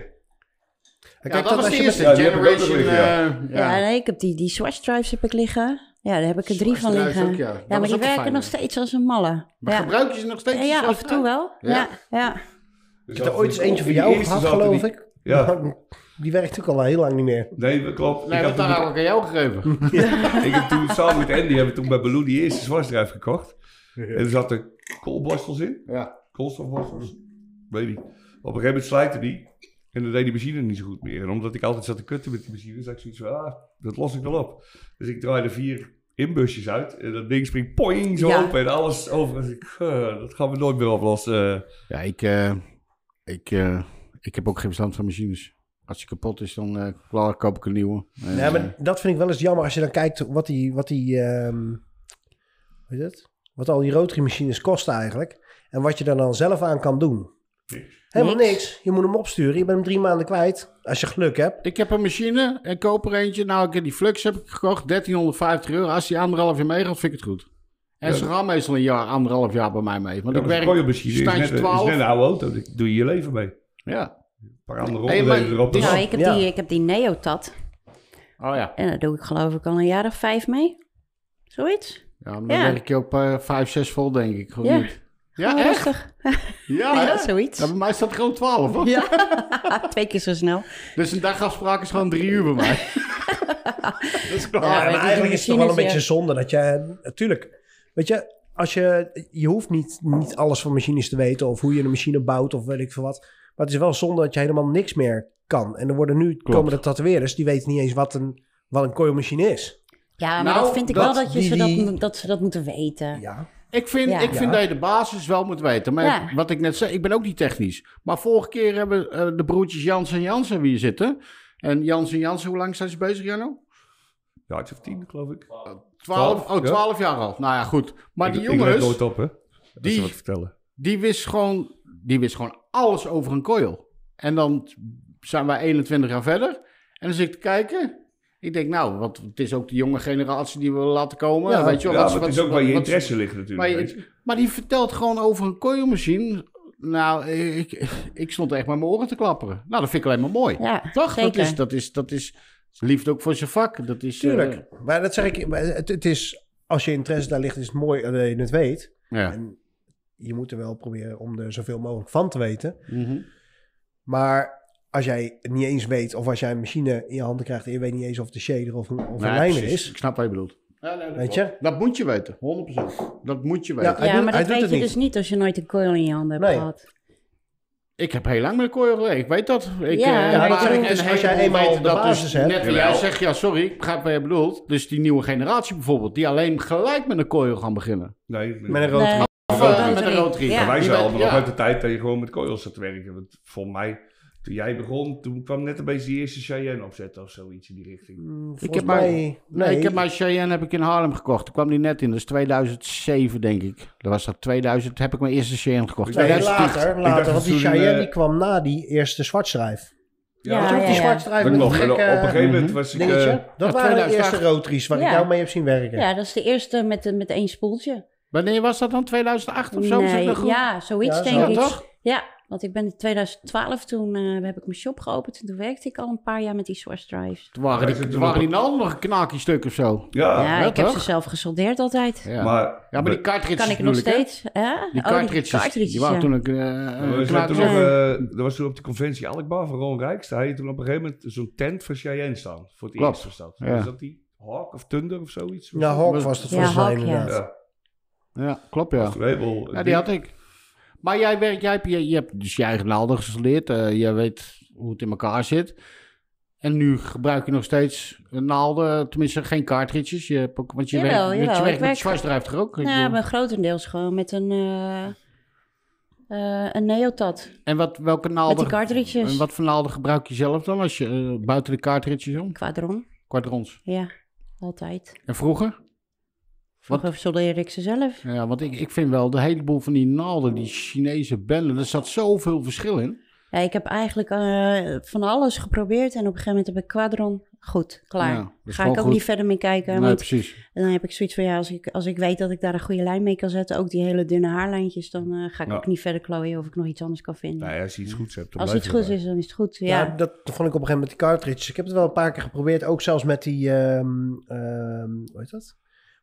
[SPEAKER 2] Kijk,
[SPEAKER 5] Ja, dat was
[SPEAKER 2] als
[SPEAKER 5] de
[SPEAKER 2] je met-
[SPEAKER 5] eerste
[SPEAKER 4] Ja, die heb ik ook nog
[SPEAKER 5] generation.
[SPEAKER 4] liggen,
[SPEAKER 5] eh,
[SPEAKER 3] Ja,
[SPEAKER 5] ja.
[SPEAKER 3] nee, ik heb die, die Swash Drives heb ik liggen. Ja, daar heb ik er drie
[SPEAKER 5] Swash
[SPEAKER 3] van
[SPEAKER 5] Drives
[SPEAKER 3] liggen.
[SPEAKER 5] ook, ja.
[SPEAKER 3] ja.
[SPEAKER 5] Dat is
[SPEAKER 3] maar die
[SPEAKER 5] ook een
[SPEAKER 3] werken
[SPEAKER 5] fijne.
[SPEAKER 3] nog steeds als een malle.
[SPEAKER 5] Maar
[SPEAKER 3] ja.
[SPEAKER 5] gebruik je ze nog steeds?
[SPEAKER 3] Ja, ja,
[SPEAKER 5] als-
[SPEAKER 3] af en toe wel.
[SPEAKER 5] Ja.
[SPEAKER 3] Ja, ja.
[SPEAKER 2] Ik heb
[SPEAKER 4] Dus
[SPEAKER 2] er
[SPEAKER 4] als
[SPEAKER 2] ooit
[SPEAKER 4] die-
[SPEAKER 2] eens eentje voor
[SPEAKER 4] die
[SPEAKER 2] jou
[SPEAKER 4] eerste
[SPEAKER 2] gehad,
[SPEAKER 4] zaten
[SPEAKER 2] geloof
[SPEAKER 4] die-
[SPEAKER 2] ik.
[SPEAKER 4] Ja.
[SPEAKER 2] Maar <laughs> Die werkt ook al heel lang niet meer.
[SPEAKER 4] Nee, dat klopt.
[SPEAKER 5] Nee,
[SPEAKER 4] ik,
[SPEAKER 5] want
[SPEAKER 4] heb
[SPEAKER 5] daar
[SPEAKER 4] toen,
[SPEAKER 5] heb ik aan jou gegeven.
[SPEAKER 4] <laughs> ik heb toen samen met Andy hebben we toen bij Baloo die eerste zwartschrijf gekocht. En er zaten koolborstels in.
[SPEAKER 5] Ja.
[SPEAKER 4] koolstofwassers. Weet niet. Op een gegeven moment slijten die. En dan deed die machine niet zo goed meer. En omdat ik altijd zat te kutten met die machine, zag ik zoiets van, ah, dat los ik wel op. Dus ik draaide vier inbusjes uit. En dat ding springt poing zo
[SPEAKER 3] Ja.
[SPEAKER 4] open en alles over. En ik, eh, dat gaan we nooit meer oplossen.
[SPEAKER 5] Ja, ik, eh, ik, eh, ik heb ook geen verstand van machines. Als die kapot is, dan eh, klaar, koop ik een nieuwe. En,
[SPEAKER 2] Ja,
[SPEAKER 5] eh,
[SPEAKER 2] maar dat vind ik wel eens jammer als je dan kijkt wat die, wat die ehm, hoe heet het? Wat al die rotary machines kosten eigenlijk. En wat je er dan zelf aan kan doen. Helemaal niks.
[SPEAKER 3] Niks.
[SPEAKER 2] Je moet hem opsturen. Je bent hem drie maanden kwijt. Als je geluk hebt.
[SPEAKER 5] Ik heb een machine en koop er eentje. Nou, ik heb die Flux heb ik gekocht, 1350 euro. Als die anderhalf jaar meegaat, vind ik het goed. En
[SPEAKER 4] Ja.
[SPEAKER 5] ze gaan meestal een jaar, anderhalf jaar bij mij mee. Want
[SPEAKER 4] Ja,
[SPEAKER 5] ik
[SPEAKER 4] maar zo'n
[SPEAKER 5] werk
[SPEAKER 4] kooienmachine is net,
[SPEAKER 5] standje
[SPEAKER 4] is net
[SPEAKER 5] 12.
[SPEAKER 4] een oude auto. Daar doe je je leven mee. Een
[SPEAKER 5] Ja.
[SPEAKER 4] paar
[SPEAKER 5] Hey,
[SPEAKER 4] andere
[SPEAKER 5] maar-
[SPEAKER 4] onderdelen erop.
[SPEAKER 5] dus-
[SPEAKER 4] dan-
[SPEAKER 3] Nou, ik heb,
[SPEAKER 2] Ja.
[SPEAKER 3] die, ik heb die Neotat.
[SPEAKER 5] Oh ja.
[SPEAKER 3] En daar doe ik geloof ik al een jaar of vijf mee. Zoiets.
[SPEAKER 5] Ja, maar dan
[SPEAKER 3] Ja.
[SPEAKER 5] werk je op eh 5, 6 vol, denk ik. Goed
[SPEAKER 3] Ja.
[SPEAKER 5] niet. Ja,
[SPEAKER 3] Gewoon
[SPEAKER 5] echt?
[SPEAKER 3] Oh,
[SPEAKER 5] Oh,
[SPEAKER 3] rustig.
[SPEAKER 5] Ja,
[SPEAKER 3] Ja,
[SPEAKER 5] hè?
[SPEAKER 3] zoiets.
[SPEAKER 5] Ja, bij mij staat gewoon 12, hoor.
[SPEAKER 3] Ja, twee keer zo snel.
[SPEAKER 5] Dus een dagafspraak is gewoon drie uur bij
[SPEAKER 3] <laughs>
[SPEAKER 5] mij. dat is klaar.
[SPEAKER 3] Ja, maar
[SPEAKER 2] maar
[SPEAKER 3] die
[SPEAKER 2] eigenlijk is het toch wel een
[SPEAKER 3] machines,
[SPEAKER 2] beetje zonde dat je... Natuurlijk. Weet je, als je, je hoeft niet, niet alles van machines te weten. Of hoe je een machine bouwt of weet ik veel wat. Maar het is wel zonde dat je helemaal niks meer kan. En er worden nu komen de tatoeëerders. Die weten niet eens wat een, wat een coilmachine is.
[SPEAKER 3] Ja, maar
[SPEAKER 5] Nou,
[SPEAKER 3] dat vind ik
[SPEAKER 5] dat
[SPEAKER 3] wel dat, je ze,
[SPEAKER 2] die-
[SPEAKER 3] dat, dat ze dat moeten weten.
[SPEAKER 2] Ja.
[SPEAKER 5] Ik vind,
[SPEAKER 3] Ja.
[SPEAKER 5] ik vind
[SPEAKER 2] Ja.
[SPEAKER 5] dat je de basis wel moet weten. Maar
[SPEAKER 3] Ja.
[SPEAKER 5] wat ik net zei, ik ben ook niet technisch. Maar vorige keer hebben eh, de broertjes Jans en Jansen weer zitten. En Jans en Jansen, hoe lang zijn ze bezig, Janno?
[SPEAKER 4] Ja, het is of tien, geloof ik.
[SPEAKER 5] Twaalf?
[SPEAKER 4] Twaalf,
[SPEAKER 5] Oh,
[SPEAKER 4] ja.
[SPEAKER 5] twaalf jaar al. Nou ja, goed. Maar
[SPEAKER 4] Ik-
[SPEAKER 5] die
[SPEAKER 4] Ik let
[SPEAKER 5] jongens,
[SPEAKER 4] nooit op, hè. Als
[SPEAKER 5] die-
[SPEAKER 4] ze wat vertellen.
[SPEAKER 5] die wist, gewoon, die wist gewoon alles over een coil. En dan zijn wij 21 jaar verder. En dan zit ik te kijken. Ik denk, nou, want het is ook de jonge generatie die we willen laten komen.
[SPEAKER 2] Ja.
[SPEAKER 5] weet je wel,
[SPEAKER 4] Ja, maar
[SPEAKER 5] wat-
[SPEAKER 4] het
[SPEAKER 5] wat-
[SPEAKER 4] is ook waar je
[SPEAKER 5] wat- wat-
[SPEAKER 4] interesse ligt natuurlijk.
[SPEAKER 5] Maar, je-
[SPEAKER 4] weet je.
[SPEAKER 5] maar die vertelt gewoon over een coilmachine. Nou, ik, ik stond echt met mijn oren te klapperen. Nou, dat vind ik alleen maar mooi.
[SPEAKER 3] Ja,
[SPEAKER 5] Toch? Dat
[SPEAKER 3] zeker.
[SPEAKER 5] is, dat is, dat is liefde ook voor zijn vak. Dat is, eh,
[SPEAKER 2] Tuurlijk. Maar dat zeg ik, maar het, het is, als je interesse daar ligt, is het mooi alleen het weet.
[SPEAKER 5] eh, ja.
[SPEAKER 2] En je moet er wel proberen om er zoveel mogelijk van te weten.
[SPEAKER 5] Mhm.
[SPEAKER 2] Maar als jij niet eens weet, of als jij een machine in je handen krijgt en je weet niet eens of het een shader of een, of
[SPEAKER 5] Nee,
[SPEAKER 2] een lijner
[SPEAKER 5] precies.
[SPEAKER 2] is.
[SPEAKER 5] Ik snap wat je bedoelt. Ja, nee, dat
[SPEAKER 2] Weet
[SPEAKER 5] klopt.
[SPEAKER 2] je?
[SPEAKER 5] Dat moet je weten, 100%. Dat moet je weten.
[SPEAKER 2] hij
[SPEAKER 3] ja,
[SPEAKER 2] doet-
[SPEAKER 3] maar
[SPEAKER 2] hij
[SPEAKER 3] dat
[SPEAKER 2] doet
[SPEAKER 3] weet je
[SPEAKER 2] het niet.
[SPEAKER 3] dus niet als je nooit een coil in je handen hebt
[SPEAKER 2] Nee.
[SPEAKER 3] gehad.
[SPEAKER 5] Ik heb heel lang met een kooi gewerkt, ik weet dat. Ik,
[SPEAKER 3] Ja,
[SPEAKER 5] eh,
[SPEAKER 3] Ja, maar
[SPEAKER 5] ik-
[SPEAKER 2] dus
[SPEAKER 5] en
[SPEAKER 2] als jij
[SPEAKER 5] helemaal
[SPEAKER 2] eenmaal
[SPEAKER 5] weten
[SPEAKER 2] de basis
[SPEAKER 5] dus
[SPEAKER 2] hebt-
[SPEAKER 5] Net wat jij
[SPEAKER 4] Jawel.
[SPEAKER 5] zegt, ja sorry, ik begrijp wat je bedoelt. Dus die nieuwe generatie bijvoorbeeld, die alleen gelijk met een kooi gaan beginnen.
[SPEAKER 4] Nee,
[SPEAKER 2] Met een
[SPEAKER 4] maar
[SPEAKER 2] rood
[SPEAKER 3] Nee.
[SPEAKER 5] Of
[SPEAKER 3] Met
[SPEAKER 5] eh,
[SPEAKER 3] een
[SPEAKER 5] met een
[SPEAKER 3] rotary.
[SPEAKER 5] rotary.
[SPEAKER 3] Ja.
[SPEAKER 4] wij
[SPEAKER 5] Die
[SPEAKER 4] zijn
[SPEAKER 5] ben-
[SPEAKER 4] allemaal
[SPEAKER 5] ja.
[SPEAKER 4] nog uit de tijd dat je gewoon met coils zat te werken. Want voor mij, toen jij begon, toen kwam net een beetje die eerste Cheyenne opzetten of zoiets in die richting.
[SPEAKER 5] Ik heb maar-
[SPEAKER 2] nee,
[SPEAKER 5] Nee, ik heb mijn Cheyenne heb ik in Haarlem gekocht. Toen kwam die net in, dat is 2007 denk ik. Dat was dat 2000, heb ik mijn eerste Cheyenne gekocht.
[SPEAKER 4] Nee,
[SPEAKER 2] Nee,
[SPEAKER 5] 2008.
[SPEAKER 2] later,
[SPEAKER 4] Ik dacht
[SPEAKER 2] later
[SPEAKER 4] dat
[SPEAKER 2] want die
[SPEAKER 4] toen,
[SPEAKER 2] Cheyenne
[SPEAKER 4] eh,
[SPEAKER 2] die kwam na die eerste zwartschrijf.
[SPEAKER 3] Ah, Ja,
[SPEAKER 2] Weet je nog, die zwartschrijf
[SPEAKER 4] Dat
[SPEAKER 2] met
[SPEAKER 4] klopt.
[SPEAKER 2] die
[SPEAKER 4] En eh, Op een
[SPEAKER 2] gekke
[SPEAKER 4] gegeven moment was ik...
[SPEAKER 2] dingetje?
[SPEAKER 4] eh,
[SPEAKER 2] dat
[SPEAKER 5] Ja,
[SPEAKER 2] waren de
[SPEAKER 5] 2008.
[SPEAKER 2] eerste roadries waar ik
[SPEAKER 3] Ja.
[SPEAKER 2] jou mee heb zien werken.
[SPEAKER 3] Ja, dat is de eerste met, eh, met één spoeltje.
[SPEAKER 5] Wanneer was dat dan? 2008 of zo? Is dat
[SPEAKER 3] Nee,
[SPEAKER 5] nog goed?
[SPEAKER 3] ja, zoiets
[SPEAKER 2] Ja,
[SPEAKER 3] denk
[SPEAKER 2] zo.
[SPEAKER 3] ik.
[SPEAKER 5] Ja, toch?
[SPEAKER 3] Ja, want ik ben in 2012, toen eh, heb ik mijn shop geopend. En toen werkte ik al een paar jaar met die source drives.
[SPEAKER 5] Toen waren
[SPEAKER 4] Wij
[SPEAKER 5] die,
[SPEAKER 4] zitten
[SPEAKER 5] toen
[SPEAKER 4] nog
[SPEAKER 5] waren
[SPEAKER 4] op-
[SPEAKER 5] die nou nog een knakkie stuk of zo.
[SPEAKER 4] ja,
[SPEAKER 3] ja,
[SPEAKER 5] ja,
[SPEAKER 3] ik heb
[SPEAKER 5] toch?
[SPEAKER 3] ze zelf gesoldeerd altijd.
[SPEAKER 5] Ja, maar,
[SPEAKER 4] maar...
[SPEAKER 5] ja, maar die cartridges
[SPEAKER 3] Kan ik nog
[SPEAKER 5] bedoel hè?
[SPEAKER 3] steeds. Hè? Oh,
[SPEAKER 5] Die cartridges, die, waren
[SPEAKER 3] ja.
[SPEAKER 5] toen een, eh, een
[SPEAKER 4] we zijn
[SPEAKER 5] knaak-
[SPEAKER 4] toen
[SPEAKER 3] Ja.
[SPEAKER 4] nog, eh, er was toen op de conventie Alkmaar van Ron Rijks. Daar had je toen op een gegeven moment zo'n tent van Cheyenne staan. Voor het
[SPEAKER 5] Klopt.
[SPEAKER 4] eerst was dat.
[SPEAKER 5] Ja.
[SPEAKER 4] Is dat die Hawk of Thunder of zoiets?
[SPEAKER 2] Ja, Nou, Hawk was het
[SPEAKER 3] Ja,
[SPEAKER 2] volgens mij
[SPEAKER 3] Hawk, ja.
[SPEAKER 2] inderdaad.
[SPEAKER 4] Ja,
[SPEAKER 5] Ja, klopt ja.
[SPEAKER 4] dat is een heleboel.
[SPEAKER 5] Ja, die had ik. Maar jij, werkt, jij, hebt, je, je hebt dus je eigen naalden geleerd. eh, jij weet hoe het in elkaar zit. En nu gebruik je nog steeds een naalden, tenminste geen cartridges. Je hebt ook, want je
[SPEAKER 3] Jawel,
[SPEAKER 5] werkt,
[SPEAKER 3] jawel,
[SPEAKER 5] je
[SPEAKER 3] ik
[SPEAKER 5] werkt met
[SPEAKER 3] werk-
[SPEAKER 5] zwarsdrijf toch ook? Ik
[SPEAKER 3] Ja,
[SPEAKER 5] bedoel-
[SPEAKER 3] Nou, maar grotendeels gewoon met een, eh eh een neotat.
[SPEAKER 5] En wat, welke
[SPEAKER 3] Met die
[SPEAKER 5] naalden,
[SPEAKER 3] cartridges.
[SPEAKER 5] en wat voor naalden gebruik je zelf dan als je eh, buiten de cartridges om?
[SPEAKER 3] Quadron,
[SPEAKER 5] Kwadrons.
[SPEAKER 3] ja. Altijd.
[SPEAKER 5] En vroeger?
[SPEAKER 3] Vroeger soldeerde ik ze zelf.
[SPEAKER 5] Ja, want ik, ik vind wel de heleboel van die naalden, die Chinese bellen, er zat zoveel verschil in.
[SPEAKER 3] Ja, ik heb eigenlijk eh, van alles geprobeerd en op een gegeven moment heb ik Quadron. Goed, klaar.
[SPEAKER 5] Ja, dat is
[SPEAKER 3] Ga
[SPEAKER 5] gewoon
[SPEAKER 3] ik ook
[SPEAKER 5] goed.
[SPEAKER 3] niet verder mee kijken.
[SPEAKER 5] Nee,
[SPEAKER 3] want
[SPEAKER 5] precies.
[SPEAKER 3] dan heb ik zoiets van ja, als ik, als ik weet dat ik daar een goede lijn mee kan zetten, ook die hele dunne haarlijntjes, dan eh, ga ik
[SPEAKER 4] Ja.
[SPEAKER 3] ook niet verder klooien of ik nog iets anders kan vinden.
[SPEAKER 4] Nou ja, als je iets goeds hebt, dan
[SPEAKER 3] als
[SPEAKER 4] blijf
[SPEAKER 3] iets
[SPEAKER 4] je
[SPEAKER 3] goed
[SPEAKER 4] erbij.
[SPEAKER 3] is, dan is het goed.
[SPEAKER 2] Ja.
[SPEAKER 3] Ja,
[SPEAKER 2] dat vond ik op een gegeven moment die cartridges. Ik heb het wel een paar keer geprobeerd. Ook zelfs met die, ehm, ehm, hoe heet dat?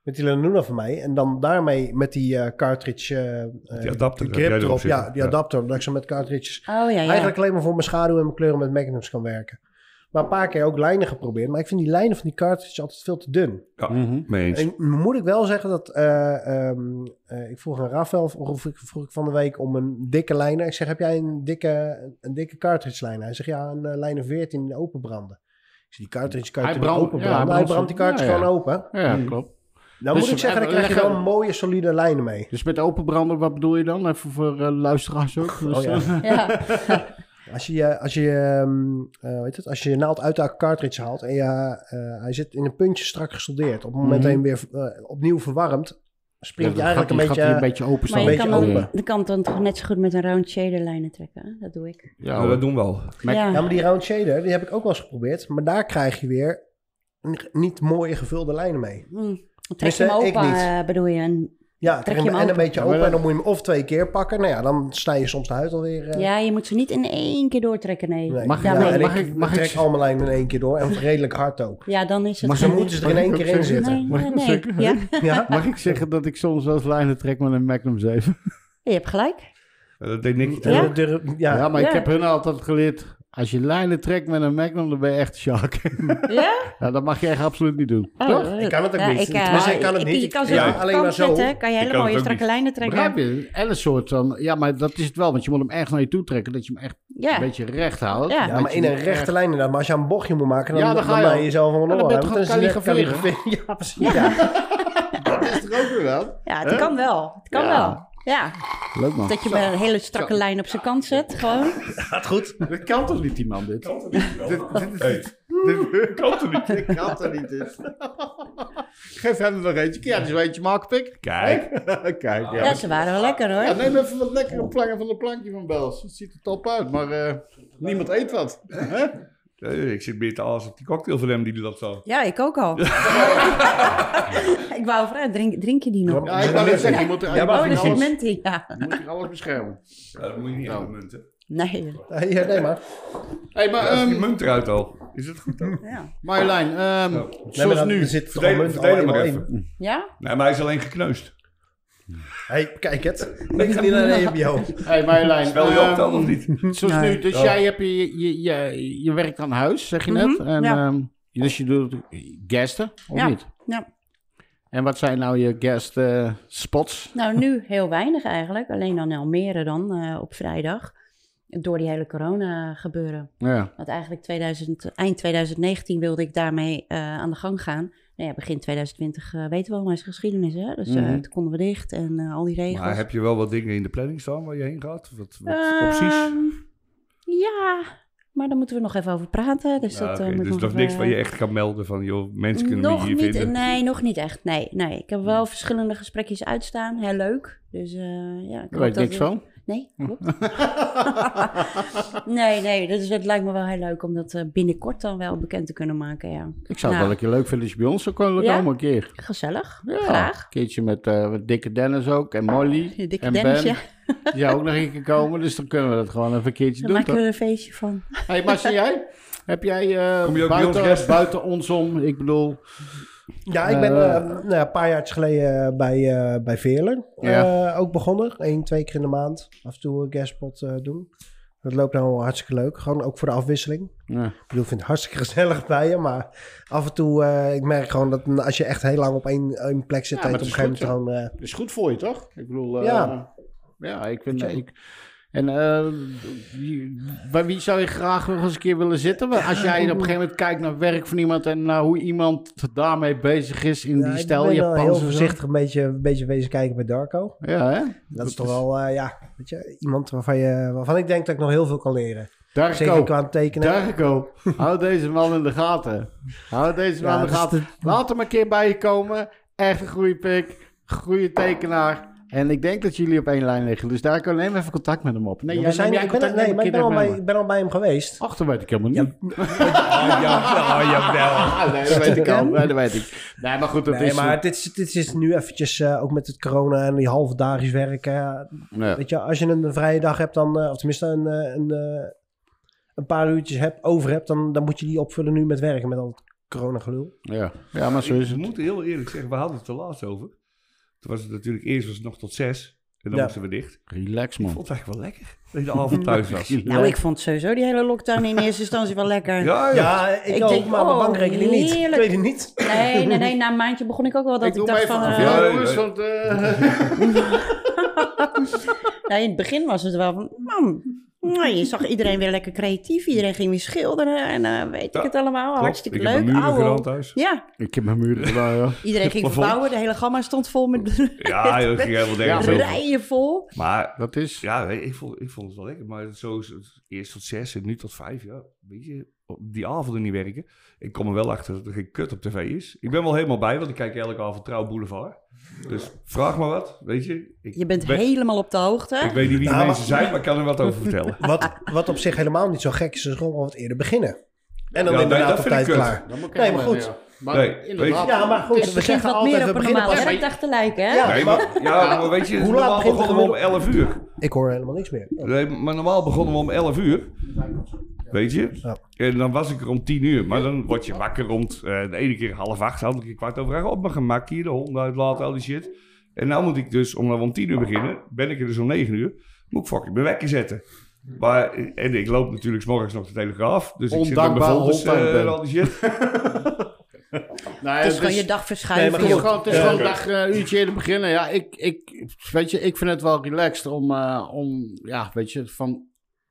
[SPEAKER 2] Met die Lanuna van mij. En dan daarmee met die eh, cartridge eh,
[SPEAKER 4] Die adapter
[SPEAKER 2] die
[SPEAKER 4] heb jij
[SPEAKER 2] grip
[SPEAKER 4] erop
[SPEAKER 2] erop.
[SPEAKER 4] zitten.
[SPEAKER 2] Ja, die
[SPEAKER 4] Ja.
[SPEAKER 2] adapter. Dat ik zo met cartridges
[SPEAKER 3] Oh ja, ja.
[SPEAKER 2] eigenlijk alleen maar voor mijn schaduw en mijn kleuren met magnums kan werken. Maar een paar keer ook lijnen geprobeerd. Maar ik vind die lijnen van die cartridges altijd veel te dun.
[SPEAKER 4] Ja,
[SPEAKER 5] Mhm.
[SPEAKER 4] mee eens.
[SPEAKER 2] En moet ik wel zeggen dat... eh, ehm, eh, ik vroeg aan Rafael, of ik, vroeg ik van de week om een dikke lijner. Ik zeg, heb jij een dikke, een dikke cartridge lijn? Hij zegt, ja, een eh, lijner 14 open branden. Ik zeg, die cartridge kan je
[SPEAKER 5] Hij
[SPEAKER 2] toch niet
[SPEAKER 5] brandt- ja,
[SPEAKER 2] open branden?
[SPEAKER 5] hij
[SPEAKER 2] hij
[SPEAKER 5] brandt
[SPEAKER 2] brandt die
[SPEAKER 5] zo-
[SPEAKER 2] cartridge
[SPEAKER 5] ja, ja.
[SPEAKER 2] gewoon open.
[SPEAKER 5] Ja, klopt.
[SPEAKER 2] Dan
[SPEAKER 5] Dus
[SPEAKER 2] moet ik zeggen, dan krijg je
[SPEAKER 5] leg-
[SPEAKER 2] wel een mooie, solide lijnen mee.
[SPEAKER 5] Dus met openbrander, wat bedoel je dan? Even voor eh, luisteraars ook. Dus,
[SPEAKER 2] Oh, ja.
[SPEAKER 5] eh,
[SPEAKER 3] Ja.
[SPEAKER 2] Als je, je- als je, ehm, eh, weet het, als je je naald uit de cartridge haalt en je, eh, hij zit in een puntje strak gesoldeerd. Op het moment dat je hem weer eh, opnieuw verwarmt,
[SPEAKER 5] Mhm. ja,
[SPEAKER 2] springt
[SPEAKER 5] dan
[SPEAKER 2] hij eigenlijk
[SPEAKER 5] gaat die-
[SPEAKER 2] een
[SPEAKER 5] gaat die een beetje
[SPEAKER 2] beetje...
[SPEAKER 5] open
[SPEAKER 3] Maar
[SPEAKER 5] staan.
[SPEAKER 3] je
[SPEAKER 2] beetje
[SPEAKER 3] kan, dan,
[SPEAKER 2] open.
[SPEAKER 3] je kan dan toch net zo goed met een round shader lijnen trekken. hè? Dat doe ik.
[SPEAKER 5] Ja,
[SPEAKER 4] Ja,
[SPEAKER 5] hoor.
[SPEAKER 4] dat doen we al.
[SPEAKER 5] Maar-
[SPEAKER 3] ja.
[SPEAKER 2] Ja, maar die round shader, die heb ik ook wel eens geprobeerd. Maar daar krijg je weer n- niet mooie gevulde lijnen mee.
[SPEAKER 3] Hm. Trek
[SPEAKER 2] Dus,
[SPEAKER 3] je hem
[SPEAKER 2] eh, ik
[SPEAKER 3] open,
[SPEAKER 2] niet.
[SPEAKER 3] eh, bedoel je? En,
[SPEAKER 2] Ja, trek
[SPEAKER 3] je
[SPEAKER 2] hem
[SPEAKER 3] hem
[SPEAKER 2] en een
[SPEAKER 3] open.
[SPEAKER 2] beetje
[SPEAKER 5] Ja, maar
[SPEAKER 2] open
[SPEAKER 5] dat-
[SPEAKER 2] en dan moet je hem of twee keer pakken. Nou ja, dan snij je soms de huid alweer. eh,
[SPEAKER 3] ja, je moet ze niet in één keer doortrekken, nee.
[SPEAKER 2] nee.
[SPEAKER 5] Mag ik-
[SPEAKER 2] Ja,
[SPEAKER 3] Daarmee-
[SPEAKER 5] nou,
[SPEAKER 2] en
[SPEAKER 5] mag ik- mag ik-
[SPEAKER 2] trek al mijn lijnen in één keer door en redelijk hard ook.
[SPEAKER 3] ja, dan is
[SPEAKER 5] <laughs>
[SPEAKER 3] het...
[SPEAKER 5] Mag
[SPEAKER 2] Ze
[SPEAKER 5] ik-
[SPEAKER 3] gewoon-
[SPEAKER 2] moeten ze er in één
[SPEAKER 5] Mag ik
[SPEAKER 2] keer
[SPEAKER 5] ook
[SPEAKER 2] in
[SPEAKER 5] zeggen?
[SPEAKER 2] zitten.
[SPEAKER 3] Nee,
[SPEAKER 5] Mag ik
[SPEAKER 3] nee,
[SPEAKER 5] dat
[SPEAKER 3] nee.
[SPEAKER 5] zeggen?
[SPEAKER 3] Ja.
[SPEAKER 2] Ja,
[SPEAKER 5] Mag ik zeggen dat ik soms wel eens lijnen trek met een Magnum 7?
[SPEAKER 3] je hebt gelijk.
[SPEAKER 4] Ja, Dat deed niks.
[SPEAKER 2] En
[SPEAKER 3] Ja?
[SPEAKER 2] dan durf-
[SPEAKER 5] Ja,
[SPEAKER 2] ja.
[SPEAKER 5] maar ik
[SPEAKER 3] Ja.
[SPEAKER 5] heb hun altijd geleerd. Als je lijnen trekt met een Magnum, dan ben je echt een shark.
[SPEAKER 3] Ja?
[SPEAKER 5] ja, dat mag je echt absoluut niet doen.
[SPEAKER 3] Oh,
[SPEAKER 5] Toch?
[SPEAKER 3] eh,
[SPEAKER 2] ik kan het ook
[SPEAKER 3] ja,
[SPEAKER 2] niet.
[SPEAKER 3] Ik, eh,
[SPEAKER 2] Tenminste, ik kan het niet.
[SPEAKER 3] Je kan
[SPEAKER 2] Ik-
[SPEAKER 3] ze
[SPEAKER 2] ja,
[SPEAKER 3] op de
[SPEAKER 2] alleen
[SPEAKER 3] kant
[SPEAKER 2] maar zo.
[SPEAKER 3] zetten, kan je hele
[SPEAKER 4] kan het
[SPEAKER 3] mooie
[SPEAKER 4] ook
[SPEAKER 3] strakke
[SPEAKER 4] niet.
[SPEAKER 3] lijnen trekken.
[SPEAKER 5] Begrijp je? En een soort van... Ja, maar dat is het wel. Want je moet hem echt naar je toe trekken. Dat je hem echt
[SPEAKER 3] Ja.
[SPEAKER 5] een beetje recht houdt.
[SPEAKER 3] Ja. Ja,
[SPEAKER 2] Ja, maar in een rechte lijn inderdaad. Maar als je een bochtje moet maken, dan,
[SPEAKER 5] Ja, dan
[SPEAKER 2] dan,
[SPEAKER 5] ga je
[SPEAKER 2] ben
[SPEAKER 5] al.
[SPEAKER 2] je zelf van
[SPEAKER 5] Ja, dan
[SPEAKER 2] een
[SPEAKER 5] ben je toch aan het
[SPEAKER 2] <laughs> Ja, precies. Ja.
[SPEAKER 5] Dat is er ook weer wel.
[SPEAKER 3] Ja, het kan wel. Het kan
[SPEAKER 5] Ja.
[SPEAKER 3] wel. Ja,
[SPEAKER 5] Leuk man.
[SPEAKER 3] dat je maar een hele strakke lijn op zijn kant zet, gewoon.
[SPEAKER 2] Gaat goed.
[SPEAKER 5] Dat kan toch niet, die man, dit?
[SPEAKER 4] Kan toch niet? Hey,
[SPEAKER 5] kan toch niet? Dit kan toch niet, dit? <laughs> Geef hem er nog eentje. Ja, dus een eentje maken, pik.
[SPEAKER 4] <laughs> Kijk.
[SPEAKER 5] Kijk, ja.
[SPEAKER 3] Ja, ze waren wel lekker
[SPEAKER 5] Ja,
[SPEAKER 3] hoor.
[SPEAKER 5] neem even wat lekkere plangen van de plankje van Bels. Het ziet er top uit, maar eh, niemand eet wat. Hè?
[SPEAKER 4] Eh, Ik zit meer te aas op die cocktail van hem die dat zou.
[SPEAKER 3] Ja, ik ook al. <laughs> ik wou vragen, drink, drink je die nog?
[SPEAKER 5] Ja, ik wou net zeggen, je moet er,
[SPEAKER 4] Ja, maar
[SPEAKER 3] oh,
[SPEAKER 5] je
[SPEAKER 3] er
[SPEAKER 5] mag
[SPEAKER 3] zit
[SPEAKER 5] alles,
[SPEAKER 3] munt in, ja.
[SPEAKER 5] je moet hier alles beschermen.
[SPEAKER 4] Ja, dat moet je niet
[SPEAKER 5] Nou.
[SPEAKER 4] aan de munt, hè.
[SPEAKER 3] Nee.
[SPEAKER 2] Ja, nee, maar.
[SPEAKER 5] hey, maar
[SPEAKER 4] Ja, is die
[SPEAKER 5] ehm
[SPEAKER 4] munt eruit al. Is dat goed dan?
[SPEAKER 3] Ja?
[SPEAKER 5] Marjolein, ehm,
[SPEAKER 4] Nou,
[SPEAKER 2] Nee, maar
[SPEAKER 5] zoals
[SPEAKER 2] dan-
[SPEAKER 5] nu.
[SPEAKER 2] Er zit toch
[SPEAKER 4] Verdeel,
[SPEAKER 2] een munt al
[SPEAKER 4] verdeel hem maar
[SPEAKER 2] helemaal in.
[SPEAKER 4] even.
[SPEAKER 3] ja?
[SPEAKER 4] Nee, maar hij is alleen gekneusd.
[SPEAKER 2] hey, kijk het. Ik ga niet naar
[SPEAKER 5] <laughs>
[SPEAKER 2] de E EBO.
[SPEAKER 5] hey, Marjolein,
[SPEAKER 4] Spel je
[SPEAKER 5] ehm,
[SPEAKER 4] optellen of
[SPEAKER 3] <laughs>
[SPEAKER 4] niet?
[SPEAKER 5] zoals
[SPEAKER 3] Nee.
[SPEAKER 5] nu. Dus jij hebt je, je, je, je werkt aan huis, zeg je net.
[SPEAKER 3] Mhm,
[SPEAKER 5] en,
[SPEAKER 3] ja.
[SPEAKER 5] ehm, dus je doet gasten, of
[SPEAKER 3] Ja,
[SPEAKER 5] niet?
[SPEAKER 3] ja.
[SPEAKER 5] En wat zijn nou je guest eh, spots?
[SPEAKER 3] Nou, nu heel weinig eigenlijk. Alleen dan Almere dan, eh, op vrijdag. Door die hele corona gebeuren.
[SPEAKER 5] Nou Ja.
[SPEAKER 3] Want eigenlijk 2000, eind 2019 wilde ik daarmee eh, aan de gang gaan. Nou ja, begin 2020 eh, weten we allemaal is geschiedenis, hè? Dus eh,
[SPEAKER 5] Mhm.
[SPEAKER 3] toen konden we dicht en eh, al die regels.
[SPEAKER 4] Maar heb je wel wat dingen in de planning staan waar je heen gaat? Wat, wat opties?
[SPEAKER 3] Ehm, Ja, maar daar moeten we nog even over praten. Dus
[SPEAKER 4] Ja,
[SPEAKER 3] dat, eh,
[SPEAKER 4] oké,
[SPEAKER 3] moet
[SPEAKER 4] dus
[SPEAKER 3] nog
[SPEAKER 4] nog niks
[SPEAKER 3] eh,
[SPEAKER 4] waar je echt kan melden van, joh, mensen kunnen me
[SPEAKER 3] nog
[SPEAKER 4] hier
[SPEAKER 3] niet,
[SPEAKER 4] vinden.
[SPEAKER 3] Nee, nog niet echt. Nee, nee. Ik heb wel
[SPEAKER 5] Hmm.
[SPEAKER 3] verschillende gesprekjes uitstaan. Heel leuk. Dus eh ja, ik
[SPEAKER 5] Daar
[SPEAKER 3] hoop
[SPEAKER 5] weet ik
[SPEAKER 3] dat
[SPEAKER 5] niks
[SPEAKER 3] we-
[SPEAKER 5] van. <laughs>
[SPEAKER 3] Nee, klopt. nee, nee. Dus het lijkt me wel heel leuk om dat eh, binnenkort dan wel bekend te kunnen maken. Ja.
[SPEAKER 5] Ik zou het
[SPEAKER 3] Nou.
[SPEAKER 5] wel een keer leuk vinden als je bij ons zou komen
[SPEAKER 3] Ja?
[SPEAKER 5] allemaal een keer.
[SPEAKER 3] Gezellig.
[SPEAKER 5] Ja,
[SPEAKER 3] Graag.
[SPEAKER 5] Een keertje met, eh, met Dikke Dennis ook en Molly.
[SPEAKER 3] De dikke
[SPEAKER 5] en
[SPEAKER 3] Dennis,
[SPEAKER 5] ben.
[SPEAKER 3] ja.
[SPEAKER 5] Die zou ook nog een keer komen, dus dan kunnen we dat gewoon even een keertje
[SPEAKER 3] Daar
[SPEAKER 5] doen.
[SPEAKER 3] maken
[SPEAKER 5] Toch?
[SPEAKER 3] we er een feestje van.
[SPEAKER 5] hey, Mars, en jij? Heb jij eh,
[SPEAKER 4] Kom je ook bij ons
[SPEAKER 5] buiten,
[SPEAKER 4] gasten?
[SPEAKER 5] buiten ons om, ik bedoel...
[SPEAKER 2] Ja, ik ben
[SPEAKER 5] Eh,
[SPEAKER 2] eh, nou, ja, een paar jaar geleden eh, bij, eh, bij Veerle
[SPEAKER 5] Ja.
[SPEAKER 2] eh, ook begonnen. Eén, twee keer in de maand af en toe een guestspot eh, doen. Dat loopt nou hartstikke leuk. Gewoon ook voor de afwisseling.
[SPEAKER 5] Ja.
[SPEAKER 2] Ik bedoel, ik vind het hartstikke <laughs> gezellig bij je. Maar af en toe, eh, ik merk gewoon dat als je echt heel lang op één, één plek zit,
[SPEAKER 5] Ja,
[SPEAKER 2] dat je
[SPEAKER 5] maar
[SPEAKER 2] op een
[SPEAKER 5] het is
[SPEAKER 2] gegeven moment eh, gewoon...
[SPEAKER 5] Is goed voor je, toch? Ik bedoel... eh,
[SPEAKER 2] Ja.
[SPEAKER 5] Ja, ik vind... Ik, en eh, wie- bij wie zou je graag nog eens een keer willen zitten? Want Als jij op een gegeven moment kijkt naar werk van iemand en naar hoe iemand daarmee bezig is in
[SPEAKER 2] Ja,
[SPEAKER 5] die
[SPEAKER 2] ik
[SPEAKER 5] stijl
[SPEAKER 2] ben wel
[SPEAKER 5] Japans
[SPEAKER 2] heel
[SPEAKER 5] of zo.
[SPEAKER 2] voorzichtig een beetje, een beetje wezen kijken bij Darko.
[SPEAKER 5] Ja, hè?
[SPEAKER 2] Dat is toch wel, eh, ja, weet je, iemand waarvan, je, waarvan ik denk dat ik nog heel veel kan leren.
[SPEAKER 5] Daar <laughs>
[SPEAKER 2] Zeker qua het tekenen.
[SPEAKER 5] Darko, hou deze man in de gaten. Hou deze man
[SPEAKER 2] Ja, dus
[SPEAKER 5] in de
[SPEAKER 2] dat is
[SPEAKER 5] gaten. Laat hem een keer bij je komen. Echt een goede pick. Goede tekenaar. En ik denk dat jullie op één lijn liggen. Dus Darko, neem even contact met hem op. Nee,
[SPEAKER 2] Ja,
[SPEAKER 5] jij,
[SPEAKER 2] we zijn,
[SPEAKER 5] neem jij
[SPEAKER 2] ik ben,
[SPEAKER 5] contact
[SPEAKER 2] nee,
[SPEAKER 5] met
[SPEAKER 2] maar ik
[SPEAKER 5] hem,
[SPEAKER 2] ben, al
[SPEAKER 5] keer
[SPEAKER 2] bij,
[SPEAKER 5] met
[SPEAKER 2] ik ben al bij hem geweest.
[SPEAKER 5] Ach, dat weet ik helemaal niet.
[SPEAKER 2] <laughs>
[SPEAKER 4] Ah, ja, ah, <laughs> jawel.
[SPEAKER 5] Ah, nee, dat weet ik al. Nee, dat weet ik. Nee, maar goed, dat
[SPEAKER 2] nee,
[SPEAKER 5] is...
[SPEAKER 2] maar dit, is- dit is nu eventjes, eh, ook met het corona en die halve dagjes werken. ja.
[SPEAKER 5] Nee.
[SPEAKER 2] Weet je, als je een vrije dag hebt, dan, eh, of tenminste een, eh, een, eh, een paar uurtjes hebt, over hebt, dan, dan moet je die opvullen nu met werken, met al het corona gelul.
[SPEAKER 5] Ja. ja, maar zo
[SPEAKER 4] Ik
[SPEAKER 5] is het.
[SPEAKER 4] moet heel eerlijk zeggen, we hadden het er laatst over. Toen was het natuurlijk eerst was het nog tot zes. En dan
[SPEAKER 2] Ja.
[SPEAKER 4] moesten we dicht. Ik
[SPEAKER 5] Relax,
[SPEAKER 4] vond
[SPEAKER 5] man.
[SPEAKER 4] het eigenlijk wel lekker dat je de <laughs> avond thuis was. Ja,
[SPEAKER 3] Nou, ik vond sowieso die hele lockdown in eerste instantie wel lekker.
[SPEAKER 4] ja.
[SPEAKER 2] ik,
[SPEAKER 3] Ik
[SPEAKER 2] ook,
[SPEAKER 3] denk,
[SPEAKER 2] maar mijn
[SPEAKER 3] oh,
[SPEAKER 2] bankrekening niet. Ik
[SPEAKER 3] heerlijk.
[SPEAKER 2] weet het
[SPEAKER 3] <laughs>
[SPEAKER 2] niet.
[SPEAKER 3] Nee, nee, nee. Na een maandje begon ik ook wel dat
[SPEAKER 5] Ik
[SPEAKER 3] ik,
[SPEAKER 5] doe hem even
[SPEAKER 3] dacht van...
[SPEAKER 5] af,
[SPEAKER 3] eh,
[SPEAKER 5] ja,
[SPEAKER 4] eh,
[SPEAKER 5] jongens,
[SPEAKER 4] nee.
[SPEAKER 5] want... eh, <laughs>
[SPEAKER 3] Nou, in het begin was het wel van, man, nou, je zag iedereen weer lekker creatief. Iedereen ging weer schilderen en eh, weet
[SPEAKER 4] Ja,
[SPEAKER 3] ik het allemaal.
[SPEAKER 4] Klopt,
[SPEAKER 3] Hartstikke
[SPEAKER 4] ik
[SPEAKER 3] leuk.
[SPEAKER 4] heb mijn muren
[SPEAKER 3] Auwel.
[SPEAKER 4] gedaan thuis.
[SPEAKER 3] Ja,
[SPEAKER 5] Ik heb mijn muren gedaan, ja.
[SPEAKER 3] iedereen ging
[SPEAKER 4] Plafond.
[SPEAKER 3] verbouwen. De hele gamma stond vol met
[SPEAKER 4] Ja, joh, ik ging helemaal
[SPEAKER 5] Ja,
[SPEAKER 4] nergens over.
[SPEAKER 3] rijen vol.
[SPEAKER 4] Maar
[SPEAKER 5] Dat is...
[SPEAKER 4] ja, weet je, ik vond, ik vond het wel lekker. Maar zo is het eerst tot zes en nu tot vijf. Ja, weet je, op die avonden niet werken. Ik kom er wel achter dat er geen kut op tv is. Ik ben wel helemaal bij, want ik kijk elke avond Trouw Boulevard. Dus vraag maar wat, weet je. Ik
[SPEAKER 3] Je bent
[SPEAKER 4] weet-
[SPEAKER 3] helemaal op de
[SPEAKER 4] Ik
[SPEAKER 3] hoogte.
[SPEAKER 4] weet niet wie die
[SPEAKER 2] Nou,
[SPEAKER 4] mensen zijn, maar ik kan er wat over vertellen.
[SPEAKER 2] Wat, wat op zich helemaal niet zo gek is, is gewoon wat eerder beginnen. En dan
[SPEAKER 4] Ja,
[SPEAKER 2] inderdaad
[SPEAKER 4] nee,
[SPEAKER 2] op
[SPEAKER 4] dat vind ik
[SPEAKER 2] tijd
[SPEAKER 4] kut.
[SPEAKER 2] klaar.
[SPEAKER 5] Dan moet ik
[SPEAKER 2] Nee,
[SPEAKER 5] even-
[SPEAKER 2] maar goed.
[SPEAKER 5] ja. Maar
[SPEAKER 4] Nee, weet je-
[SPEAKER 5] inderdaad,
[SPEAKER 2] Ja, maar goed,
[SPEAKER 5] het is-
[SPEAKER 2] we
[SPEAKER 3] Het begint
[SPEAKER 2] zeggen
[SPEAKER 3] wat meer
[SPEAKER 2] altijd, we
[SPEAKER 3] op een
[SPEAKER 2] beginnen
[SPEAKER 3] normale
[SPEAKER 2] pas...
[SPEAKER 3] werkdag te lijken, hè?
[SPEAKER 2] Ja.
[SPEAKER 4] Nee, maar, ja, maar weet je,
[SPEAKER 2] Hoe laat
[SPEAKER 4] normaal
[SPEAKER 2] begint het
[SPEAKER 4] begonnen we om 11 uur.
[SPEAKER 2] Ik hoor helemaal niks meer.
[SPEAKER 4] Nee, maar normaal begonnen we om 11 uur. Weet je?
[SPEAKER 2] Ja.
[SPEAKER 4] En dan was ik er om 10 uur. Maar dan word je wakker rond eh, de ene keer half acht, de andere keer kwart over acht. Op mijn gemak hier, de hond uitlaten, al die shit. En nou moet ik dus, om dan om 10 uur beginnen, ben ik er dus om 9 uur. Moet ik fucking mijn wekker zetten. Maar, en ik loop natuurlijk 's morgens nog de telegraaf. Dus ik zit met mijn
[SPEAKER 5] Ondankbare
[SPEAKER 4] folders eh,
[SPEAKER 5] hondtuin
[SPEAKER 4] en
[SPEAKER 5] ben.
[SPEAKER 4] al die shit.
[SPEAKER 5] Nou ja,
[SPEAKER 3] Het is
[SPEAKER 4] dus-
[SPEAKER 5] het
[SPEAKER 3] gewoon
[SPEAKER 5] is-
[SPEAKER 3] je dag
[SPEAKER 2] Nee,
[SPEAKER 3] verschuiven.
[SPEAKER 2] maar
[SPEAKER 5] Het is
[SPEAKER 2] goed.
[SPEAKER 3] joh.
[SPEAKER 5] gewoon, het is
[SPEAKER 2] Ja.
[SPEAKER 5] gewoon een dag, eh, uurtje in het beginnen. Ja, ik, ik, weet je, ik vind het wel relaxed om, eh, om ja, weet je, van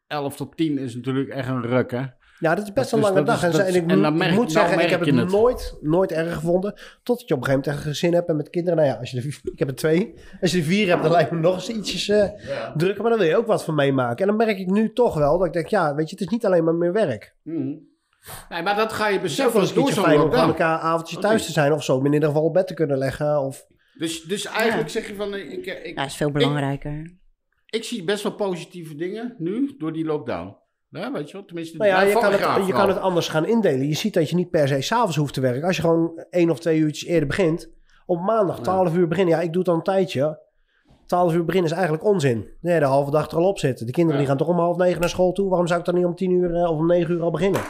[SPEAKER 5] 11 tot 10 is natuurlijk echt een ruk, hè.
[SPEAKER 2] Ja, dat is best
[SPEAKER 5] Dat
[SPEAKER 2] een
[SPEAKER 5] is- dat
[SPEAKER 2] lange dag.
[SPEAKER 5] is-
[SPEAKER 2] en,
[SPEAKER 5] dat
[SPEAKER 2] en
[SPEAKER 5] is-
[SPEAKER 2] ik
[SPEAKER 5] en dan
[SPEAKER 2] moet
[SPEAKER 5] merk-
[SPEAKER 2] moet
[SPEAKER 5] dan
[SPEAKER 2] zeggen, ik
[SPEAKER 5] merk
[SPEAKER 2] heb het,
[SPEAKER 5] je het.
[SPEAKER 2] Nooit, nooit erg gevonden. Totdat je op een gegeven moment echt een gezin hebt en met kinderen. Nou ja, als je er, ik heb er twee. Als je er vier hebt, dan lijkt me nog eens ietsjes eh, drukker. Maar dan wil je ook wat van meemaken. En dan merk ik nu toch wel dat ik denk, ja, weet je, het is niet alleen maar meer werk.
[SPEAKER 5] Mhm. Nee, maar dat ga je
[SPEAKER 2] Het is ook
[SPEAKER 5] beseffen
[SPEAKER 2] wel
[SPEAKER 5] als
[SPEAKER 2] eens een
[SPEAKER 5] door
[SPEAKER 2] keertje
[SPEAKER 5] zo'n
[SPEAKER 2] fijn om aan
[SPEAKER 5] lockdown.
[SPEAKER 2] elkaar avondje
[SPEAKER 5] Oké.
[SPEAKER 2] thuis te zijn of zo. Om in ieder geval op bed te kunnen leggen. Of,
[SPEAKER 5] Dus, dus eigenlijk zeg je van, eh, ik, eh, ik,
[SPEAKER 4] Mm.
[SPEAKER 3] Ja, is veel belangrijker.
[SPEAKER 5] ik zie best wel positieve dingen nu door die lockdown. Ja, weet je wel, tenminste.
[SPEAKER 2] Nou ja,
[SPEAKER 5] daar
[SPEAKER 2] je
[SPEAKER 5] val
[SPEAKER 2] kan,
[SPEAKER 5] ik graag
[SPEAKER 2] het, je
[SPEAKER 5] van.
[SPEAKER 2] kan het anders gaan indelen. Je ziet dat je niet per se s'avonds hoeft te werken. Als je gewoon één of twee uurtjes eerder begint. Op maandag 12 uur beginnen. Ja, ik doe het al een tijdje. 12 uur beginnen is eigenlijk onzin. Nee, de halve dag er al op zitten. De kinderen die gaan toch om half negen naar school toe. Waarom zou ik dan niet om tien uur eh, of om negen uur al beginnen?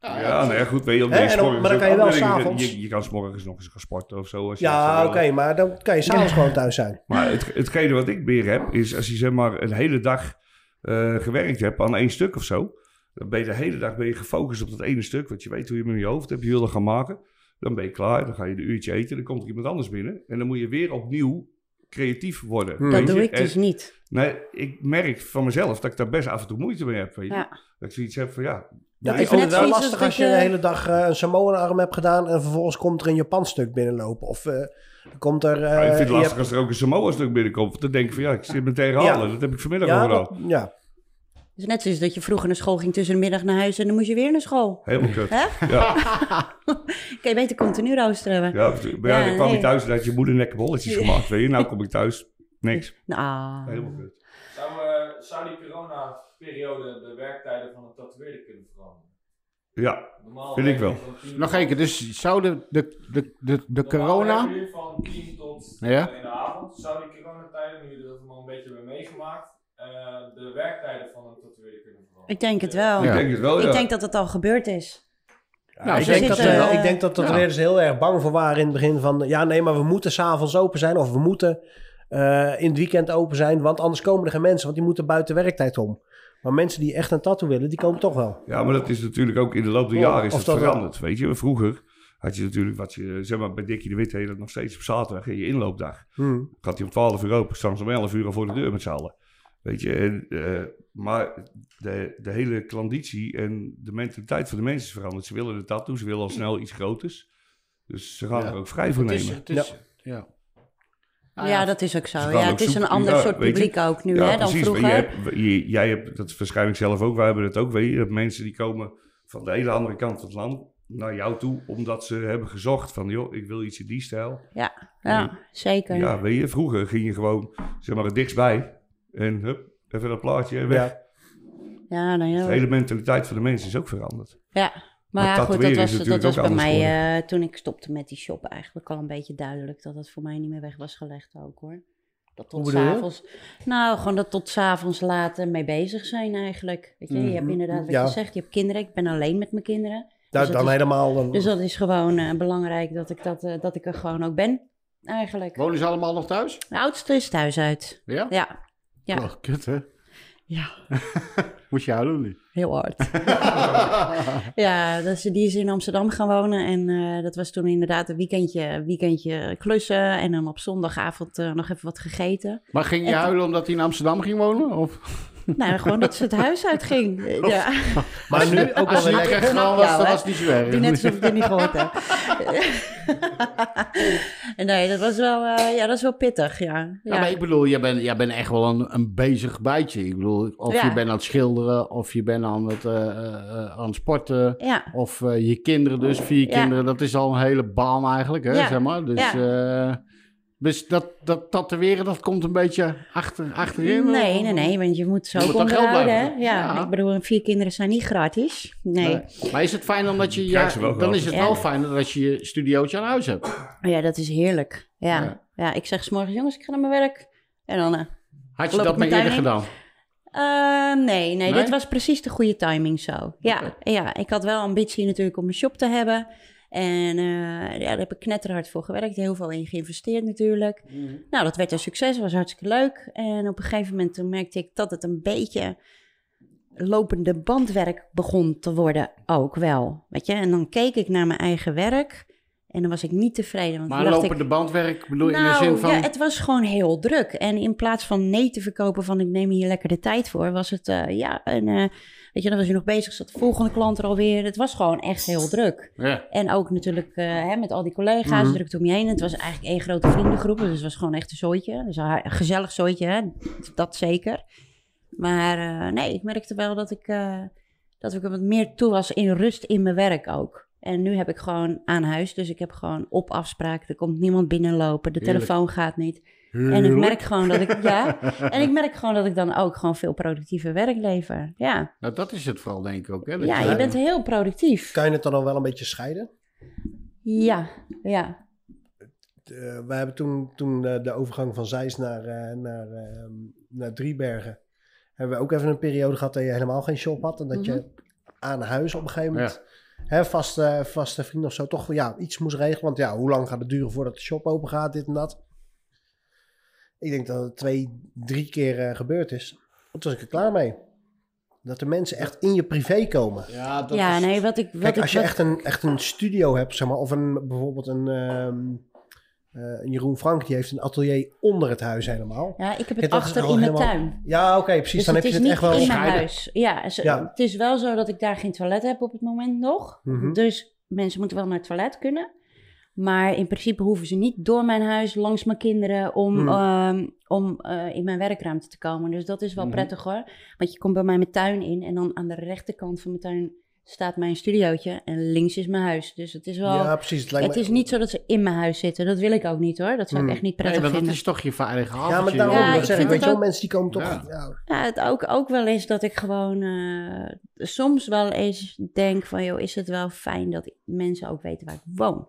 [SPEAKER 4] Ja, nou ja, goed, weet je, op
[SPEAKER 2] Hè,
[SPEAKER 4] deze
[SPEAKER 2] en dan-
[SPEAKER 4] morgen
[SPEAKER 2] maar dan
[SPEAKER 4] is
[SPEAKER 2] kan je
[SPEAKER 4] ook-
[SPEAKER 2] wel
[SPEAKER 4] je-
[SPEAKER 2] s'avonds.
[SPEAKER 4] Je, je kan s'morgens nog eens gaan sporten of zo. Als je eh, dat
[SPEAKER 2] Ja,
[SPEAKER 4] zou
[SPEAKER 2] oké,
[SPEAKER 4] willen.
[SPEAKER 2] maar dan kan je s'avonds gewoon thuis zijn.
[SPEAKER 4] Maar het, hetgene wat ik meer heb, is als je zeg maar een hele dag eh, gewerkt hebt aan één stuk of zo. Dan ben je de hele dag ben je gefocust op dat ene stuk, want je weet hoe je hem in je hoofd hebt, je wil dat gaan maken. Dan ben je klaar, dan ga je een uurtje eten, dan komt er iemand anders binnen. En dan moet je weer opnieuw creatief worden.
[SPEAKER 2] Hmm.
[SPEAKER 3] Dat
[SPEAKER 4] weet
[SPEAKER 3] doe
[SPEAKER 4] je. eh,
[SPEAKER 3] ik dus
[SPEAKER 4] En-
[SPEAKER 3] niet.
[SPEAKER 4] Nee, ik merk van mezelf dat ik daar best af en toe moeite mee heb. Weet je?
[SPEAKER 3] Ja.
[SPEAKER 4] Dat ik zoiets heb van ja,
[SPEAKER 2] Ja,
[SPEAKER 3] Dat
[SPEAKER 2] ik
[SPEAKER 3] is
[SPEAKER 2] vind
[SPEAKER 3] net
[SPEAKER 2] het wel
[SPEAKER 3] zoiets
[SPEAKER 2] lastig
[SPEAKER 3] als
[SPEAKER 2] als je
[SPEAKER 3] dat
[SPEAKER 2] de
[SPEAKER 3] je-
[SPEAKER 2] hele dag eh, een Samoa-arm hebt gedaan en vervolgens komt er een Japans stuk binnenlopen. Of eh, er komt er... eh,
[SPEAKER 4] Ja, ik vind het
[SPEAKER 2] je
[SPEAKER 4] lastig
[SPEAKER 2] hebt-
[SPEAKER 4] als er ook een Samoa-stuk binnenkomt. Want Dan denk ik van ja, ik zit me te herhalen.
[SPEAKER 2] Ja.
[SPEAKER 4] Dat heb ik vanmiddag
[SPEAKER 2] Ja,
[SPEAKER 4] al gedaan.
[SPEAKER 2] dat- ja,
[SPEAKER 3] Het is net zoals dat je vroeger naar school ging tussen de middag naar huis en dan moest je weer naar school.
[SPEAKER 4] Helemaal kut.
[SPEAKER 3] Hè?
[SPEAKER 4] Ja,
[SPEAKER 3] Kan je beter continu rooster hebben?
[SPEAKER 4] ja, maar ja,
[SPEAKER 3] Ja,
[SPEAKER 4] dan kwam je
[SPEAKER 3] nee.
[SPEAKER 4] thuis en had je moeder lekker bolletjes gemaakt. Weet je, nou kom ik thuis. Niks.
[SPEAKER 3] Nou,
[SPEAKER 4] Helemaal kut.
[SPEAKER 8] Zou, eh, zou die corona-periode de werktijden van een tatoeëerder kunnen veranderen?
[SPEAKER 4] Ja,
[SPEAKER 8] Normaal
[SPEAKER 4] Vind ik wel.
[SPEAKER 8] werken we van tien-
[SPEAKER 5] Nog één keer, dus zou de, de, de, de, de
[SPEAKER 8] normaal werken
[SPEAKER 5] corona.
[SPEAKER 8] we hier van 10 tot
[SPEAKER 5] Ja.
[SPEAKER 8] in de avond. Zou die coronatijden, nu jullie dat allemaal een beetje hebben meegemaakt, eh, de werktijden van een tatoeëerder kunnen veranderen? Eh,
[SPEAKER 3] ik denk het wel.
[SPEAKER 5] Ja.
[SPEAKER 4] ik denk het wel. Ja.
[SPEAKER 3] Ik denk dat het al gebeurd is.
[SPEAKER 5] Nou,
[SPEAKER 2] ik,
[SPEAKER 5] zeker
[SPEAKER 2] denk dat,
[SPEAKER 5] wel.
[SPEAKER 2] eh, ik denk dat dat
[SPEAKER 5] Ja.
[SPEAKER 2] er eerst heel erg bang voor waren in het begin van... Ja, nee, maar we moeten s'avonds open zijn of we moeten eh, in het weekend open zijn. Want anders komen er geen mensen, want die moeten buiten werktijd om. Maar mensen die echt een tattoo willen, die komen toch wel.
[SPEAKER 4] Ja, maar dat is natuurlijk ook in de loop der
[SPEAKER 2] Ja,
[SPEAKER 4] jaren is
[SPEAKER 2] of
[SPEAKER 4] dat,
[SPEAKER 2] dat wel.
[SPEAKER 4] veranderd. Weet je, vroeger had je natuurlijk wat je, zeg maar, bij Dickie de Wit heet dat nog steeds op zaterdag in je inloopdag.
[SPEAKER 2] Hmm.
[SPEAKER 4] Gaat hij om 12 uur open, staan ze om 11 uur al voor de deur met z'n allen. Weet je, en, eh, maar de, de hele klanditie en de mentaliteit van de mensen is veranderd. Ze willen de tattoo, ze willen al snel iets groters. Dus ze gaan
[SPEAKER 5] Ja.
[SPEAKER 4] er ook vrij voor
[SPEAKER 5] Het is,
[SPEAKER 4] nemen.
[SPEAKER 5] het is, ja. Nou
[SPEAKER 3] ja, dat is ook zo.
[SPEAKER 4] Ze gaan
[SPEAKER 3] Ja,
[SPEAKER 4] ook
[SPEAKER 3] het is een
[SPEAKER 4] zoeken-
[SPEAKER 3] ander
[SPEAKER 4] ja,
[SPEAKER 3] soort
[SPEAKER 4] weet je.
[SPEAKER 3] publiek ook nu
[SPEAKER 4] ja,
[SPEAKER 3] hè, dan
[SPEAKER 4] precies. maar
[SPEAKER 3] vroeger.
[SPEAKER 4] Je hebt, je- jij hebt dat waarschijnlijk zelf ook, wij hebben dat ook. Weet je, dat mensen die komen van de hele andere kant van het land naar jou toe, omdat ze hebben gezocht van, joh, ik wil iets in die stijl.
[SPEAKER 3] Ja, zeker.
[SPEAKER 4] Ja, weet je, vroeger ging je gewoon, zeg maar, het dichtstbij en hup, even dat plaatje en weg.
[SPEAKER 2] Ja.
[SPEAKER 3] Ja, nou ja.
[SPEAKER 4] De hele mentaliteit van de mensen is ook veranderd.
[SPEAKER 3] ja.
[SPEAKER 4] Maar
[SPEAKER 3] Maar ja, goed, dat
[SPEAKER 4] tatoeëren is
[SPEAKER 3] was, dat
[SPEAKER 4] natuurlijk
[SPEAKER 3] was
[SPEAKER 4] ook
[SPEAKER 3] bij
[SPEAKER 4] anders
[SPEAKER 3] mij eh, toen ik stopte met die shop eigenlijk al een beetje duidelijk dat dat voor mij niet meer weg was gelegd ook hoor. Dat tot
[SPEAKER 2] Hoe bedoel je?
[SPEAKER 3] s'avonds. Nou, gewoon dat tot s'avonds laat eh, mee bezig zijn eigenlijk. Weet je, je
[SPEAKER 4] Mhm.
[SPEAKER 3] hebt inderdaad wat
[SPEAKER 2] Ja.
[SPEAKER 3] je zegt, je hebt kinderen, ik ben alleen met mijn kinderen.
[SPEAKER 4] Oh.
[SPEAKER 2] Nou,
[SPEAKER 3] dat
[SPEAKER 2] dan
[SPEAKER 3] is-
[SPEAKER 2] helemaal. Dan,
[SPEAKER 3] Dus dat is gewoon eh, belangrijk dat ik, dat, eh, dat ik er gewoon ook ben eigenlijk.
[SPEAKER 5] Wonen ze allemaal nog thuis?
[SPEAKER 3] De oudste is thuis uit.
[SPEAKER 5] Ja?
[SPEAKER 3] Ja, Ja.
[SPEAKER 5] Oh, kut hè?
[SPEAKER 3] ja.
[SPEAKER 5] <laughs> Moest je huilen of niet?
[SPEAKER 3] Heel hard.
[SPEAKER 5] <laughs>
[SPEAKER 3] ja, dus die is in Amsterdam gaan wonen. En eh, dat was toen inderdaad een weekendje, weekendje klussen. En dan op zondagavond eh, nog even wat
[SPEAKER 5] <laughs>
[SPEAKER 3] gegeten.
[SPEAKER 5] Maar ging je
[SPEAKER 3] En-
[SPEAKER 5] huilen omdat hij in Amsterdam ging wonen? Of?
[SPEAKER 3] nou, gewoon dat ze het huis uitging. Eh,
[SPEAKER 5] Oh.
[SPEAKER 3] Ja.
[SPEAKER 2] maar nu ook wel
[SPEAKER 5] Als hij
[SPEAKER 2] weer lekker.
[SPEAKER 5] lekker
[SPEAKER 3] knap,
[SPEAKER 5] gewoon was,
[SPEAKER 3] ja,
[SPEAKER 5] dan
[SPEAKER 3] hè?
[SPEAKER 5] was het niet zo erg.
[SPEAKER 3] Doe net alsof ik het niet gehoord
[SPEAKER 5] <laughs>
[SPEAKER 3] heb. nee, dat was wel, eh, ja, dat is wel pittig, ja.
[SPEAKER 5] Ja, maar ik bedoel, jij bent, jij bent echt wel een, een bezig bijtje. Ik bedoel, of
[SPEAKER 3] Ja.
[SPEAKER 5] je bent aan het schilderen, of je bent aan het, eh, eh, eh, aan het sporten.
[SPEAKER 3] ja.
[SPEAKER 5] Of eh, je kinderen dus, vier
[SPEAKER 3] Ja.
[SPEAKER 5] kinderen. Dat is al een hele baan eigenlijk, hè,
[SPEAKER 3] Ja.
[SPEAKER 5] zeg maar. Dus, eh, dus dat, dat tatoeëren, dat komt een beetje achter, achterin. eh,
[SPEAKER 3] Nee, nee, nee, want je moet ze
[SPEAKER 5] Je
[SPEAKER 3] ook
[SPEAKER 5] moet aan geld
[SPEAKER 3] onderhouden. hè?
[SPEAKER 5] blijven.
[SPEAKER 3] Ja,
[SPEAKER 5] Ja.
[SPEAKER 3] ik bedoel, vier kinderen zijn niet gratis. Nee.
[SPEAKER 5] Nee. Maar is het fijn omdat je... Ja,
[SPEAKER 4] Krijg ze wel
[SPEAKER 5] dan
[SPEAKER 4] gratis.
[SPEAKER 5] is het
[SPEAKER 3] Ja.
[SPEAKER 5] wel fijn dat je je studiootje aan huis hebt.
[SPEAKER 3] Ja, dat is heerlijk. Ja,
[SPEAKER 5] Ja.
[SPEAKER 3] ja. ik zeg 's morgens jongens, ik ga naar mijn werk. En dan... eh,
[SPEAKER 5] Had je
[SPEAKER 3] Loop
[SPEAKER 5] dat
[SPEAKER 3] ik
[SPEAKER 5] maar eerder
[SPEAKER 3] meteen in?
[SPEAKER 5] gedaan?
[SPEAKER 3] eh, nee, nee,
[SPEAKER 5] Nee?
[SPEAKER 3] dit was precies de goede timing zo. Ja, ja, ik had wel ambitie natuurlijk om een shop te hebben. En eh, ja, daar heb ik knetterhard voor gewerkt. Heel veel in geïnvesteerd natuurlijk. Nou, dat werd een succes. was hartstikke leuk. En op een gegeven moment toen merkte ik dat het een beetje lopende bandwerk begon te worden ook wel. Weet je? En dan keek ik naar mijn eigen werk. En dan was ik niet tevreden. Want
[SPEAKER 5] Maar
[SPEAKER 3] toen dacht ik,
[SPEAKER 5] lopende bandwerk bedoel je in de
[SPEAKER 3] nou,
[SPEAKER 5] zin van...
[SPEAKER 3] ja, het was gewoon heel druk. En in plaats van nee te verkopen van ik neem hier lekker de tijd voor, was het eh, ja, en, eh, weet je, dan was je nog bezig, zat de volgende klant er alweer. Het was gewoon echt heel druk.
[SPEAKER 5] Ja.
[SPEAKER 3] En ook natuurlijk eh, hè, met al die
[SPEAKER 5] Mhm.
[SPEAKER 3] collega's druk om je heen. Het was eigenlijk één grote vriendengroep, dus het was gewoon echt een zooitje. Dus een gezellig zooitje, hè? dat zeker. Maar eh, nee, ik merkte wel dat ik, eh, dat ik er wat meer toe was in rust in mijn werk ook. En nu heb ik gewoon aan huis, dus ik heb gewoon op afspraak. Er komt niemand binnenlopen, de
[SPEAKER 5] Heerlijk.
[SPEAKER 3] telefoon gaat niet. En ik merk gewoon dat
[SPEAKER 5] <laughs>
[SPEAKER 3] ik, ja, en ik merk gewoon dat ik dan ook gewoon veel productiever werk lever. Ja,
[SPEAKER 5] Nou, dat is het vooral denk ik ook. Hè? dat
[SPEAKER 3] ja je bent heel productief.
[SPEAKER 2] Kan je het dan al wel een beetje scheiden?
[SPEAKER 3] Ja, ja.
[SPEAKER 2] Eh, wij hebben toen, toen eh, de overgang van Zeist naar, eh, naar, eh, naar Driebergen. Hebben we ook even een periode gehad dat je helemaal geen shop had. En dat je aan huis op een gegeven moment. Hè, vaste, vaste vrienden of zo. Toch ja, iets moest regelen. Want ja, hoe lang gaat het duren voordat de shop open gaat? Dit en dat. Ik denk dat het twee, drie keer eh, gebeurd is. Toen was ik er klaar mee. Dat de mensen echt in je privé komen.
[SPEAKER 5] Ja, dat
[SPEAKER 3] ja,
[SPEAKER 5] is-
[SPEAKER 3] nee, wat ik... Wat
[SPEAKER 2] Kijk,
[SPEAKER 3] ik,
[SPEAKER 2] als je
[SPEAKER 3] wat-
[SPEAKER 2] echt een, echt een studio hebt, zeg maar, of een, bijvoorbeeld een, ehm, eh, een Jeroen Frank, die heeft een atelier onder het huis helemaal.
[SPEAKER 3] Ja, ik heb
[SPEAKER 2] Kijk,
[SPEAKER 3] het
[SPEAKER 2] dat is
[SPEAKER 3] achter
[SPEAKER 2] al
[SPEAKER 3] in mijn
[SPEAKER 2] helemaal-
[SPEAKER 3] tuin.
[SPEAKER 2] Ja, oké, precies.
[SPEAKER 3] Dus
[SPEAKER 2] dan
[SPEAKER 3] het
[SPEAKER 2] heb
[SPEAKER 3] is
[SPEAKER 2] je het
[SPEAKER 3] niet
[SPEAKER 2] echt wel...
[SPEAKER 3] in mijn
[SPEAKER 5] gescheiden.
[SPEAKER 3] huis. Ja, ze-
[SPEAKER 2] Ja.
[SPEAKER 3] het is wel zo dat ik daar geen toilet heb op het moment nog.
[SPEAKER 2] Mhm.
[SPEAKER 3] Dus mensen moeten wel naar het toilet kunnen. Maar in principe hoeven ze niet door mijn huis, langs mijn kinderen, om,
[SPEAKER 2] Hmm.
[SPEAKER 3] ehm, om eh, in mijn werkruimte te komen. Dus dat is wel
[SPEAKER 5] Mhm.
[SPEAKER 3] prettig hoor. Want je komt bij mij mijn tuin in en dan aan de rechterkant van mijn tuin staat mijn studiootje en links is mijn huis. Dus het is wel...
[SPEAKER 2] Ja, precies. Het, lijkt
[SPEAKER 3] het
[SPEAKER 2] me-
[SPEAKER 3] is niet zo dat ze in mijn huis zitten. Dat wil ik ook niet hoor. Dat zou
[SPEAKER 2] Hmm.
[SPEAKER 3] ik echt niet
[SPEAKER 5] Nee,
[SPEAKER 3] prettig
[SPEAKER 5] maar dat
[SPEAKER 3] vinden.
[SPEAKER 5] is toch je veilige
[SPEAKER 2] Ja, maar
[SPEAKER 5] haven.
[SPEAKER 2] daarom,
[SPEAKER 3] Ja,
[SPEAKER 2] dat
[SPEAKER 3] ik
[SPEAKER 2] zeg ik.
[SPEAKER 3] vind
[SPEAKER 2] Weet je
[SPEAKER 3] het
[SPEAKER 2] wel, mensen die komen toch...
[SPEAKER 5] Ja.
[SPEAKER 2] ja.
[SPEAKER 3] Ja, Nou, het ook, ook wel eens dat ik gewoon eh, soms wel eens denk van, joh, is het wel fijn dat mensen ook weten waar ik woon?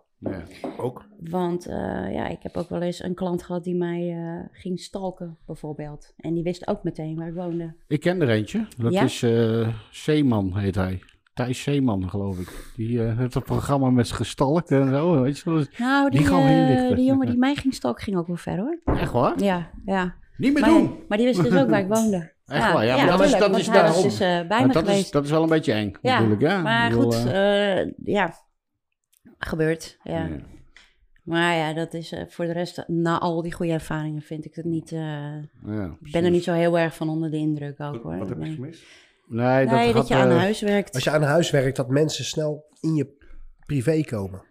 [SPEAKER 2] Ook.
[SPEAKER 3] Want eh, ja, ik heb ook wel eens een klant gehad die mij eh, ging stalken, bijvoorbeeld. En die wist ook meteen waar ik woonde.
[SPEAKER 5] Ik ken er eentje. Dat
[SPEAKER 3] Ja?
[SPEAKER 5] is eh, Zeeman, heet hij. Thijs Zeeman, geloof ik. Die eh, heeft een programma met z'n gestalkt en zo. Weet je, wel.
[SPEAKER 3] Nou,
[SPEAKER 5] Die
[SPEAKER 3] die,
[SPEAKER 5] gaan we
[SPEAKER 3] eh,
[SPEAKER 5] inlichten.
[SPEAKER 3] die jongen
[SPEAKER 5] <laughs>
[SPEAKER 3] die mij ging stalken ging ook wel ver, hoor.
[SPEAKER 5] Echt waar?
[SPEAKER 3] Ja, ja.
[SPEAKER 5] Niet meer
[SPEAKER 3] Maar,
[SPEAKER 5] doen!
[SPEAKER 3] maar die wist dus ook waar ik woonde.
[SPEAKER 5] <laughs> Echt waar, ja, maar dat is-
[SPEAKER 3] tuurlijk,
[SPEAKER 5] dat
[SPEAKER 3] want
[SPEAKER 5] is
[SPEAKER 3] hij was
[SPEAKER 5] daarom.
[SPEAKER 3] dus eh, bij
[SPEAKER 5] Maar
[SPEAKER 3] me
[SPEAKER 5] dat,
[SPEAKER 3] geweest.
[SPEAKER 5] is, dat is wel een beetje eng,
[SPEAKER 3] Ja,
[SPEAKER 5] natuurlijk. Ja,
[SPEAKER 3] Maar
[SPEAKER 5] Ik bedoel,
[SPEAKER 3] goed,
[SPEAKER 5] eh,
[SPEAKER 3] eh, ja, gebeurt. Ja.
[SPEAKER 5] Ja.
[SPEAKER 3] Maar ja, dat is eh, voor de rest, na al die goede ervaringen, vind ik het niet. eh,
[SPEAKER 5] ja,
[SPEAKER 3] ik ben er niet zo heel erg van onder de indruk ook hoor.
[SPEAKER 4] Wat heb je
[SPEAKER 3] nee,
[SPEAKER 4] gemist?
[SPEAKER 5] Nee, dat,
[SPEAKER 3] Nee, dat,
[SPEAKER 5] had,
[SPEAKER 3] je aan
[SPEAKER 5] eh,
[SPEAKER 3] huis werkt.
[SPEAKER 2] Als je aan huis werkt, dat mensen snel in je privé komen.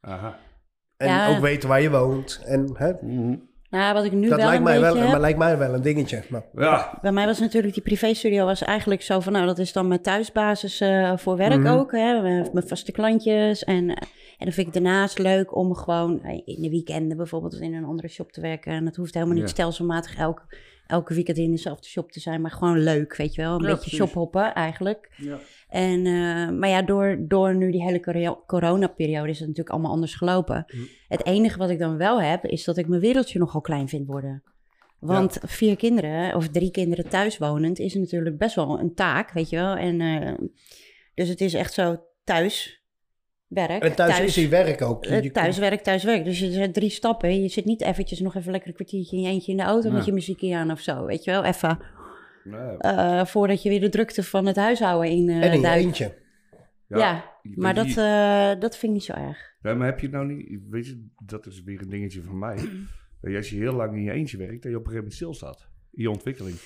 [SPEAKER 4] Aha.
[SPEAKER 2] En
[SPEAKER 3] Ja.
[SPEAKER 2] ook weten waar je woont. En, hè,
[SPEAKER 5] mhm.
[SPEAKER 3] Nou, wat ik nu
[SPEAKER 2] dat
[SPEAKER 3] wel
[SPEAKER 2] lijkt
[SPEAKER 3] een
[SPEAKER 2] mij,
[SPEAKER 3] beetje Eh,
[SPEAKER 2] wel,
[SPEAKER 3] heb-
[SPEAKER 2] maar lijkt mij wel een dingetje. Maar,
[SPEAKER 4] Ja,
[SPEAKER 3] Bij mij was natuurlijk die privéstudio was eigenlijk zo van, nou dat is dan mijn thuisbasis eh, voor werk
[SPEAKER 2] Mhm.
[SPEAKER 3] ook. Hè, mijn mijn vaste klantjes en, eh, en dan vind ik daarnaast leuk om gewoon eh, in de weekenden bijvoorbeeld in een andere shop te werken. En dat hoeft helemaal niet
[SPEAKER 5] Ja.
[SPEAKER 3] stelselmatig elk, elke weekend in dezelfde shop te zijn, maar gewoon leuk, weet je wel. Een
[SPEAKER 5] Ja,
[SPEAKER 3] beetje
[SPEAKER 5] precies.
[SPEAKER 3] shophoppen eigenlijk.
[SPEAKER 5] Ja.
[SPEAKER 3] En, eh, maar ja, door, door nu die hele corona- coronaperiode is het natuurlijk allemaal anders gelopen.
[SPEAKER 5] Mhm.
[SPEAKER 3] Het enige wat ik dan wel heb, is dat ik mijn wereldje nogal klein vind worden. Want vier kinderen of drie kinderen thuis wonend is natuurlijk best wel een taak, weet je wel. En, eh, dus het is echt zo thuis werk.
[SPEAKER 2] en thuis, is je werk ook. Je-
[SPEAKER 3] eh,
[SPEAKER 2] je-
[SPEAKER 3] thuiswerk, thuiswerk. Dus je zet drie stappen. Je zit niet eventjes nog even lekker een kwartiertje in je eentje in de auto
[SPEAKER 5] Ja.
[SPEAKER 3] met je muziekje aan of zo. Weet je wel, even
[SPEAKER 4] Nee.
[SPEAKER 3] eh, voordat je weer de drukte van het huishouden in eh
[SPEAKER 2] en in je
[SPEAKER 3] duikt.
[SPEAKER 2] eentje.
[SPEAKER 3] Ja,
[SPEAKER 4] ik
[SPEAKER 3] maar dat,
[SPEAKER 4] weet niet-
[SPEAKER 3] eh, dat vind ik niet zo erg.
[SPEAKER 4] Nee, maar heb je het nou niet... Weet je, dat is weer een dingetje van
[SPEAKER 3] <clears throat>
[SPEAKER 4] mij. Dat je als je heel lang in je eentje werkt, dat je op een gegeven moment stilstaat. In je ontwikkeling.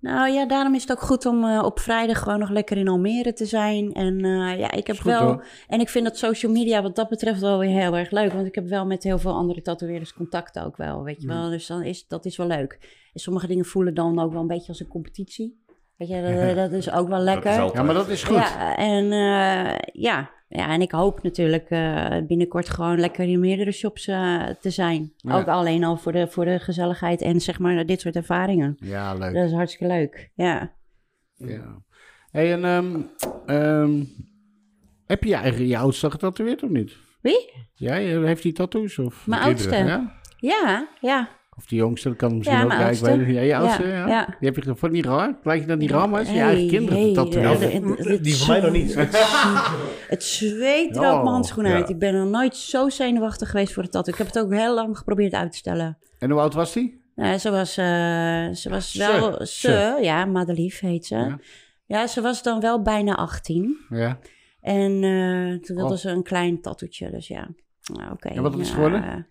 [SPEAKER 3] Nou ja, daarom is het ook goed om eh, op vrijdag gewoon nog lekker in Almere te zijn. En eh, ja, ik heb
[SPEAKER 5] Is goed,
[SPEAKER 3] wel.
[SPEAKER 5] hoor.
[SPEAKER 3] En ik vind dat social media wat dat betreft wel weer heel erg leuk. Want ik heb wel met heel veel andere tatoeëerders contact ook wel. Weet
[SPEAKER 5] Mm.
[SPEAKER 3] je wel. Dus dan is, dat is wel leuk. En sommige dingen voelen dan ook wel een beetje als een competitie. Weet je, dat, dat is ook wel lekker.
[SPEAKER 4] Dat is altijd-
[SPEAKER 5] ja, maar dat is goed.
[SPEAKER 3] Ja, en eh, ja. ja, en ik hoop natuurlijk eh, binnenkort gewoon lekker in meerdere shops eh, te zijn.
[SPEAKER 5] Ja.
[SPEAKER 3] Ook alleen al voor de, voor de gezelligheid en zeg maar dit soort ervaringen.
[SPEAKER 5] Ja, leuk.
[SPEAKER 3] Dat is hartstikke leuk. Ja.
[SPEAKER 5] Ja. Hey, en ehm, ehm, heb je je eigen je oudste getatoeëerd of niet?
[SPEAKER 3] Wie?
[SPEAKER 5] Jij eh, heeft die tattoos of?
[SPEAKER 3] Mijn
[SPEAKER 4] De kinderen,
[SPEAKER 3] oudste. Ja,
[SPEAKER 5] Ja?
[SPEAKER 3] ja.
[SPEAKER 5] Of die jongste, dat kan misschien
[SPEAKER 3] Ja,
[SPEAKER 5] ook.
[SPEAKER 3] mijn
[SPEAKER 5] Ja, ik
[SPEAKER 3] oudste.
[SPEAKER 5] weet het niet. Ja, je oudste, ja.
[SPEAKER 3] Ja, ja.
[SPEAKER 5] Die heb je ge- vond je niet raar? Lijkt je dat niet raar, maar als je je eigen
[SPEAKER 3] Hey,
[SPEAKER 5] kinderen
[SPEAKER 3] hey,
[SPEAKER 5] getatoeëerd
[SPEAKER 3] eh,
[SPEAKER 5] hebt?
[SPEAKER 3] het- het-
[SPEAKER 2] Die voor mij nog niet.
[SPEAKER 3] <laughs> Het zweet er
[SPEAKER 5] Oh,
[SPEAKER 3] ook mijn handschoenen
[SPEAKER 4] ja.
[SPEAKER 3] uit. Ik ben nog nooit zo zenuwachtig geweest voor het tattoo. Ik heb het ook heel lang geprobeerd uit te stellen.
[SPEAKER 5] En hoe oud was die?
[SPEAKER 3] Nou, ze was, eh, ze was
[SPEAKER 5] Ze,
[SPEAKER 3] wel... Ze,
[SPEAKER 5] ze.
[SPEAKER 3] ja, Madelief heet ze.
[SPEAKER 5] Ja.
[SPEAKER 3] Ja. ze was dan wel bijna 18.
[SPEAKER 5] Ja.
[SPEAKER 3] En eh, toen wilde
[SPEAKER 5] Oh.
[SPEAKER 3] ze een klein tattoetje, dus ja. Nou, Oké.
[SPEAKER 5] En wat is het
[SPEAKER 3] ja,
[SPEAKER 5] geworden?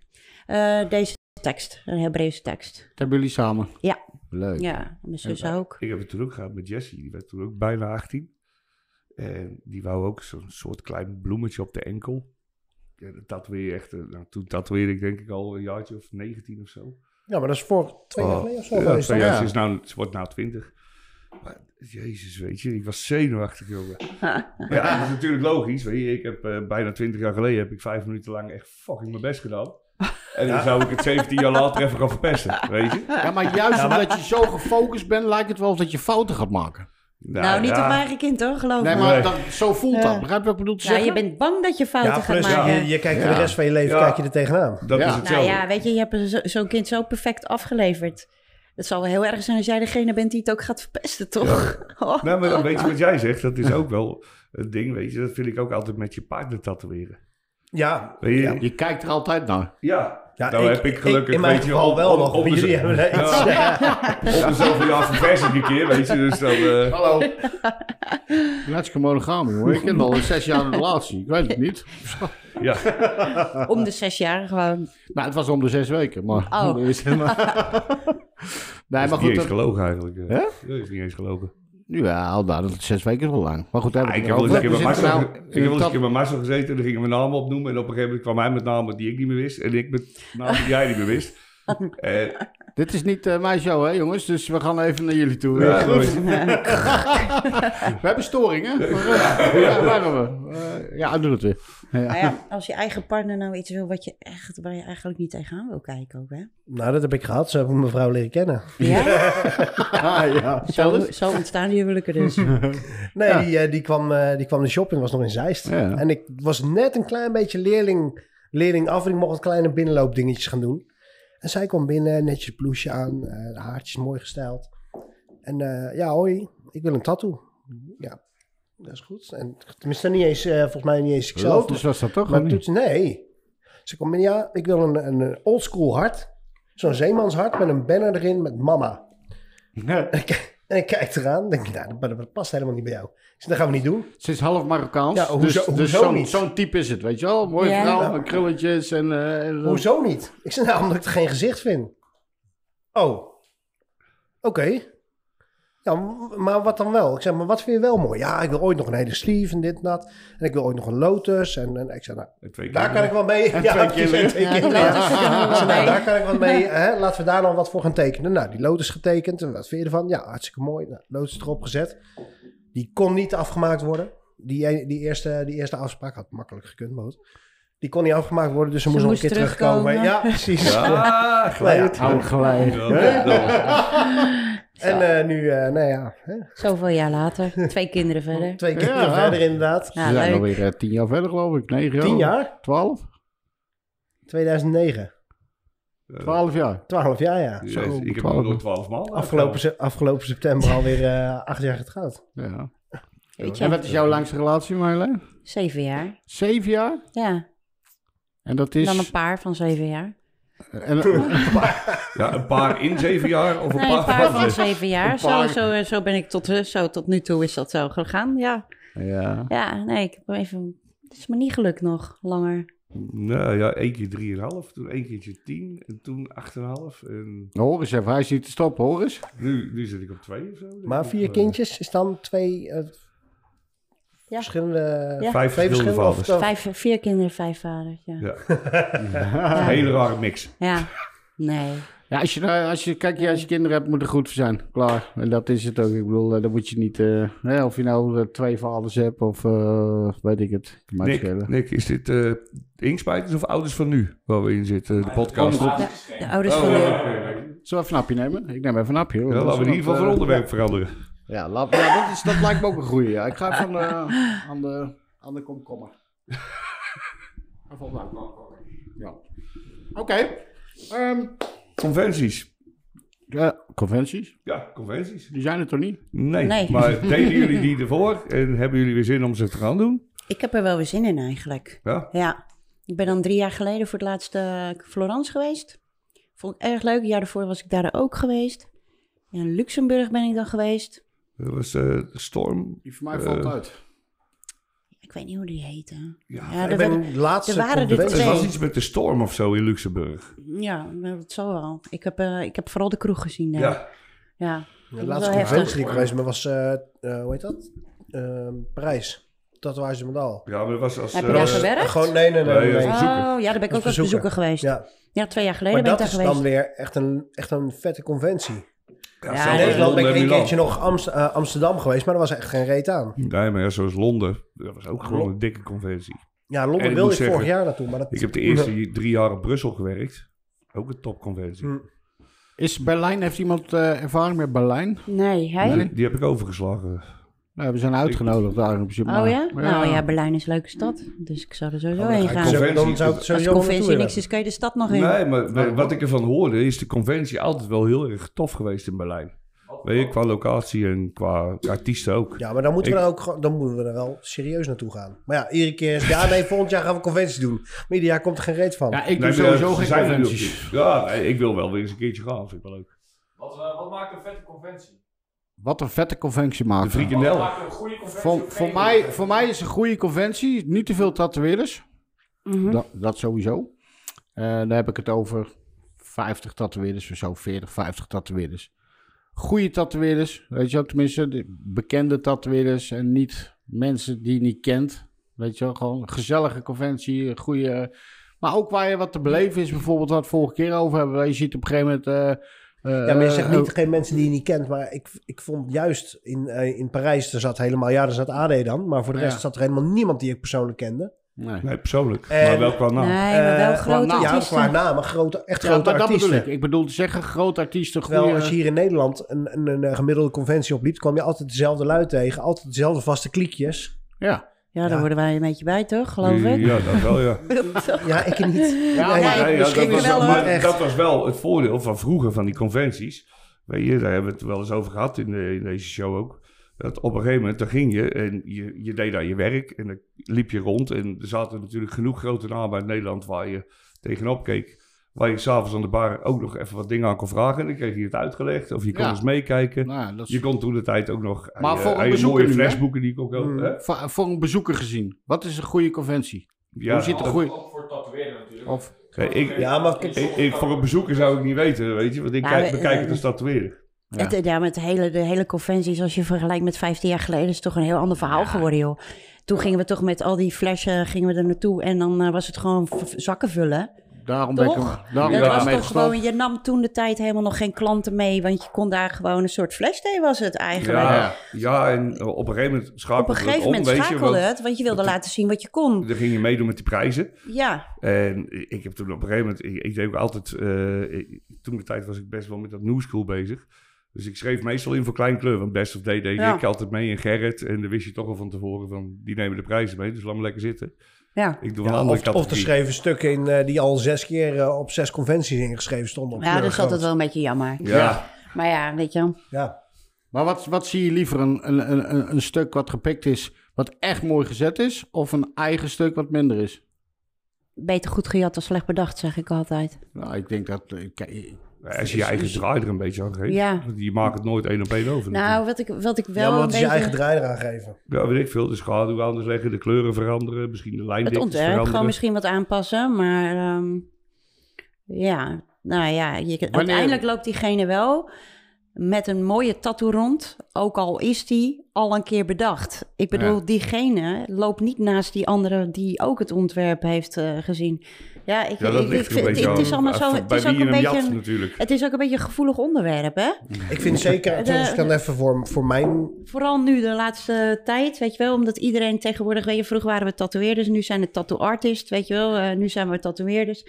[SPEAKER 3] eh, deze tekst, een Hebreeuwse tekst.
[SPEAKER 5] Dat hebben jullie samen?
[SPEAKER 3] Ja.
[SPEAKER 5] Leuk.
[SPEAKER 3] Ja, mijn zus
[SPEAKER 4] En-
[SPEAKER 3] ook.
[SPEAKER 4] Ik heb het toen ook gehad met Jessie. Die werd toen ook bijna 18. En die wou ook zo'n soort klein bloemetje op de enkel. Ja, dat tatoeëer echt, eh, nou, toen tatoeëerde ik denk ik al een jaartje of 19 of zo.
[SPEAKER 2] Ja, maar dat is voor twee jaar
[SPEAKER 4] Oh,
[SPEAKER 2] geleden of zo.
[SPEAKER 4] Ja,
[SPEAKER 2] geweest,
[SPEAKER 4] twee
[SPEAKER 2] toch?
[SPEAKER 4] jaar.
[SPEAKER 5] ja.
[SPEAKER 4] Ze, is nou, ze wordt nou 20. Maar, jezus, weet je, ik was zenuwachtig,
[SPEAKER 3] <laughs>
[SPEAKER 4] jongen. ja, dat is natuurlijk logisch. Weet je, ik heb eh, bijna 20 jaar geleden heb ik vijf minuten lang echt fucking mijn best gedaan. En dan zou ik het 17 jaar later even gaan verpesten, weet je?
[SPEAKER 5] Ja, maar juist omdat je zo gefocust bent, lijkt het wel of dat je fouten gaat maken.
[SPEAKER 3] nou, niet
[SPEAKER 4] ja.
[SPEAKER 3] op eigen kind hoor, geloof
[SPEAKER 5] Nee,
[SPEAKER 3] me.
[SPEAKER 5] maar
[SPEAKER 4] Nee.
[SPEAKER 5] dat, zo voelt dat.
[SPEAKER 3] Ja.
[SPEAKER 5] Begrijp je wat ik bedoel te
[SPEAKER 3] Nou, je
[SPEAKER 5] zeggen?
[SPEAKER 3] bent bang dat je fouten
[SPEAKER 2] Ja,
[SPEAKER 3] gaat
[SPEAKER 2] plus
[SPEAKER 3] maken.
[SPEAKER 2] je, je kijkt er de
[SPEAKER 5] Ja.
[SPEAKER 2] rest van je leven
[SPEAKER 4] Ja.
[SPEAKER 2] kijk je er tegenaan.
[SPEAKER 4] Dat
[SPEAKER 5] Ja.
[SPEAKER 4] is
[SPEAKER 5] Nou
[SPEAKER 3] Nou
[SPEAKER 4] hetzelfde.
[SPEAKER 3] ja, weet je, je hebt een zo- zo'n kind zo perfect afgeleverd. Het zal wel heel erg zijn als jij degene bent die het ook gaat verpesten, toch? <laughs> Oh.
[SPEAKER 4] Nou, maar dan weet je wat jij zegt? Dat is ook wel een ding, weet je? Dat vind ik ook altijd met je partner tatoeëren.
[SPEAKER 2] Ja,
[SPEAKER 4] Weet je? Ja.
[SPEAKER 5] Je kijkt er altijd naar.
[SPEAKER 2] ja
[SPEAKER 4] Nou heb ik gelukkig,
[SPEAKER 2] in mijn
[SPEAKER 4] weet je
[SPEAKER 2] geval
[SPEAKER 4] wel,
[SPEAKER 2] wel
[SPEAKER 4] op-
[SPEAKER 2] nog.
[SPEAKER 4] op
[SPEAKER 2] maar
[SPEAKER 4] de-
[SPEAKER 2] jullie hebben er iets.
[SPEAKER 4] Ja. Op dezelfde jaar vers ik een keer, weet je? Dus dan... eh,
[SPEAKER 5] Hallo. Let's monogam, jongen. Ik ken al zes jaar een relatie. Ik weet het niet.
[SPEAKER 4] ja.
[SPEAKER 3] Om de zes jaar gewoon.
[SPEAKER 5] Nou, het was om de zes weken, maar... <laughs>
[SPEAKER 3] Oh.
[SPEAKER 5] Nee,
[SPEAKER 4] <laughs>
[SPEAKER 5] maar
[SPEAKER 4] Dat is
[SPEAKER 5] goed,
[SPEAKER 4] niet eens
[SPEAKER 5] dat-
[SPEAKER 4] gelogen eigenlijk. eh.
[SPEAKER 5] Hè?
[SPEAKER 4] Dat is niet eens gelogen.
[SPEAKER 5] Ja, nou, dat is zes weken is wel lang. Maar goed, daar
[SPEAKER 4] Ah, ik
[SPEAKER 5] hebben
[SPEAKER 4] heb
[SPEAKER 5] we
[SPEAKER 4] wel
[SPEAKER 5] het
[SPEAKER 4] eens een keer bij
[SPEAKER 5] niet over. We
[SPEAKER 4] Marcel,
[SPEAKER 5] zitten nou
[SPEAKER 4] ge- ik heb wel eens een
[SPEAKER 5] dat-
[SPEAKER 4] keer bij Marcel gezeten. En dan gingen we namen opnoemen. En op een gegeven moment kwam hij met namen die ik niet meer wist. En ik met namen die jij niet meer
[SPEAKER 5] <laughs>
[SPEAKER 4] wist. En, eh,
[SPEAKER 5] Dit is niet eh, mijn show, hè, jongens? Dus we gaan even naar jullie toe.
[SPEAKER 4] ja,
[SPEAKER 5] Ja,
[SPEAKER 4] goed.
[SPEAKER 5] we hebben storing, hè? Maar, eh, ja, waar gaan we? Eh, ja, doe het weer.
[SPEAKER 2] <laughs>
[SPEAKER 3] Nou ja, als je eigen partner nou iets wil wat je echt, waar je eigenlijk niet tegenaan wil kijken ook, hè?
[SPEAKER 2] Nou, dat heb ik gehad. Zo heb ik mijn vrouw leren kennen.
[SPEAKER 3] Ja,
[SPEAKER 5] Ah, ja.
[SPEAKER 3] zo, zo ontstaan die huwelijken dus.
[SPEAKER 2] Nee,
[SPEAKER 5] Ja.
[SPEAKER 2] die, eh, die, kwam, eh, die kwam de shop in, was nog in Zeist.
[SPEAKER 5] Ja.
[SPEAKER 2] En ik was net een klein beetje leerling, leerling af en ik mocht wat kleine binnenloopdingetjes gaan doen. En zij kwam binnen, netjes blouseje aan, eh, de haartjes mooi gestyled. En eh, ja, hoi, ik wil een tattoo. Ja, dat is goed. En, tenminste, niet eens, eh, volgens mij niet eens ikzelf.
[SPEAKER 5] Lotus was dat toch?
[SPEAKER 2] Maar
[SPEAKER 5] of
[SPEAKER 2] toen
[SPEAKER 5] niet?
[SPEAKER 2] ze- nee. Ze kwam binnen, ja, ik wil een, een oldschool hart. Zo'n zeemanshart met een banner erin met mama. En ik, en ik kijk eraan, denk ik, nou, dat- dat, dat past helemaal niet bij jou. Ik zeg, dat gaan we niet doen.
[SPEAKER 5] Ze is half Marokkaans.
[SPEAKER 2] Ja, hoezo-
[SPEAKER 5] dus dus
[SPEAKER 2] hoezo
[SPEAKER 5] zo'n
[SPEAKER 2] niet?
[SPEAKER 5] zo'n type is het, weet je wel? Mooie
[SPEAKER 3] Ja.
[SPEAKER 5] vrouw, met krulletjes en... eh, en-
[SPEAKER 2] Hoezo niet? Ik zeg, nou, omdat ik er geen gezicht vind. Oh, oké. Ja, m- maar wat dan wel? Ik zeg, maar wat vind je wel mooi? Ja, ik wil ooit nog een hele sleeve en dit en dat. En ik wil ooit nog een lotus. En, en ik zeg, nou,
[SPEAKER 4] En twee
[SPEAKER 2] daar
[SPEAKER 4] keer.
[SPEAKER 2] kan ik wel mee. <laughs>
[SPEAKER 5] En twee
[SPEAKER 2] precies,
[SPEAKER 5] kinderen.
[SPEAKER 2] en twee
[SPEAKER 3] Ja, de
[SPEAKER 2] kinderen.
[SPEAKER 3] lotus kunnen we
[SPEAKER 2] Ik
[SPEAKER 3] wel
[SPEAKER 2] zeg, nou,
[SPEAKER 3] bij.
[SPEAKER 2] daar kan ik wat mee. Hè? Laten we daar dan wat voor gaan tekenen. Nou, die lotus getekend. En Wat vind je ervan? Ja, hartstikke mooi. Nou, lotus erop gezet. Die kon niet afgemaakt worden. Die, e- die, eerste, die eerste afspraak had makkelijk gekund, maar goed. Die kon niet afgemaakt worden, dus ze, moest nog een
[SPEAKER 3] moest
[SPEAKER 2] keer terugkomen.
[SPEAKER 3] terugkomen. <laughs>
[SPEAKER 2] Ja, precies. Nou
[SPEAKER 4] Ja, gelijk.
[SPEAKER 5] Oude gelijk.
[SPEAKER 4] Ja, dan.
[SPEAKER 2] En eh, nu, eh, nou ja, hè,
[SPEAKER 3] Zoveel jaar later, twee kinderen verder.
[SPEAKER 2] twee keer
[SPEAKER 5] Ja.
[SPEAKER 2] verder inderdaad.
[SPEAKER 5] Ze
[SPEAKER 3] Ja,
[SPEAKER 5] zijn
[SPEAKER 3] leuk.
[SPEAKER 5] alweer eh, tien jaar verder, geloof ik. Negen jaar.
[SPEAKER 2] Tien jaar?
[SPEAKER 5] Twaalf?
[SPEAKER 2] 2009.
[SPEAKER 5] Twaalf jaar.
[SPEAKER 2] 12 jaar, ja.
[SPEAKER 4] Jezus,
[SPEAKER 5] Zo,
[SPEAKER 4] ik heb
[SPEAKER 5] twaalf.
[SPEAKER 4] hem nog twaalf maal.
[SPEAKER 2] Afgelopen, se- afgelopen september alweer eh acht jaar getrouwd.
[SPEAKER 5] Ja.
[SPEAKER 3] Weet
[SPEAKER 5] En
[SPEAKER 3] je,
[SPEAKER 5] wat is jouw langste relatie, Marjolein?
[SPEAKER 3] zeven jaar.
[SPEAKER 5] Zeven jaar?
[SPEAKER 3] Ja,
[SPEAKER 5] En dat is...
[SPEAKER 3] dan een paar van zeven jaar.
[SPEAKER 5] en-
[SPEAKER 3] <laughs>
[SPEAKER 4] Ja, een paar in zeven jaar of een
[SPEAKER 3] Nee,
[SPEAKER 4] paar,
[SPEAKER 3] een paar van
[SPEAKER 4] van-
[SPEAKER 3] zeven jaar. Zo,
[SPEAKER 5] paar.
[SPEAKER 3] zo, eh, zo ben ik tot, zo, tot nu toe is dat zo gegaan, ja.
[SPEAKER 5] ja.
[SPEAKER 3] Ja, nee, ik heb hem even. Het is me niet gelukt nog langer.
[SPEAKER 4] Nou ja, één keer drieënhalf, toen één keertje tien en toen acht en een half. En
[SPEAKER 5] Nou, Hoor eens even, hij is niet te stoppen, hoor eens.
[SPEAKER 4] nu, nu zit ik op twee of zo. denk
[SPEAKER 2] Maar
[SPEAKER 4] ik.
[SPEAKER 2] vier
[SPEAKER 4] Eh,
[SPEAKER 2] kindjes is dan twee eh, verschillende...
[SPEAKER 3] Ja.
[SPEAKER 4] Vijf
[SPEAKER 2] Twee verschillende
[SPEAKER 4] verschillende vaders.
[SPEAKER 2] of-
[SPEAKER 3] Vijf, vier kinderen, vijf vaders. Ja.
[SPEAKER 4] Ja.
[SPEAKER 3] Ja.
[SPEAKER 4] Hele rare
[SPEAKER 2] <laughs>
[SPEAKER 4] mix.
[SPEAKER 3] Ja. Nee.
[SPEAKER 5] Ja, als je, nou- als je, kijk, ja, als je kinderen hebt, moet er goed voor zijn. Klaar. En dat is het ook. Ik bedoel, eh, dan moet je niet... eh, hè, of je nou eh, twee vaders hebt of eh, weet ik het. Kan mij niet
[SPEAKER 4] Nick,
[SPEAKER 5] schelen.
[SPEAKER 4] Nick, is dit eh Inkspijkers of Ouders van Nu, waar we in zitten, de podcast?
[SPEAKER 5] Oh,
[SPEAKER 8] Ja.
[SPEAKER 3] De ouders
[SPEAKER 4] Oh,
[SPEAKER 3] van
[SPEAKER 4] ja,
[SPEAKER 3] de.
[SPEAKER 4] oké.
[SPEAKER 5] Zullen we even een hapje nemen? Ik neem even een hapje. hoor.
[SPEAKER 4] Ja,
[SPEAKER 5] Dat
[SPEAKER 4] laten
[SPEAKER 5] is
[SPEAKER 4] we in ieder geval
[SPEAKER 5] wat,
[SPEAKER 4] van
[SPEAKER 5] eh,
[SPEAKER 4] onderwerp veranderen.
[SPEAKER 5] Ja, laat, ja, dat, is, dat lijkt me ook een goeie. Ja. Ik ga even aan de, aan de, aan de komkommer.
[SPEAKER 4] <laughs>
[SPEAKER 5] Even op de komkommer. Ja. Oké. ehm,
[SPEAKER 4] Conventies.
[SPEAKER 5] eh, conventies,
[SPEAKER 4] Ja, conventies.
[SPEAKER 5] die zijn er toch niet?
[SPEAKER 4] Nee,
[SPEAKER 3] Nee. <laughs>
[SPEAKER 4] maar deden jullie die ervoor en hebben jullie weer zin om ze te gaan doen?
[SPEAKER 3] Ik heb er wel weer zin in eigenlijk.
[SPEAKER 4] Ja,
[SPEAKER 3] Ja. Ik ben dan drie jaar geleden voor het laatst eh, Florence geweest. Vond ik erg leuk. Een jaar daarvoor was ik daar ook geweest. In Luxemburg ben ik dan geweest.
[SPEAKER 4] dat was eh, Storm.
[SPEAKER 5] Die voor mij valt
[SPEAKER 4] Eh,
[SPEAKER 5] uit.
[SPEAKER 3] Ik weet niet hoe die heette.
[SPEAKER 4] Ja,
[SPEAKER 3] Ja,
[SPEAKER 2] Ik
[SPEAKER 3] dat
[SPEAKER 2] ben
[SPEAKER 3] werd-
[SPEAKER 2] laatst...
[SPEAKER 3] er waren er
[SPEAKER 2] conventie-
[SPEAKER 4] Het was
[SPEAKER 3] twee.
[SPEAKER 4] iets met de storm of zo in Luxemburg.
[SPEAKER 3] ja dat zal wel. Ik heb, eh, ik heb vooral de kroeg gezien daar.
[SPEAKER 4] Ja.
[SPEAKER 3] ja.
[SPEAKER 2] De
[SPEAKER 3] Dat is
[SPEAKER 2] laatste
[SPEAKER 3] wel heftig.
[SPEAKER 2] conventie die ik geweest ben was, eh, eh, hoe heet dat? Ehm, Parijs. Tatoeage de Medal.
[SPEAKER 4] Ja, maar dat was als...
[SPEAKER 3] Heb je daar
[SPEAKER 4] eh,
[SPEAKER 3] gewerkt?
[SPEAKER 2] Gewoon, nee, nee, nee.
[SPEAKER 4] Nee,
[SPEAKER 2] nee.
[SPEAKER 4] ja. bezoeken.
[SPEAKER 3] Oh, ja, daar ben ik
[SPEAKER 2] Als
[SPEAKER 3] ook als
[SPEAKER 2] bezoeker.
[SPEAKER 3] bezoeker geweest. Ja,
[SPEAKER 2] Ja.
[SPEAKER 3] twee jaar geleden
[SPEAKER 2] Maar
[SPEAKER 3] ben ik
[SPEAKER 2] dat
[SPEAKER 3] daar
[SPEAKER 2] is
[SPEAKER 3] geweest.
[SPEAKER 2] dan weer echt een, echt een vette conventie.
[SPEAKER 3] Ja,
[SPEAKER 4] zelfs
[SPEAKER 2] In Nederland
[SPEAKER 3] dat-
[SPEAKER 2] ben ik
[SPEAKER 4] Londen,
[SPEAKER 2] een
[SPEAKER 4] Milaan.
[SPEAKER 2] keertje nog Amst- eh, Amsterdam geweest, maar er was echt geen reet aan.
[SPEAKER 4] Nee, maar ja, zoals Londen. Dat was ook gewoon een dikke conventie.
[SPEAKER 2] Ja,
[SPEAKER 4] En
[SPEAKER 2] Londen
[SPEAKER 4] ik
[SPEAKER 2] wilde ik
[SPEAKER 4] moet
[SPEAKER 2] vorig
[SPEAKER 4] zeggen,
[SPEAKER 2] jaar naartoe, maar dat...
[SPEAKER 4] Ik heb de eerste drie jaar in Brussel gewerkt. Ook een topconventie.
[SPEAKER 2] Hm.
[SPEAKER 5] Is Berlijn, heeft iemand eh, ervaring met Berlijn?
[SPEAKER 3] Nee, hij?
[SPEAKER 4] Die, die heb ik overgeslagen.
[SPEAKER 5] Nou, we zijn uitgenodigd daar in principe.
[SPEAKER 3] Oh
[SPEAKER 5] maar-
[SPEAKER 3] ja? Nou ja, Berlijn is een leuke stad. Dus ik zou er sowieso
[SPEAKER 2] Oh, dan
[SPEAKER 3] heen
[SPEAKER 2] ga ik
[SPEAKER 3] gaan.
[SPEAKER 2] zo-
[SPEAKER 4] Conventie.
[SPEAKER 2] Dan zou ik het
[SPEAKER 3] Als
[SPEAKER 2] sowieso
[SPEAKER 3] de conventie
[SPEAKER 2] naartoe
[SPEAKER 3] niks
[SPEAKER 2] willen.
[SPEAKER 3] is, kun je de stad nog in.
[SPEAKER 4] Nee, maar maar wat ik ervan hoorde is de conventie altijd wel heel erg tof geweest in Berlijn. Weet je, qua locatie en qua artiesten ook.
[SPEAKER 2] Ja, maar dan moeten, we
[SPEAKER 4] Ik-
[SPEAKER 2] dan, ook, gewoon- dan moeten we er wel serieus naartoe gaan. Maar ja, iedere keer is... Ja, nee, volgend jaar gaan we conventies doen. Maar ieder jaar komt er geen reet van.
[SPEAKER 5] Ja, ik doe
[SPEAKER 4] Nee, maar,
[SPEAKER 5] sowieso
[SPEAKER 4] eh,
[SPEAKER 5] geen
[SPEAKER 4] zijn er
[SPEAKER 5] conventies.
[SPEAKER 4] nog niet. Ja, nee, ik wil wel weer eens een keertje gaan. Vind ik wel leuk.
[SPEAKER 8] Wat, eh, wat maakt een vette conventie?
[SPEAKER 5] Wat een vette conventie
[SPEAKER 4] De
[SPEAKER 5] maken.
[SPEAKER 8] Wat
[SPEAKER 4] frikandel.
[SPEAKER 8] maakt een goede conventie?
[SPEAKER 5] Voor,
[SPEAKER 8] of
[SPEAKER 5] voor,
[SPEAKER 8] geen
[SPEAKER 5] mij,
[SPEAKER 8] conventie?
[SPEAKER 5] voor mij is een goede conventie. Niet te veel tatoeëerders.
[SPEAKER 3] Mhm.
[SPEAKER 5] Dat, dat sowieso. Eh dan heb ik het over 50 tatoeëerders of zo. 40, 50 tatoeëerders. Goede tatoeëerders. Weet je wel, tenminste de bekende tatoeëerders. En niet mensen die je niet kent. Weet je wel, gewoon een gezellige conventie. een Goede... Maar ook waar je wat te beleven is. Bijvoorbeeld wat we het vorige keer over hebben. Je ziet op een gegeven moment... eh, eh,
[SPEAKER 2] Ja, maar je zegt
[SPEAKER 5] eh,
[SPEAKER 2] niet geen mensen die je niet kent. Maar ik, ik vond juist in, eh, in Parijs, er zat helemaal... Ja, er zat AD dan. Maar voor de rest
[SPEAKER 5] Ja.
[SPEAKER 2] zat er helemaal niemand die ik persoonlijk kende.
[SPEAKER 5] nee.
[SPEAKER 4] Nee, persoonlijk.
[SPEAKER 2] En-
[SPEAKER 4] maar wel qua naam.
[SPEAKER 3] Nee, maar wel
[SPEAKER 2] Eh,
[SPEAKER 3] grote
[SPEAKER 5] nou,
[SPEAKER 2] Ja,
[SPEAKER 3] artiesten.
[SPEAKER 2] qua namen. Grote, echt
[SPEAKER 5] Ja,
[SPEAKER 2] grote
[SPEAKER 5] maar dat
[SPEAKER 2] artiesten.
[SPEAKER 5] bedoel ik. Ik bedoel te zeggen, grote artiesten,
[SPEAKER 2] Terwijl
[SPEAKER 5] goede...
[SPEAKER 2] als je hier in Nederland een, een, een, eh, gemiddelde conventie opliep... kwam je altijd dezelfde lui tegen. Altijd dezelfde vaste kliekjes.
[SPEAKER 5] Ja.
[SPEAKER 3] Ja, daar
[SPEAKER 2] Ja.
[SPEAKER 3] worden wij een beetje bij, toch? Geloof ik.
[SPEAKER 4] Ja, dat wel, ja.
[SPEAKER 2] Ja, ik niet.
[SPEAKER 5] Ja,
[SPEAKER 2] Nee,
[SPEAKER 5] maar-
[SPEAKER 4] Nee, ja,
[SPEAKER 3] misschien
[SPEAKER 4] dat, was,
[SPEAKER 3] wel, hoor.
[SPEAKER 4] maar
[SPEAKER 2] Echt.
[SPEAKER 4] dat was wel het voordeel van vroeger van die conventies. Weet je, daar hebben we het wel eens over gehad in, de- in deze show ook. Dat op een gegeven moment, dan ging je en je, je deed daar je werk en dan liep je rond. En er zaten natuurlijk genoeg grote namen uit Nederland waar je tegenop keek. Waar je s'avonds aan de bar ook nog even wat dingen aan kon vragen. En dan kreeg je het uitgelegd of je kon
[SPEAKER 5] Ja.
[SPEAKER 4] eens meekijken.
[SPEAKER 5] Nou, dat is
[SPEAKER 4] Je kon toen de tijd ook nog
[SPEAKER 5] Maar
[SPEAKER 4] aan je-
[SPEAKER 5] voor een
[SPEAKER 4] aan je
[SPEAKER 5] bezoeker
[SPEAKER 4] mooie
[SPEAKER 5] nu, hè?
[SPEAKER 4] flesboeken die ik ook
[SPEAKER 2] Mm.
[SPEAKER 4] hè?
[SPEAKER 5] Va- voor een bezoeker gezien. Wat is een goede conventie?
[SPEAKER 4] Ja,
[SPEAKER 5] Hoe zit de
[SPEAKER 4] dat-
[SPEAKER 5] goeie-
[SPEAKER 8] Ook voor tatoeëren natuurlijk.
[SPEAKER 5] Of,
[SPEAKER 4] Nee, Eh, ik-
[SPEAKER 2] Ja, maar kijk,
[SPEAKER 4] ik, ik- voor een bezoeker zou ik niet weten, weet je. Want ik
[SPEAKER 5] Nou,
[SPEAKER 3] Ja,
[SPEAKER 4] kijk,
[SPEAKER 3] we-
[SPEAKER 4] bekijk het
[SPEAKER 3] eh,
[SPEAKER 4] als tatoeëren.
[SPEAKER 5] Ja.
[SPEAKER 3] Het, ja, met de hele, de hele conventies, als je vergelijkt met 15 jaar geleden, is het toch een heel ander verhaal geworden, joh. Toen gingen we toch met al die flessen gingen we er naartoe en dan eh, was het gewoon v- zakken vullen.
[SPEAKER 5] daarom ben ik
[SPEAKER 3] Toch?
[SPEAKER 5] hem, daarom
[SPEAKER 3] dat
[SPEAKER 5] ben ik
[SPEAKER 3] was
[SPEAKER 5] ermee
[SPEAKER 3] toch
[SPEAKER 5] gestopt.
[SPEAKER 3] gewoon, je nam toen de tijd helemaal nog geen klanten mee, want je kon daar gewoon een soort flesthee was het eigenlijk.
[SPEAKER 4] Ja, ja, en eh, op een gegeven moment
[SPEAKER 3] Op
[SPEAKER 4] schakelde
[SPEAKER 3] een gegeven
[SPEAKER 4] het om,
[SPEAKER 3] moment
[SPEAKER 4] weet
[SPEAKER 3] schakelde
[SPEAKER 4] je.
[SPEAKER 3] het, want je wilde laten zien wat je kon.
[SPEAKER 4] Want dan ging je meedoen met die prijzen.
[SPEAKER 3] Ja,
[SPEAKER 4] En ik heb toen op een gegeven moment... Ik, ik deed ook altijd... eh, ik- toen de tijd was ik best wel met dat New School bezig. Dus ik schreef meestal in voor klein kleur. Want Best of Day deed
[SPEAKER 3] Ja.
[SPEAKER 4] ik altijd mee en Gerrit. En dan wist je toch al van tevoren van... Die nemen de prijzen mee, dus laat me lekker zitten.
[SPEAKER 3] ja.
[SPEAKER 4] Ik doe wel
[SPEAKER 2] Ja,
[SPEAKER 4] een andere
[SPEAKER 2] of, of er
[SPEAKER 4] categorie.
[SPEAKER 2] schreven stukken in eh, die al zes keer eh, op zes conventies ingeschreven stonden. Op
[SPEAKER 3] ja dat is
[SPEAKER 2] kleurgroot.
[SPEAKER 3] altijd wel een beetje jammer.
[SPEAKER 4] Ja,
[SPEAKER 3] Maar ja, weet je wel.
[SPEAKER 2] Ja.
[SPEAKER 5] Maar wat, wat zie je liever? Een, een, een, een- een stuk wat gepikt is, wat echt mooi gezet is? Of een eigen stuk wat minder is?
[SPEAKER 3] Beter goed gejat dan slecht bedacht, zeg ik altijd.
[SPEAKER 5] Nou, ik denk dat... eh, kijk,
[SPEAKER 4] als je je eigen draai er een beetje aan geeft.
[SPEAKER 3] Ja.
[SPEAKER 4] Want Je maakt het nooit één op één over. natuurlijk.
[SPEAKER 3] Nou, wat ik, wat ik wel
[SPEAKER 2] ja, maar
[SPEAKER 3] een
[SPEAKER 2] wat is je
[SPEAKER 3] beetje-
[SPEAKER 2] eigen draai eraan geven?
[SPEAKER 4] Ja, weet ik veel. De schaduw anders leggen, de kleuren veranderen. Misschien de
[SPEAKER 3] Het
[SPEAKER 4] lijndiktes
[SPEAKER 3] ontwerp gewoon
[SPEAKER 4] veranderen.
[SPEAKER 3] misschien wat aanpassen, maar ehm, ja, nou ja, je, uiteindelijk loopt diegene wel met een mooie tattoo rond, ook al is die al een keer bedacht. Ik bedoel, diegene loopt niet naast die andere die ook het ontwerp heeft eh, gezien. Ja, ik,
[SPEAKER 4] Ja, dat
[SPEAKER 3] ik, ik
[SPEAKER 4] ligt er een
[SPEAKER 3] vind-
[SPEAKER 4] beetje
[SPEAKER 3] het is
[SPEAKER 4] aan-
[SPEAKER 3] allemaal
[SPEAKER 4] aan
[SPEAKER 3] zo,
[SPEAKER 4] van
[SPEAKER 3] het
[SPEAKER 4] bij
[SPEAKER 3] is
[SPEAKER 4] wie
[SPEAKER 3] ook
[SPEAKER 4] je
[SPEAKER 3] een
[SPEAKER 4] hem
[SPEAKER 3] beetje
[SPEAKER 4] jat,
[SPEAKER 3] een, eh,
[SPEAKER 4] natuurlijk.
[SPEAKER 3] het is ook een beetje een gevoelig onderwerp, hè?
[SPEAKER 2] Ik vind zeker,
[SPEAKER 3] De-
[SPEAKER 2] als ik dan even voor, voor mijn...
[SPEAKER 3] Vooral nu de laatste tijd, weet je wel, omdat iedereen tegenwoordig, weet je, vroeger waren we tatoeëerders, nu zijn het tattoo artists, weet je wel, eh, nu zijn we tatoeëerders.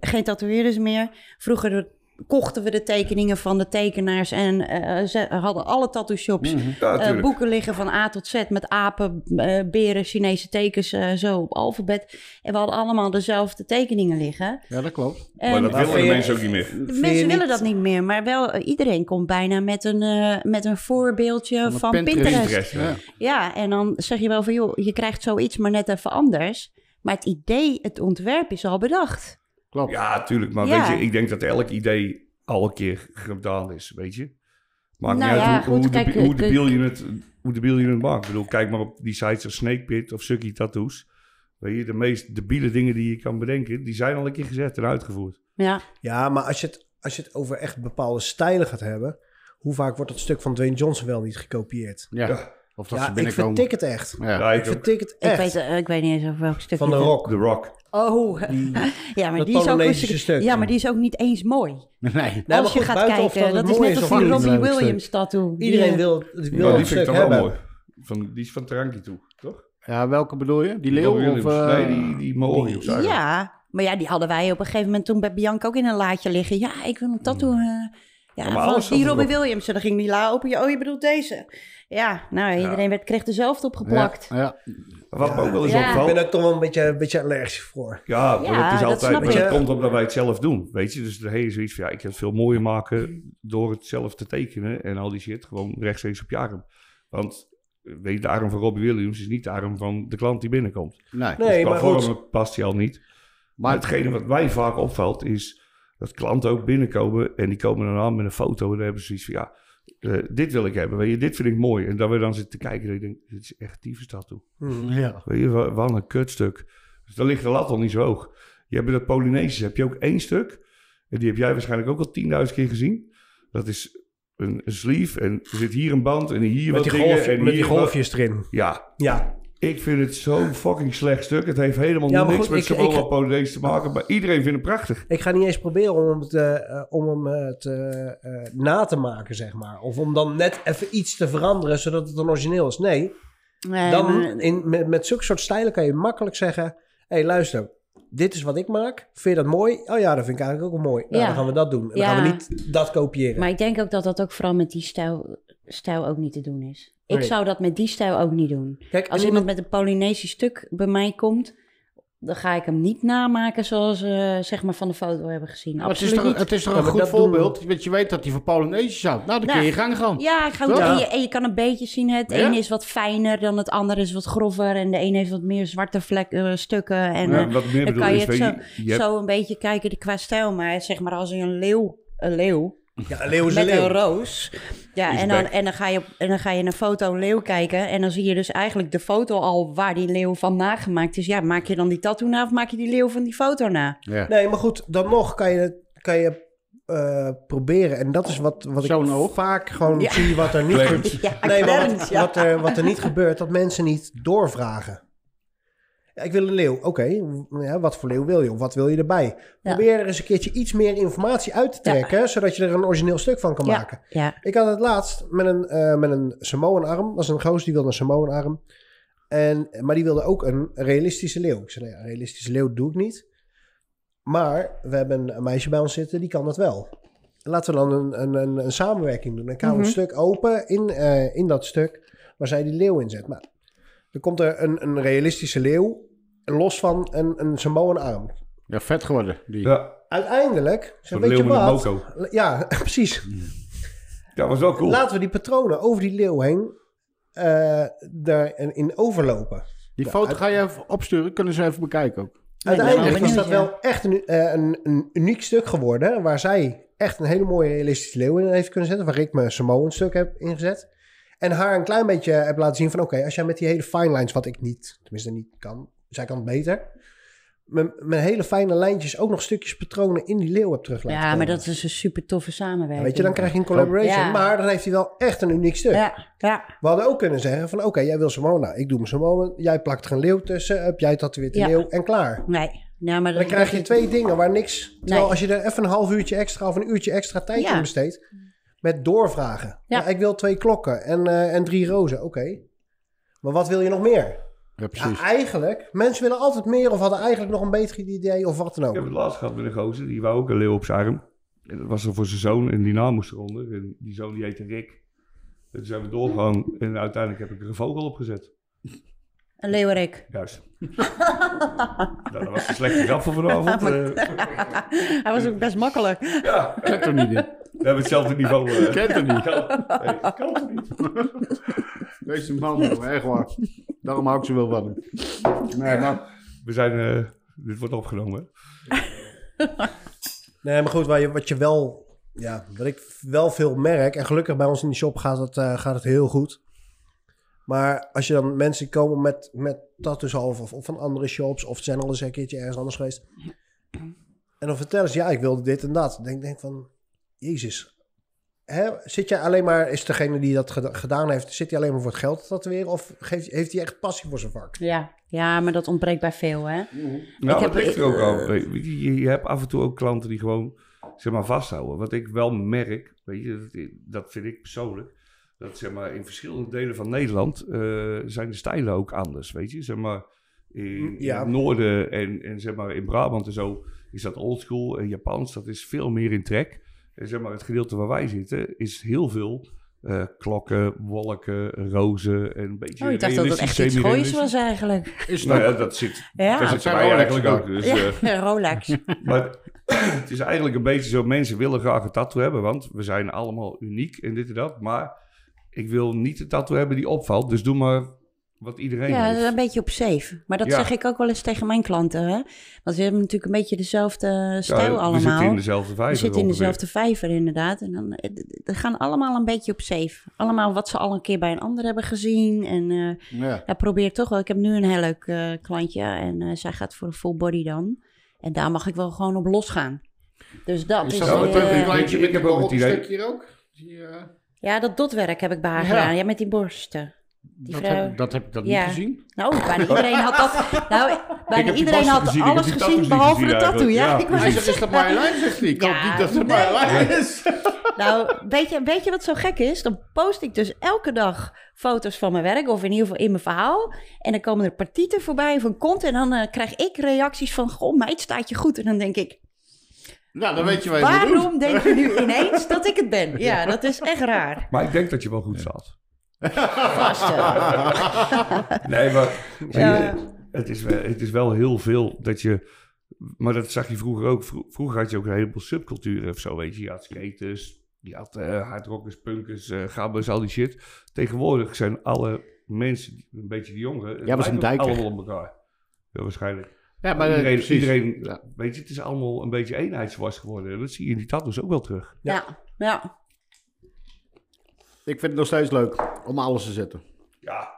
[SPEAKER 3] Geen tatoeëerders meer. Vroeger kochten we de tekeningen van de tekenaars en eh, ze hadden alle tattoo shops
[SPEAKER 4] Ja,
[SPEAKER 3] eh,
[SPEAKER 4] tuurlijk.
[SPEAKER 3] boeken liggen van A tot Z met apen, eh, beren, Chinese tekens, eh, zo op alfabet. En we hadden allemaal dezelfde tekeningen liggen.
[SPEAKER 5] ja, dat klopt.
[SPEAKER 4] Maar
[SPEAKER 3] En-
[SPEAKER 4] dat willen
[SPEAKER 2] vind
[SPEAKER 4] de
[SPEAKER 2] je-
[SPEAKER 4] mensen ook niet
[SPEAKER 3] <laughs>
[SPEAKER 4] meer.
[SPEAKER 3] eh, de
[SPEAKER 2] Vind je
[SPEAKER 3] mensen willen
[SPEAKER 2] niet-
[SPEAKER 3] dat niet meer, maar wel eh, iedereen komt bijna met een, eh, met een voorbeeldje van,
[SPEAKER 5] Van
[SPEAKER 3] Pinterest.
[SPEAKER 4] Pinterest, ja.
[SPEAKER 5] Ja.
[SPEAKER 3] Ja, en dan zeg je wel van joh, je krijgt zoiets maar net even anders. Maar het idee, het ontwerp is al bedacht.
[SPEAKER 5] Klopt.
[SPEAKER 4] Ja, tuurlijk. Maar
[SPEAKER 3] Ja.
[SPEAKER 4] weet je, ik denk dat elk idee al een keer gedaan is, weet je. Maakt
[SPEAKER 3] Nou
[SPEAKER 4] niet
[SPEAKER 3] ja,
[SPEAKER 4] uit hoe, hoe,
[SPEAKER 3] goed,
[SPEAKER 4] de,
[SPEAKER 3] kijk,
[SPEAKER 4] hoe de
[SPEAKER 3] eh,
[SPEAKER 4] beeld je het, hoe de beeld je het maakt. Ik bedoel, kijk maar op die sites als Snake Pit of Sucky Tattoos. Weet je, de meest debiele dingen die je kan bedenken, die zijn al een keer gezet en uitgevoerd.
[SPEAKER 3] Ja,
[SPEAKER 2] Ja, maar als je, het, als je het over echt bepaalde stijlen gaat hebben... hoe vaak wordt dat stuk van Dwayne Johnson wel niet gekopieerd?
[SPEAKER 5] Ja. Of dat ze
[SPEAKER 2] ja, ik
[SPEAKER 5] binnenkomen.
[SPEAKER 2] vertik het echt.
[SPEAKER 5] Ja.
[SPEAKER 4] Ja,
[SPEAKER 2] Ik
[SPEAKER 4] ik ook.
[SPEAKER 2] vertik het
[SPEAKER 3] ik
[SPEAKER 2] echt.
[SPEAKER 3] weet, eh, ik weet niet eens over welk stuk.
[SPEAKER 2] van
[SPEAKER 3] je
[SPEAKER 2] de
[SPEAKER 3] het
[SPEAKER 2] rock.
[SPEAKER 4] The Rock.
[SPEAKER 3] hebt. Oh, <laughs> ja, maar
[SPEAKER 2] dat
[SPEAKER 3] die is ook
[SPEAKER 2] Polonesische
[SPEAKER 3] een
[SPEAKER 2] stuk.
[SPEAKER 3] Ja, maar die is ook niet eens mooi.
[SPEAKER 5] <laughs> Nee.
[SPEAKER 2] maar
[SPEAKER 3] Als je
[SPEAKER 2] goed,
[SPEAKER 3] gaat
[SPEAKER 2] buiten of
[SPEAKER 3] kijken,
[SPEAKER 2] dat
[SPEAKER 3] dat,
[SPEAKER 2] het
[SPEAKER 3] is
[SPEAKER 2] mooi
[SPEAKER 3] net
[SPEAKER 2] is
[SPEAKER 3] als
[SPEAKER 2] of
[SPEAKER 3] die
[SPEAKER 2] niet,
[SPEAKER 3] Robbie
[SPEAKER 5] leuk stuk.
[SPEAKER 3] Williams tattoo.
[SPEAKER 2] Iedereen
[SPEAKER 3] Die, eh,
[SPEAKER 2] wil, wil
[SPEAKER 4] Ja,
[SPEAKER 2] dat
[SPEAKER 4] die vind
[SPEAKER 2] stuk
[SPEAKER 4] ik dan wel
[SPEAKER 2] hebben.
[SPEAKER 4] mooi. Van, die is van Taranki toe, toch?
[SPEAKER 5] Eh, Ja, welke bedoel je? Die leeuw?
[SPEAKER 4] Williams.
[SPEAKER 5] Of, eh,
[SPEAKER 4] nee, die, die Maori of zo. eigenlijk.
[SPEAKER 3] Ja, maar ja, die hadden wij op een gegeven moment toen bij Bianca ook in een laadje liggen. Ja, ik wil een tattoo. eh, ja,
[SPEAKER 4] maar
[SPEAKER 3] van
[SPEAKER 4] alles
[SPEAKER 3] die
[SPEAKER 4] zat
[SPEAKER 3] Robbie
[SPEAKER 4] erop.
[SPEAKER 3] Williams. En dan ging die la open. Ja, Oh, je bedoelt deze. Ja, nou, iedereen werd, kreeg dezelfde opgeplakt.
[SPEAKER 5] Ja, ja.
[SPEAKER 4] Wat me ook wel eens
[SPEAKER 3] Ja.
[SPEAKER 4] opvalt.
[SPEAKER 2] Ik ben ook toch wel een beetje, een beetje allergisch voor.
[SPEAKER 4] Ja, maar
[SPEAKER 3] Ja,
[SPEAKER 4] dat is
[SPEAKER 3] dat
[SPEAKER 4] altijd.
[SPEAKER 3] snap
[SPEAKER 4] maar
[SPEAKER 2] ik.
[SPEAKER 4] dat komt omdat wij het zelf doen. Weet je, dus de hele zoiets van ja, ik kan het veel mooier maken door het zelf te tekenen en al die shit gewoon rechtstreeks op je arm. Want eh, weet je, de arm van Robbie Williams is niet de arm van de klant die binnenkomt.
[SPEAKER 5] Nee.
[SPEAKER 2] Nee,
[SPEAKER 4] dus qua
[SPEAKER 2] maar goed.
[SPEAKER 4] vormen past hij al niet. Maar
[SPEAKER 5] Maar
[SPEAKER 4] hetgene wat mij vaak opvalt is dat klanten ook binnenkomen en die komen dan aan met een foto en dan hebben ze zoiets van ja, eh, dit wil ik hebben, weet je, dit vind ik mooi. En dan we dan zitten te kijken en ik denk, dit is echt tyfus tattoo.
[SPEAKER 2] Hmm.
[SPEAKER 5] ja.
[SPEAKER 4] Weet je, wa- wat een kutstuk. Dus dan ligt de lat al niet zo hoog. Je hebt bij dat Polynesisch heb je ook één stuk. En die heb jij waarschijnlijk ook al 10.000 keer gezien. Dat is een, een sleeve en er zit hier een band en hier
[SPEAKER 2] Met
[SPEAKER 4] wat
[SPEAKER 2] die,
[SPEAKER 4] dingen.
[SPEAKER 2] golf,
[SPEAKER 4] en
[SPEAKER 2] met die
[SPEAKER 4] hier wat-
[SPEAKER 2] golfjes erin.
[SPEAKER 4] Ja,
[SPEAKER 2] Ja.
[SPEAKER 4] ik vind het zo'n fucking slecht stuk. Het heeft helemaal
[SPEAKER 2] Ja, maar
[SPEAKER 4] niks
[SPEAKER 2] goed,
[SPEAKER 4] met
[SPEAKER 2] ik-
[SPEAKER 4] Samoa
[SPEAKER 2] ik-
[SPEAKER 4] Polynesisch te maken. Maar iedereen vindt het prachtig.
[SPEAKER 2] Ik ga niet eens proberen om hem, te, eh, om hem eh, te, eh, na te maken, zeg maar. Of om dan net even iets te veranderen, zodat het een origineel is. Nee,
[SPEAKER 3] Nee, maar-
[SPEAKER 2] dan in, met, met zulke soort stijlen kan je makkelijk zeggen... Hé, hey, luister, dit is wat ik maak. Vind je dat mooi? Oh ja, dat vind ik eigenlijk ook wel mooi. Nou,
[SPEAKER 3] Ja.
[SPEAKER 2] dan gaan we dat doen. En dan
[SPEAKER 3] Ja.
[SPEAKER 2] gaan we niet dat kopiëren.
[SPEAKER 3] Maar ik denk ook dat dat ook vooral met die stijl, stijl ook niet te doen is. Ik
[SPEAKER 2] Nee.
[SPEAKER 3] zou dat met die stijl ook niet doen.
[SPEAKER 2] Kijk,
[SPEAKER 3] Als
[SPEAKER 2] en
[SPEAKER 3] iemand met een Polynesisch stuk bij mij komt, dan ga ik hem niet namaken zoals eh zeg maar van de foto hebben gezien.
[SPEAKER 5] Maar het, is
[SPEAKER 3] Nou, Absoluut
[SPEAKER 5] toch,
[SPEAKER 3] niet.
[SPEAKER 5] het is toch
[SPEAKER 2] Ja,
[SPEAKER 5] een
[SPEAKER 2] maar
[SPEAKER 5] goed
[SPEAKER 2] dat doen we.
[SPEAKER 5] voorbeeld? Want je weet dat die van Polynesisch houdt. Nou, dan
[SPEAKER 3] Nou,
[SPEAKER 5] kun je gang gaan.
[SPEAKER 3] Ja, ik ga
[SPEAKER 5] Toch?
[SPEAKER 3] en, je, en je kan een beetje zien. Het
[SPEAKER 5] Ja?
[SPEAKER 3] een is wat fijner dan het ander is wat grover. En de een heeft wat meer zwarte vlek, eh, stukken. En
[SPEAKER 4] Maar
[SPEAKER 3] eh,
[SPEAKER 4] wat ik meer
[SPEAKER 3] dan
[SPEAKER 4] bedoel
[SPEAKER 3] kan je
[SPEAKER 4] is,
[SPEAKER 3] het
[SPEAKER 4] weet
[SPEAKER 3] zo,
[SPEAKER 4] je, je hebt-
[SPEAKER 3] zo een beetje kijken qua stijl. Maar zeg maar als je een leeuw, een leeuw
[SPEAKER 2] Ja, een leeuw is een
[SPEAKER 3] met een
[SPEAKER 2] leeuw.
[SPEAKER 3] roos. Ja,
[SPEAKER 4] Is
[SPEAKER 3] en dan,
[SPEAKER 4] back.
[SPEAKER 3] en, dan ga je, op- en dan ga je in een foto een leeuw kijken. En dan zie je dus eigenlijk de foto al waar die leeuw van nagemaakt is. Ja, maak je dan die tattoo na of maak je die leeuw van die foto na?
[SPEAKER 5] Ja.
[SPEAKER 2] Nee, maar goed, dan nog kan je, kan je eh, proberen. En dat is wat, wat ik
[SPEAKER 5] Zo'n oog.
[SPEAKER 2] vaak gewoon
[SPEAKER 3] Ja.
[SPEAKER 2] zie wat er niet
[SPEAKER 4] Claims.
[SPEAKER 2] gebeurt.
[SPEAKER 3] Ja,
[SPEAKER 2] Nee, maar
[SPEAKER 3] Clarence,
[SPEAKER 2] wat,
[SPEAKER 3] ja.
[SPEAKER 2] wat, er, wat er niet gebeurt, dat mensen niet doorvragen. Ja, ik wil een leeuw. Oké, w- ja, wat voor leeuw wil je? Of wat wil je erbij? Probeer er eens een keertje iets meer informatie uit te
[SPEAKER 3] Ja.
[SPEAKER 2] trekken, zodat je er een origineel stuk van kan
[SPEAKER 3] Ja,
[SPEAKER 2] maken.
[SPEAKER 3] ja.
[SPEAKER 2] Ik had het laatst met een, eh met een Samoan-arm. Dat was een goos die wilde een Samoan-arm. En, maar die wilde ook een realistische leeuw. Ik zei, nou ja, een realistische leeuw doe ik niet. Maar we hebben een meisje bij ons zitten, die kan dat wel. Laten we dan een, een, een, een samenwerking doen. Dan gaan we een stuk open in, eh, in dat stuk waar zij die leeuw in zet. Nou, dan komt er een, een realistische leeuw, los van een, een Samoan-arm.
[SPEAKER 5] Ja, vet geworden. Die.
[SPEAKER 4] Ja,
[SPEAKER 2] Uiteindelijk, ik zeg,
[SPEAKER 4] zo'n
[SPEAKER 2] weet
[SPEAKER 4] leeuw
[SPEAKER 2] je
[SPEAKER 4] met een
[SPEAKER 2] wat?
[SPEAKER 4] moco.
[SPEAKER 2] Ja, <laughs> precies.
[SPEAKER 4] Dat was wel cool.
[SPEAKER 2] Laten we die patronen over die leeuw heen eh daarin overlopen.
[SPEAKER 5] Die foto ga je even opsturen. Kunnen ze even bekijken ook.
[SPEAKER 2] Uiteindelijk
[SPEAKER 3] ben ik
[SPEAKER 2] is dat
[SPEAKER 3] benieuwd,
[SPEAKER 2] wel echt een, eh, een, een uniek stuk geworden. Waar zij echt een hele mooie realistische leeuw in heeft kunnen zetten. Waar ik mijn Samoan stuk heb ingezet. En haar een klein beetje heb laten zien van... Oké, als jij met die hele fine lines, wat ik niet... Tenminste niet kan. Zij kan het beter. Met, met hele fijne lijntjes ook nog stukjes patronen in die leeuw heb terug laten
[SPEAKER 3] Ja, maar
[SPEAKER 2] komen.
[SPEAKER 3] dat is een super toffe samenwerking.
[SPEAKER 2] eh, Weet je, dan krijg je een collaboration.
[SPEAKER 3] Ja.
[SPEAKER 2] Maar dan heeft hij wel echt een uniek stuk.
[SPEAKER 3] Ja, ja.
[SPEAKER 2] We hadden ook kunnen zeggen van... Oké, jij wil Samoan. Nou, ik doe mijn Samoan. Jij plakt er een leeuw tussen. Heb jij tatoeëert de
[SPEAKER 3] Ja.
[SPEAKER 2] leeuw. En klaar.
[SPEAKER 3] Nee. Nou, maar dat,
[SPEAKER 2] Dan krijg je
[SPEAKER 3] dat-
[SPEAKER 2] twee dingen waar niks. Terwijl
[SPEAKER 3] Nee.
[SPEAKER 2] als je er even een half uurtje extra of een uurtje extra tijd
[SPEAKER 3] Ja.
[SPEAKER 2] in besteedt. Met doorvragen.
[SPEAKER 3] Ja.
[SPEAKER 2] Ja. ik wil twee klokken en, eh, en drie rozen. Oké. Maar wat wil je nog meer?
[SPEAKER 5] Ja,
[SPEAKER 2] Ja,
[SPEAKER 5] precies.
[SPEAKER 2] eigenlijk, mensen willen altijd meer of hadden eigenlijk nog een beter idee of wat dan
[SPEAKER 4] Ik heb
[SPEAKER 2] ook.
[SPEAKER 4] het laatst gehad met een gozer, die wou ook een leeuw op zijn arm. En dat was dan voor zijn zoon en die naam moest eronder. En die zoon die heette Rick. En toen zijn we doorgegaan en uiteindelijk heb ik er een vogel op gezet.
[SPEAKER 3] Een leeuwerik.
[SPEAKER 4] Juist. nou, dat was een slechte grap voor vanavond. Eh,
[SPEAKER 3] Hij was ook best makkelijk.
[SPEAKER 4] ja,
[SPEAKER 5] Kijk toch niet in.
[SPEAKER 4] we hebben hetzelfde
[SPEAKER 5] <laughs>
[SPEAKER 4] niveau. eh.
[SPEAKER 5] Kent er niet.
[SPEAKER 4] kan, nee, kan toch niet?
[SPEAKER 5] Deze man, joh, echt waar. Daarom hou ik zo wel van hem. Nee, maar...
[SPEAKER 4] We zijn, eh, dit wordt opgenomen. hè?
[SPEAKER 2] Nee, maar goed, waar je, wat je wel. Ja, wat ik wel veel merk. En gelukkig bij ons in de shop gaat het, eh, gaat het heel goed. Maar als je dan mensen komen met, met tattoos half of, of van andere shops. Of ze zijn al eens een keertje ergens anders geweest. En dan vertellen ze, ja, ik wilde dit en dat. Dan denk ik van, jezus. Hè? Zit jij alleen maar, is degene die dat geda- gedaan heeft, zit hij alleen maar voor het geld te tatoeëren? Of geeft, heeft hij echt passie voor zijn vak?
[SPEAKER 3] Ja. ja, maar dat ontbreekt bij veel, hè?
[SPEAKER 4] Nou,
[SPEAKER 3] Ik
[SPEAKER 4] dat
[SPEAKER 3] heb-
[SPEAKER 4] ligt er ook aan. Weet Je, je- je hebt af en toe ook klanten die gewoon zeg maar, vasthouden. Wat ik wel merk, weet je, dat, dat vind ik persoonlijk. Dat zeg maar, in verschillende delen van Nederland eh, zijn de stijlen ook anders, weet je. Zeg maar, in, in
[SPEAKER 2] Ja.
[SPEAKER 4] het noorden en, en zeg maar in Brabant en zo is dat oldschool. En Japans, dat is veel meer in trek. En zeg maar, het gedeelte waar wij zitten is heel veel eh, klokken, wolken, rozen en een beetje
[SPEAKER 3] Oh, ik dacht dat dat
[SPEAKER 4] realistisch,
[SPEAKER 3] echt iets goois
[SPEAKER 4] semi-realistisch.
[SPEAKER 3] was eigenlijk.
[SPEAKER 5] Is
[SPEAKER 4] Nou
[SPEAKER 5] dat-
[SPEAKER 4] ja, dat zit,
[SPEAKER 3] Ja.
[SPEAKER 4] daar
[SPEAKER 5] Dat
[SPEAKER 4] zitten
[SPEAKER 5] zijn
[SPEAKER 4] wij
[SPEAKER 5] Rolex
[SPEAKER 4] eigenlijk
[SPEAKER 5] ook.
[SPEAKER 4] ook. Dus, eh,
[SPEAKER 3] <laughs> Ja, Rolex.
[SPEAKER 4] <laughs> maar <clears throat> het is eigenlijk een beetje zo, mensen willen graag een tattoo hebben, want we zijn allemaal uniek en dit en dat. Maar ik wil niet een tattoo hebben die opvalt, dus doe maar wat iedereen
[SPEAKER 3] Ja, dat is
[SPEAKER 4] heeft.
[SPEAKER 3] een beetje op safe. Maar dat
[SPEAKER 4] Ja.
[SPEAKER 3] zeg ik ook wel eens tegen mijn klanten. Hè? Want we hebben natuurlijk een beetje dezelfde stijl
[SPEAKER 4] Ja, We
[SPEAKER 3] allemaal.
[SPEAKER 4] zitten in dezelfde vijver
[SPEAKER 3] We zitten in
[SPEAKER 4] ongeveer.
[SPEAKER 3] dezelfde vijver inderdaad. En dan eh, d- d- gaan allemaal een beetje op safe. Allemaal wat ze al een keer bij een ander hebben gezien. En eh,
[SPEAKER 5] Ja.
[SPEAKER 3] Ja, probeer toch wel. Ik heb nu een heel leuk eh, klantje en eh, zij gaat voor een full body dan. En daar mag ik wel gewoon op losgaan. Dus dat is...
[SPEAKER 5] Is dat
[SPEAKER 4] Ja,
[SPEAKER 5] ook
[SPEAKER 4] maar
[SPEAKER 5] een
[SPEAKER 4] toch,
[SPEAKER 3] eh,
[SPEAKER 4] ik
[SPEAKER 5] kleintje
[SPEAKER 4] weet je,
[SPEAKER 5] met
[SPEAKER 4] ik
[SPEAKER 5] een
[SPEAKER 4] heb ook het idee-
[SPEAKER 5] borrelstukje hier ook? Die, eh,
[SPEAKER 3] ja, dat dotwerk heb ik bij haar
[SPEAKER 5] Ja.
[SPEAKER 3] gedaan. Ja, met die borsten. Die
[SPEAKER 5] dat,
[SPEAKER 3] vrouw.
[SPEAKER 5] heb, dat heb ik dat
[SPEAKER 3] Ja.
[SPEAKER 5] niet gezien.
[SPEAKER 3] Nou, bijna iedereen had dat... Nou,
[SPEAKER 4] heb
[SPEAKER 3] bijna
[SPEAKER 4] die
[SPEAKER 3] iedereen
[SPEAKER 4] borsten
[SPEAKER 3] had
[SPEAKER 4] gezien, ik heb
[SPEAKER 3] alles
[SPEAKER 4] die
[SPEAKER 3] gezien,
[SPEAKER 4] tattoos niet
[SPEAKER 3] behalve
[SPEAKER 4] gezien
[SPEAKER 3] de tattoo.
[SPEAKER 4] eigenlijk.
[SPEAKER 3] Ja,
[SPEAKER 4] Ja,
[SPEAKER 3] ik
[SPEAKER 5] <laughs>
[SPEAKER 3] was
[SPEAKER 5] Hij
[SPEAKER 3] het
[SPEAKER 5] zegt, is dat Marjolein? Zegt hij. Ik
[SPEAKER 3] Ja,
[SPEAKER 5] hoop niet dat het
[SPEAKER 3] nee.
[SPEAKER 5] Marjolein is.
[SPEAKER 3] Nou, weet je, weet je wat zo gek is? Dan post ik dus elke dag foto's van mijn werk, of in ieder geval in mijn verhaal. En dan komen er partieten voorbij van kont. En dan eh, krijg ik reacties van: Goh, meid, staat je goed? En dan denk ik:
[SPEAKER 5] Nou, dan weet je wat je moet doen.
[SPEAKER 3] Waarom denk je nu ineens dat ik het
[SPEAKER 5] <laughs>
[SPEAKER 3] ben? Ja, dat is echt raar.
[SPEAKER 4] Maar ik denk dat je wel goed zat.
[SPEAKER 3] Vast, eh.
[SPEAKER 5] <laughs>
[SPEAKER 4] Nee, maar zie je,
[SPEAKER 3] Ja.
[SPEAKER 4] het, is wel, het is wel heel veel dat je... Maar dat zag je vroeger ook. Vro- Vroeger had je ook een heleboel subculturen of zo, weet je. Je had skaters, je had eh hardrockers, punkers, eh, gabbers, al die shit. Tegenwoordig zijn alle mensen, die- een beetje de jongeren... het
[SPEAKER 5] Ja, we zijn
[SPEAKER 4] lijkt ook
[SPEAKER 5] dijker.
[SPEAKER 4] allemaal op elkaar. Ja, waarschijnlijk.
[SPEAKER 5] <laughs> Ja, maar eh,
[SPEAKER 4] iedereen,
[SPEAKER 5] precies.
[SPEAKER 4] iedereen
[SPEAKER 5] Ja.
[SPEAKER 4] weet je, het is allemaal een beetje eenheidswas geworden. En dat zie je in die tattoos ook wel terug.
[SPEAKER 3] Ja, ja.
[SPEAKER 5] Ik vind het nog steeds leuk om alles te zetten.
[SPEAKER 4] Ja.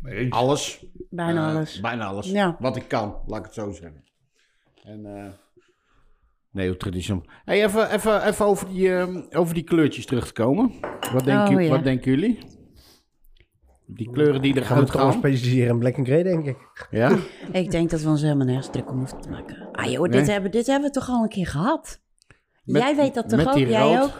[SPEAKER 4] Maar eens.
[SPEAKER 5] Alles.
[SPEAKER 3] bijna
[SPEAKER 5] Eh,
[SPEAKER 3] alles.
[SPEAKER 5] Bijna alles.
[SPEAKER 3] Ja.
[SPEAKER 5] Wat ik kan, laat ik het zo zeggen. En, eh, nee, heel traditioneel. Hey, even, even, even over, die, ehm, over die kleurtjes terug te komen. Wat, denk
[SPEAKER 3] Oh,
[SPEAKER 5] u-
[SPEAKER 3] ja.
[SPEAKER 5] wat denken jullie? Die kleuren die
[SPEAKER 2] Gaan we
[SPEAKER 5] eruit
[SPEAKER 2] het gewoon
[SPEAKER 5] gaan.
[SPEAKER 2] specialiseren in black and grey, denk ik.
[SPEAKER 5] Ja?
[SPEAKER 3] Ik denk dat we ons helemaal nergens druk om hoeven te maken. Ah joh, dit,
[SPEAKER 5] Nee.
[SPEAKER 3] hebben, dit hebben we toch al een keer gehad?
[SPEAKER 5] Met-
[SPEAKER 3] jij weet <laughs> dat toch
[SPEAKER 5] met
[SPEAKER 3] ook?
[SPEAKER 5] die
[SPEAKER 3] Jij
[SPEAKER 5] rood.
[SPEAKER 3] ook?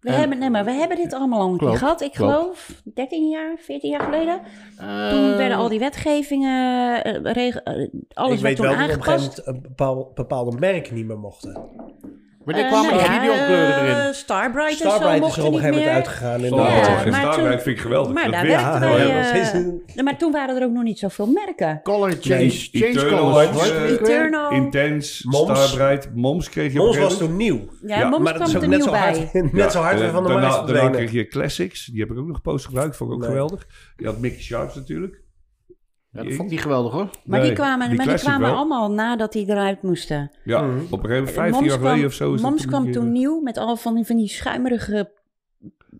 [SPEAKER 3] We
[SPEAKER 5] En-
[SPEAKER 3] hebben, nee, maar we hebben dit allemaal al een
[SPEAKER 5] Klopt,
[SPEAKER 3] keer gehad. Ik
[SPEAKER 5] klopt.
[SPEAKER 3] geloof 13 jaar, 14 jaar geleden.
[SPEAKER 5] Eh,
[SPEAKER 3] Toen werden al die wetgevingen, eh, reg- eh, alles
[SPEAKER 2] Eh, ik
[SPEAKER 3] werd
[SPEAKER 2] weet
[SPEAKER 3] toen
[SPEAKER 2] wel dat op een gegeven
[SPEAKER 3] aangepast.
[SPEAKER 2] moment een bepaal- bepaalde merken niet meer mochten.
[SPEAKER 5] Wanneer
[SPEAKER 3] Eh,
[SPEAKER 5] kwamen
[SPEAKER 3] nou
[SPEAKER 5] de
[SPEAKER 3] ja,
[SPEAKER 5] Gideon-kleuren
[SPEAKER 3] eh,
[SPEAKER 5] erin?
[SPEAKER 3] Starbright, en zo
[SPEAKER 2] Starbright is
[SPEAKER 3] mochten
[SPEAKER 2] er op een
[SPEAKER 3] niet
[SPEAKER 2] gegeven moment
[SPEAKER 3] meer.
[SPEAKER 2] uitgegaan. En
[SPEAKER 4] Ja,
[SPEAKER 3] Ja,
[SPEAKER 4] ja, en
[SPEAKER 3] maar
[SPEAKER 4] Starbucks
[SPEAKER 3] toen-
[SPEAKER 4] vind ik geweldig.
[SPEAKER 3] Maar
[SPEAKER 4] Dat
[SPEAKER 3] daar
[SPEAKER 4] wist-
[SPEAKER 3] werkten
[SPEAKER 2] ja,
[SPEAKER 3] wij...
[SPEAKER 2] ja,
[SPEAKER 3] eh,
[SPEAKER 2] dat is-
[SPEAKER 3] nee, maar toen waren er ook nog niet zoveel merken.
[SPEAKER 5] Color change.
[SPEAKER 2] Nee,
[SPEAKER 5] change
[SPEAKER 4] Eternal
[SPEAKER 5] colors.
[SPEAKER 4] was,
[SPEAKER 5] hoor.
[SPEAKER 4] eh,
[SPEAKER 3] Eternal.
[SPEAKER 4] Intens,
[SPEAKER 2] Moms.
[SPEAKER 4] Starbright, Moms kreeg je op een
[SPEAKER 2] Ons
[SPEAKER 4] gegeven
[SPEAKER 2] was toen nieuw.
[SPEAKER 3] Ja,
[SPEAKER 4] Ja,
[SPEAKER 3] moms
[SPEAKER 2] Maar dat
[SPEAKER 3] kwam
[SPEAKER 2] is
[SPEAKER 3] er
[SPEAKER 2] ook net
[SPEAKER 3] nieuw
[SPEAKER 2] zo
[SPEAKER 3] bij.
[SPEAKER 2] hard, <laughs> net zo hard
[SPEAKER 4] en
[SPEAKER 2] weer van de
[SPEAKER 4] daarna,
[SPEAKER 2] markt
[SPEAKER 4] Daarna
[SPEAKER 2] verdwenen.
[SPEAKER 4] kreeg je Classics. Die heb ik ook nog post gebruikt. Vond ik ook
[SPEAKER 2] Nee.
[SPEAKER 4] geweldig. Je had Mickey Sharps natuurlijk.
[SPEAKER 5] Ja, dat vond ik geweldig hoor.
[SPEAKER 3] Maar
[SPEAKER 4] Nee,
[SPEAKER 3] die kwamen, maar die
[SPEAKER 4] classic
[SPEAKER 3] kwamen
[SPEAKER 4] wel.
[SPEAKER 3] allemaal nadat die eruit moesten.
[SPEAKER 4] Ja,
[SPEAKER 2] Mhm.
[SPEAKER 4] op een gegeven moment,
[SPEAKER 3] Moms
[SPEAKER 4] vijftien jaar
[SPEAKER 3] kwam-
[SPEAKER 4] geleden of zo. is dat
[SPEAKER 3] Moms kwam
[SPEAKER 4] een keer-
[SPEAKER 3] toen nieuw met al van die, van die schuimerige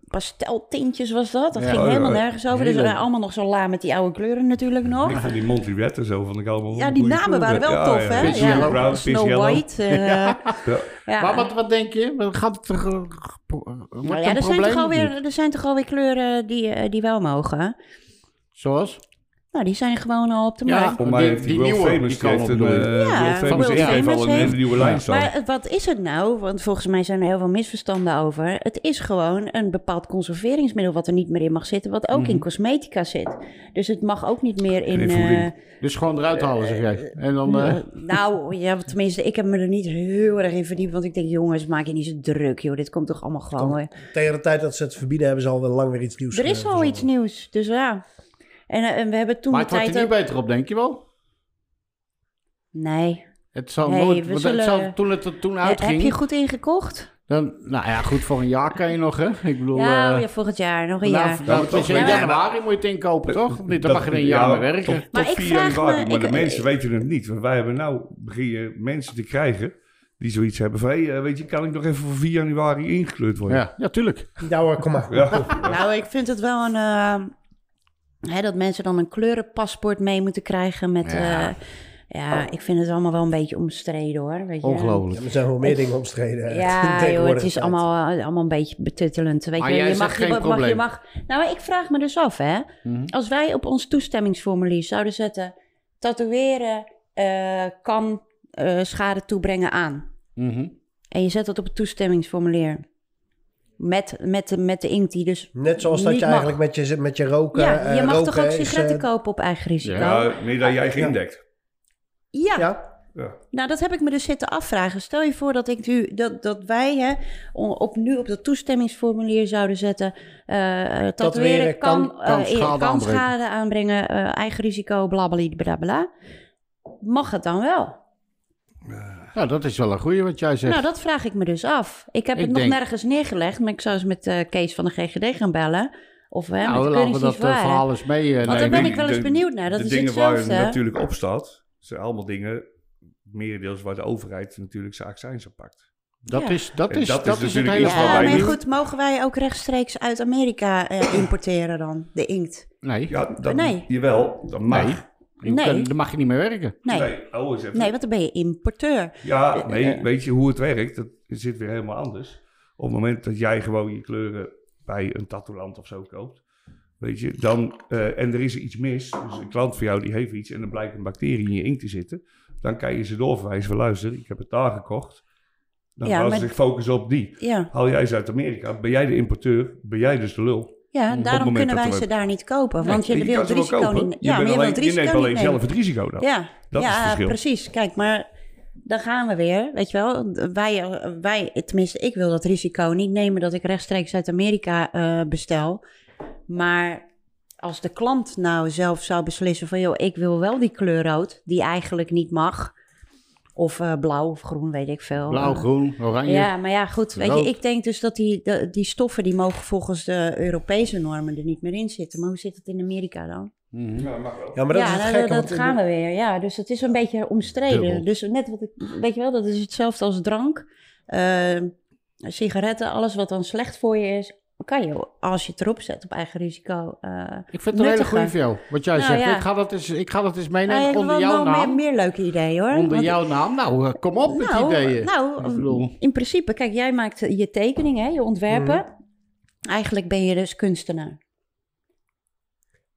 [SPEAKER 3] pasteltintjes was dat. Dat
[SPEAKER 5] Ja.
[SPEAKER 3] ging
[SPEAKER 4] Oh, ja.
[SPEAKER 3] helemaal nergens over. Dus we
[SPEAKER 5] Hele-
[SPEAKER 3] waren allemaal nog zo la met die oude kleuren natuurlijk nog.
[SPEAKER 4] Ik vond die Monty Red en zo vond ik allemaal
[SPEAKER 3] Ja, die
[SPEAKER 4] goede
[SPEAKER 3] namen waren wel
[SPEAKER 4] kleuren. Ja,
[SPEAKER 3] tof,
[SPEAKER 4] ja.
[SPEAKER 3] hè?
[SPEAKER 4] Piss
[SPEAKER 3] Ja,
[SPEAKER 4] Yellow, Brown, Piss
[SPEAKER 3] Snow
[SPEAKER 4] Yellow.
[SPEAKER 3] White. eh,
[SPEAKER 4] <laughs> Ja.
[SPEAKER 3] ja.
[SPEAKER 5] Maar wat, wat denk je? Wat Gaat het er, eh, pro- eh, wordt
[SPEAKER 3] Nou
[SPEAKER 5] het
[SPEAKER 3] ja,
[SPEAKER 5] een
[SPEAKER 3] er zijn, toch
[SPEAKER 5] probleem of niet?
[SPEAKER 3] alweer, er zijn toch alweer kleuren die, eh, die wel mogen.
[SPEAKER 5] Zoals?
[SPEAKER 3] Nou, die zijn gewoon al op de
[SPEAKER 5] Ja.
[SPEAKER 3] markt.
[SPEAKER 4] Voor mij
[SPEAKER 5] Die-
[SPEAKER 4] heeft die
[SPEAKER 5] die
[SPEAKER 4] World
[SPEAKER 5] nieuwe,
[SPEAKER 4] Famous
[SPEAKER 5] die
[SPEAKER 4] die
[SPEAKER 5] kan
[SPEAKER 4] heeft een
[SPEAKER 5] opdoen.
[SPEAKER 4] eh,
[SPEAKER 3] Ja,
[SPEAKER 4] World
[SPEAKER 3] van
[SPEAKER 4] Famous
[SPEAKER 5] World
[SPEAKER 4] ingreep
[SPEAKER 3] Famous
[SPEAKER 4] al een hele
[SPEAKER 3] heeft-
[SPEAKER 4] nieuwe lijn staan.
[SPEAKER 3] Maar het- wat is het nou? Want volgens mij zijn er heel veel misverstanden over. Het is gewoon een bepaald conserveringsmiddel wat er niet meer in mag zitten, wat ook in cosmetica zit. Dus het mag ook niet meer in.
[SPEAKER 4] in Mhm. voeding.
[SPEAKER 3] eh,
[SPEAKER 5] Dus gewoon eruit halen, zeg jij. En dan... eh,
[SPEAKER 3] nou, ja, tenminste, ik heb me er niet heel erg in verdiept, want ik denk, jongens, maak je niet zo druk, joh. Dit komt toch allemaal gewoon.
[SPEAKER 2] Komt-
[SPEAKER 3] weer.
[SPEAKER 2] Tegen de tijd dat ze het verbieden, hebben ze al wel lang weer iets nieuws
[SPEAKER 3] Er is
[SPEAKER 2] eh,
[SPEAKER 3] al iets nieuws, dus ja. En, eh, en we hebben toen
[SPEAKER 5] maar
[SPEAKER 3] de
[SPEAKER 5] het wordt
[SPEAKER 3] tijd
[SPEAKER 5] er niet
[SPEAKER 3] ook-
[SPEAKER 5] beter op, denk je wel?
[SPEAKER 3] Nee.
[SPEAKER 5] Het zal
[SPEAKER 3] Nee,
[SPEAKER 5] nooit...
[SPEAKER 3] we
[SPEAKER 5] want het
[SPEAKER 3] zullen- Eh,
[SPEAKER 5] zal- toen Nou, het er toen uitging...
[SPEAKER 3] Heb je goed ingekocht?
[SPEAKER 5] Dan, nou ja, goed, voor een jaar kan je nog, hè? Ik bedoel...
[SPEAKER 3] Ja,
[SPEAKER 5] eh,
[SPEAKER 3] ja, volgend jaar, nog een
[SPEAKER 5] na-
[SPEAKER 3] jaar.
[SPEAKER 5] na-
[SPEAKER 4] Ja, maar
[SPEAKER 5] tot
[SPEAKER 4] toch-
[SPEAKER 5] in
[SPEAKER 3] Ja,
[SPEAKER 5] januari moet je het inkopen, toch? Niet, dan mag je er een jaar mee werken.
[SPEAKER 4] Maar,
[SPEAKER 3] Maar
[SPEAKER 4] tot
[SPEAKER 3] ik
[SPEAKER 4] vier
[SPEAKER 3] vraag
[SPEAKER 4] januari,
[SPEAKER 3] me-
[SPEAKER 4] maar de
[SPEAKER 3] ik-
[SPEAKER 4] mensen
[SPEAKER 3] ik-
[SPEAKER 4] weten het niet. Want wij hebben nou beginnen mensen te krijgen die zoiets hebben van... Hey, eh, weet je, kan ik nog even voor 4 januari ingekleurd worden?
[SPEAKER 5] Ja, ja, tuurlijk.
[SPEAKER 2] zijn. Ja hoor, kom maar.
[SPEAKER 4] Ja.
[SPEAKER 3] Nou, ik vind het wel een. eh, hè, dat mensen dan een kleurenpaspoort mee moeten krijgen met.
[SPEAKER 5] Ja.
[SPEAKER 3] Ja, ja ik vind het allemaal wel een beetje omstreden hoor. Weet je.
[SPEAKER 5] Ongelooflijk.
[SPEAKER 2] Ja, er zijn wel meer dingen omstreden. <laughs> eh,
[SPEAKER 3] Ja, joh, het
[SPEAKER 2] tegenwoordig.
[SPEAKER 3] is allemaal, eh, allemaal een beetje betuttelend. Weet
[SPEAKER 5] Maar
[SPEAKER 3] je,
[SPEAKER 5] jij
[SPEAKER 3] je,
[SPEAKER 5] zegt
[SPEAKER 3] mag,
[SPEAKER 5] geen
[SPEAKER 3] je, mag, je
[SPEAKER 5] probleem.
[SPEAKER 3] mag. Nou, maar ik vraag me dus af, hè.
[SPEAKER 5] Mhm,
[SPEAKER 3] Als wij op ons toestemmingsformulier zouden zetten: tatoeëren eh, kan eh, schade toebrengen aan.
[SPEAKER 5] Mhm.
[SPEAKER 3] En je zet dat op het toestemmingsformulier. Met, met, de- met de inkt die dus...
[SPEAKER 2] Net zoals dat
[SPEAKER 3] Niet
[SPEAKER 2] je
[SPEAKER 3] mag.
[SPEAKER 2] eigenlijk met je, met je roken...
[SPEAKER 3] ja, je
[SPEAKER 2] eh,
[SPEAKER 3] mag
[SPEAKER 2] roken
[SPEAKER 3] toch ook
[SPEAKER 2] is, eh,
[SPEAKER 3] sigaretten kopen op eigen risico? Ja.
[SPEAKER 4] Ja, nee, dat jij geen dekt.
[SPEAKER 2] Ja,
[SPEAKER 3] nou dat heb ik me dus zitten afvragen. Stel je voor dat, ik nu, dat, dat wij hè, o- op, nu op dat toestemmingsformulier zouden zetten... eh eh, tatoeëren kan,
[SPEAKER 5] kan- kan
[SPEAKER 3] eh, eh,
[SPEAKER 5] schade
[SPEAKER 3] kan
[SPEAKER 5] aanbrengen.
[SPEAKER 3] schade aanbrengen, eh, eigen risico, blablabla. blablabla. Mag het dan wel?
[SPEAKER 5] Ja, Nou, dat is wel een goeie wat jij zegt.
[SPEAKER 3] Nou, dat vraag ik me dus af. Ik heb
[SPEAKER 5] Ik
[SPEAKER 3] het nog
[SPEAKER 5] denk-
[SPEAKER 3] nergens neergelegd, maar ik zou eens met eh, Kees van de GGD gaan bellen. Of hè,
[SPEAKER 5] nou,
[SPEAKER 3] met de
[SPEAKER 5] laten we dat
[SPEAKER 3] Keuringsdienst
[SPEAKER 5] eh, verhaal eens mee eh,
[SPEAKER 3] Want
[SPEAKER 5] nemen.
[SPEAKER 3] daar ben ik wel eens
[SPEAKER 4] de-
[SPEAKER 3] benieuwd naar. Dat
[SPEAKER 4] de
[SPEAKER 3] is
[SPEAKER 4] dingen
[SPEAKER 3] hetzelfde.
[SPEAKER 4] waar het natuurlijk op staat, zijn allemaal dingen, merendeels waar de overheid natuurlijk zijn accijns op pakt.
[SPEAKER 5] Dat
[SPEAKER 3] Ja.
[SPEAKER 5] is, dat
[SPEAKER 4] En
[SPEAKER 5] is,
[SPEAKER 4] dat is dus
[SPEAKER 5] dat is het
[SPEAKER 4] natuurlijk
[SPEAKER 5] hele
[SPEAKER 4] iets wat
[SPEAKER 3] Ja,
[SPEAKER 4] wij
[SPEAKER 5] verhaal.
[SPEAKER 3] maar
[SPEAKER 4] doen.
[SPEAKER 3] goed, mogen wij ook rechtstreeks uit Amerika eh, importeren dan, de inkt?
[SPEAKER 5] Nee,
[SPEAKER 4] Ja, dat,
[SPEAKER 3] Nee.
[SPEAKER 4] Jawel, dat mag.
[SPEAKER 5] Nee. je
[SPEAKER 3] Nee.
[SPEAKER 5] kan- daar mag je niet mee werken.
[SPEAKER 3] Nee. nee.
[SPEAKER 4] Nee, oh, eens even.
[SPEAKER 3] want dan ben je importeur.
[SPEAKER 4] Ja,
[SPEAKER 3] Eh,
[SPEAKER 4] nee,
[SPEAKER 3] eh.
[SPEAKER 4] weet je hoe het werkt? Dat zit weer helemaal anders. Op het moment dat jij gewoon je kleuren bij een tattooland of zo koopt, weet je, dan, eh, en er is iets mis, dus een klant van jou die heeft iets en er blijkt een bacterie in je inkt te zitten, dan kan je ze doorverwijzen van luister, ik heb het daar gekocht. Dan
[SPEAKER 3] Ja,
[SPEAKER 4] gaan ze
[SPEAKER 3] maar-
[SPEAKER 4] zich focussen op die.
[SPEAKER 3] Ja,
[SPEAKER 4] Haal jij ze uit Amerika, ben jij de importeur, ben jij dus de lul.
[SPEAKER 3] ja
[SPEAKER 5] Op
[SPEAKER 3] daarom
[SPEAKER 4] moment
[SPEAKER 3] kunnen
[SPEAKER 4] dat
[SPEAKER 3] wij
[SPEAKER 4] we
[SPEAKER 3] ze
[SPEAKER 4] het-
[SPEAKER 3] daar niet kopen. Want je,
[SPEAKER 4] kan
[SPEAKER 3] wilt
[SPEAKER 4] ze
[SPEAKER 3] het
[SPEAKER 4] wel
[SPEAKER 3] risico
[SPEAKER 4] kopen.
[SPEAKER 3] niet...
[SPEAKER 4] je,
[SPEAKER 3] Ja, maar
[SPEAKER 4] bent
[SPEAKER 3] je
[SPEAKER 4] alleen-
[SPEAKER 3] wilt het
[SPEAKER 4] je
[SPEAKER 3] risico
[SPEAKER 4] neemt
[SPEAKER 3] niet
[SPEAKER 4] alleen
[SPEAKER 3] nemen.
[SPEAKER 4] zelf het risico dan.
[SPEAKER 3] Ja,
[SPEAKER 4] Dat is
[SPEAKER 3] ja
[SPEAKER 4] het verschil.
[SPEAKER 3] precies. Kijk, maar dan gaan we weer. Weet je wel, wij, wij, tenminste, ik wil dat risico niet nemen dat ik rechtstreeks uit Amerika eh, bestel. Maar als de klant nou zelf zou beslissen van, joh, ik wil wel die kleur rood, die eigenlijk niet mag. Of eh, blauw of groen, weet ik veel.
[SPEAKER 5] Blauw,
[SPEAKER 3] Eh,
[SPEAKER 5] groen, oranje.
[SPEAKER 3] ja, maar ja, goed. Weet
[SPEAKER 5] Rood.
[SPEAKER 3] je, ik denk dus dat die, de- die stoffen, die mogen volgens de Europese normen er niet meer in zitten. Maar hoe zit het in Amerika dan?
[SPEAKER 5] Mhm.
[SPEAKER 2] ja, maar dat
[SPEAKER 3] ja,
[SPEAKER 2] is het
[SPEAKER 3] nou,
[SPEAKER 2] gekke.
[SPEAKER 3] dat,
[SPEAKER 2] want-
[SPEAKER 3] dat gaan we weer. Ja, dus het is een beetje omstreden.
[SPEAKER 5] Dubbel.
[SPEAKER 3] Dus net wat ik, weet je wel, dat is hetzelfde als drank, eh, sigaretten, alles wat dan slecht voor je is, kan je als je het erop zet op eigen risico. eh,
[SPEAKER 5] Ik vind het een hele
[SPEAKER 3] nuttiger.
[SPEAKER 5] goede voor jou, wat jij
[SPEAKER 3] Nou,
[SPEAKER 5] zegt.
[SPEAKER 3] ja.
[SPEAKER 5] Ik, ga dat eens, ik ga dat eens
[SPEAKER 3] nou,
[SPEAKER 5] meenemen
[SPEAKER 3] ik heb
[SPEAKER 5] onder
[SPEAKER 3] wel-
[SPEAKER 5] jouw
[SPEAKER 3] wel meer,
[SPEAKER 5] naam.
[SPEAKER 3] meer leuke ideeën hoor.
[SPEAKER 5] Onder
[SPEAKER 3] Want-
[SPEAKER 5] jouw naam. Nou, eh, kom op met
[SPEAKER 3] nou,
[SPEAKER 5] ideeën. Ik
[SPEAKER 3] Nou,
[SPEAKER 5] bedoel-
[SPEAKER 3] in principe, kijk, jij maakt je tekening, hè, je ontwerpen.
[SPEAKER 2] Mm.
[SPEAKER 3] Eigenlijk ben je dus kunstenaar.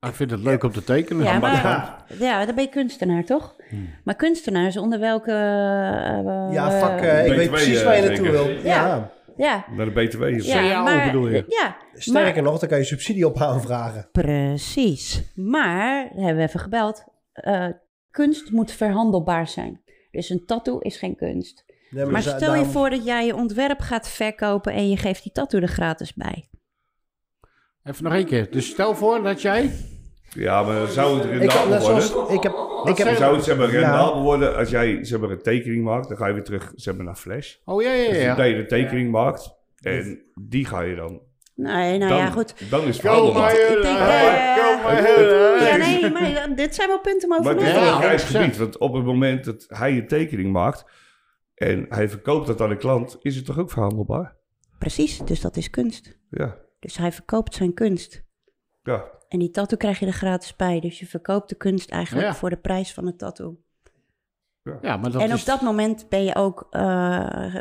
[SPEAKER 5] ik vind het leuk om te tekenen.
[SPEAKER 3] Ja,
[SPEAKER 5] maar-
[SPEAKER 3] maar, ja, dan ben je kunstenaar, toch? Maar kunstenaars onder welke... eh,
[SPEAKER 2] Hmm. Ja, fuck, eh, ik
[SPEAKER 4] BTW,
[SPEAKER 2] weet precies waar je
[SPEAKER 4] eh,
[SPEAKER 2] naartoe
[SPEAKER 4] zeker.
[SPEAKER 2] wil.
[SPEAKER 3] Ja.
[SPEAKER 2] Ja.
[SPEAKER 3] ja,
[SPEAKER 4] Naar de BTW. of zo.
[SPEAKER 5] CAO bedoel je?
[SPEAKER 3] Ja, maar-
[SPEAKER 2] Sterker nog, dan kan je subsidie op aanvragen.
[SPEAKER 3] Precies. Maar, daar hebben we even gebeld, eh, kunst moet verhandelbaar zijn. Dus een tattoo is geen kunst.
[SPEAKER 2] Nee,
[SPEAKER 3] Maar
[SPEAKER 2] dus, eh,
[SPEAKER 3] stel je
[SPEAKER 2] daarom-
[SPEAKER 3] voor dat jij je ontwerp gaat verkopen en je geeft die tattoo er gratis bij.
[SPEAKER 5] Even nog één keer. Dus stel voor dat jij...
[SPEAKER 4] Ja, maar dan zou het
[SPEAKER 2] Ik, had
[SPEAKER 4] rendabel
[SPEAKER 2] net
[SPEAKER 4] worden.
[SPEAKER 2] zoals, ik heb... Ik
[SPEAKER 4] Dan
[SPEAKER 2] heb
[SPEAKER 4] zou het zeg maar, rendabel worden als jij zeg maar, een tekening maakt. Dan ga je weer terug zeg maar, naar Flash.
[SPEAKER 5] Oh ja, ja,
[SPEAKER 4] Dus
[SPEAKER 5] ja.
[SPEAKER 4] dat je een tekening maakt en die ga je dan.
[SPEAKER 3] Nee, nou
[SPEAKER 4] dan,
[SPEAKER 3] ja, goed.
[SPEAKER 4] Dan is het handelbaar.
[SPEAKER 3] Ik denk, eh, ja,
[SPEAKER 5] Ja, dus-
[SPEAKER 3] nee, maar eh, dit zijn wel punten om
[SPEAKER 4] Maar
[SPEAKER 3] over
[SPEAKER 4] het
[SPEAKER 3] na
[SPEAKER 4] is
[SPEAKER 3] te
[SPEAKER 4] wel
[SPEAKER 5] Ja,
[SPEAKER 4] een
[SPEAKER 3] denken.
[SPEAKER 4] grijs
[SPEAKER 5] 100%.
[SPEAKER 4] gebied. Want op het moment dat hij een tekening maakt en hij verkoopt dat aan een klant, is het toch ook verhandelbaar?
[SPEAKER 3] Precies, dus dat is kunst.
[SPEAKER 4] Ja.
[SPEAKER 3] Dus hij verkoopt zijn kunst.
[SPEAKER 4] ja.
[SPEAKER 3] En die tattoo krijg je er gratis bij. Dus je verkoopt de kunst eigenlijk
[SPEAKER 5] Ja.
[SPEAKER 3] voor de prijs van het tattoo.
[SPEAKER 5] Ja, maar dat
[SPEAKER 3] en op
[SPEAKER 5] is...
[SPEAKER 3] dat moment ben je ook, eh,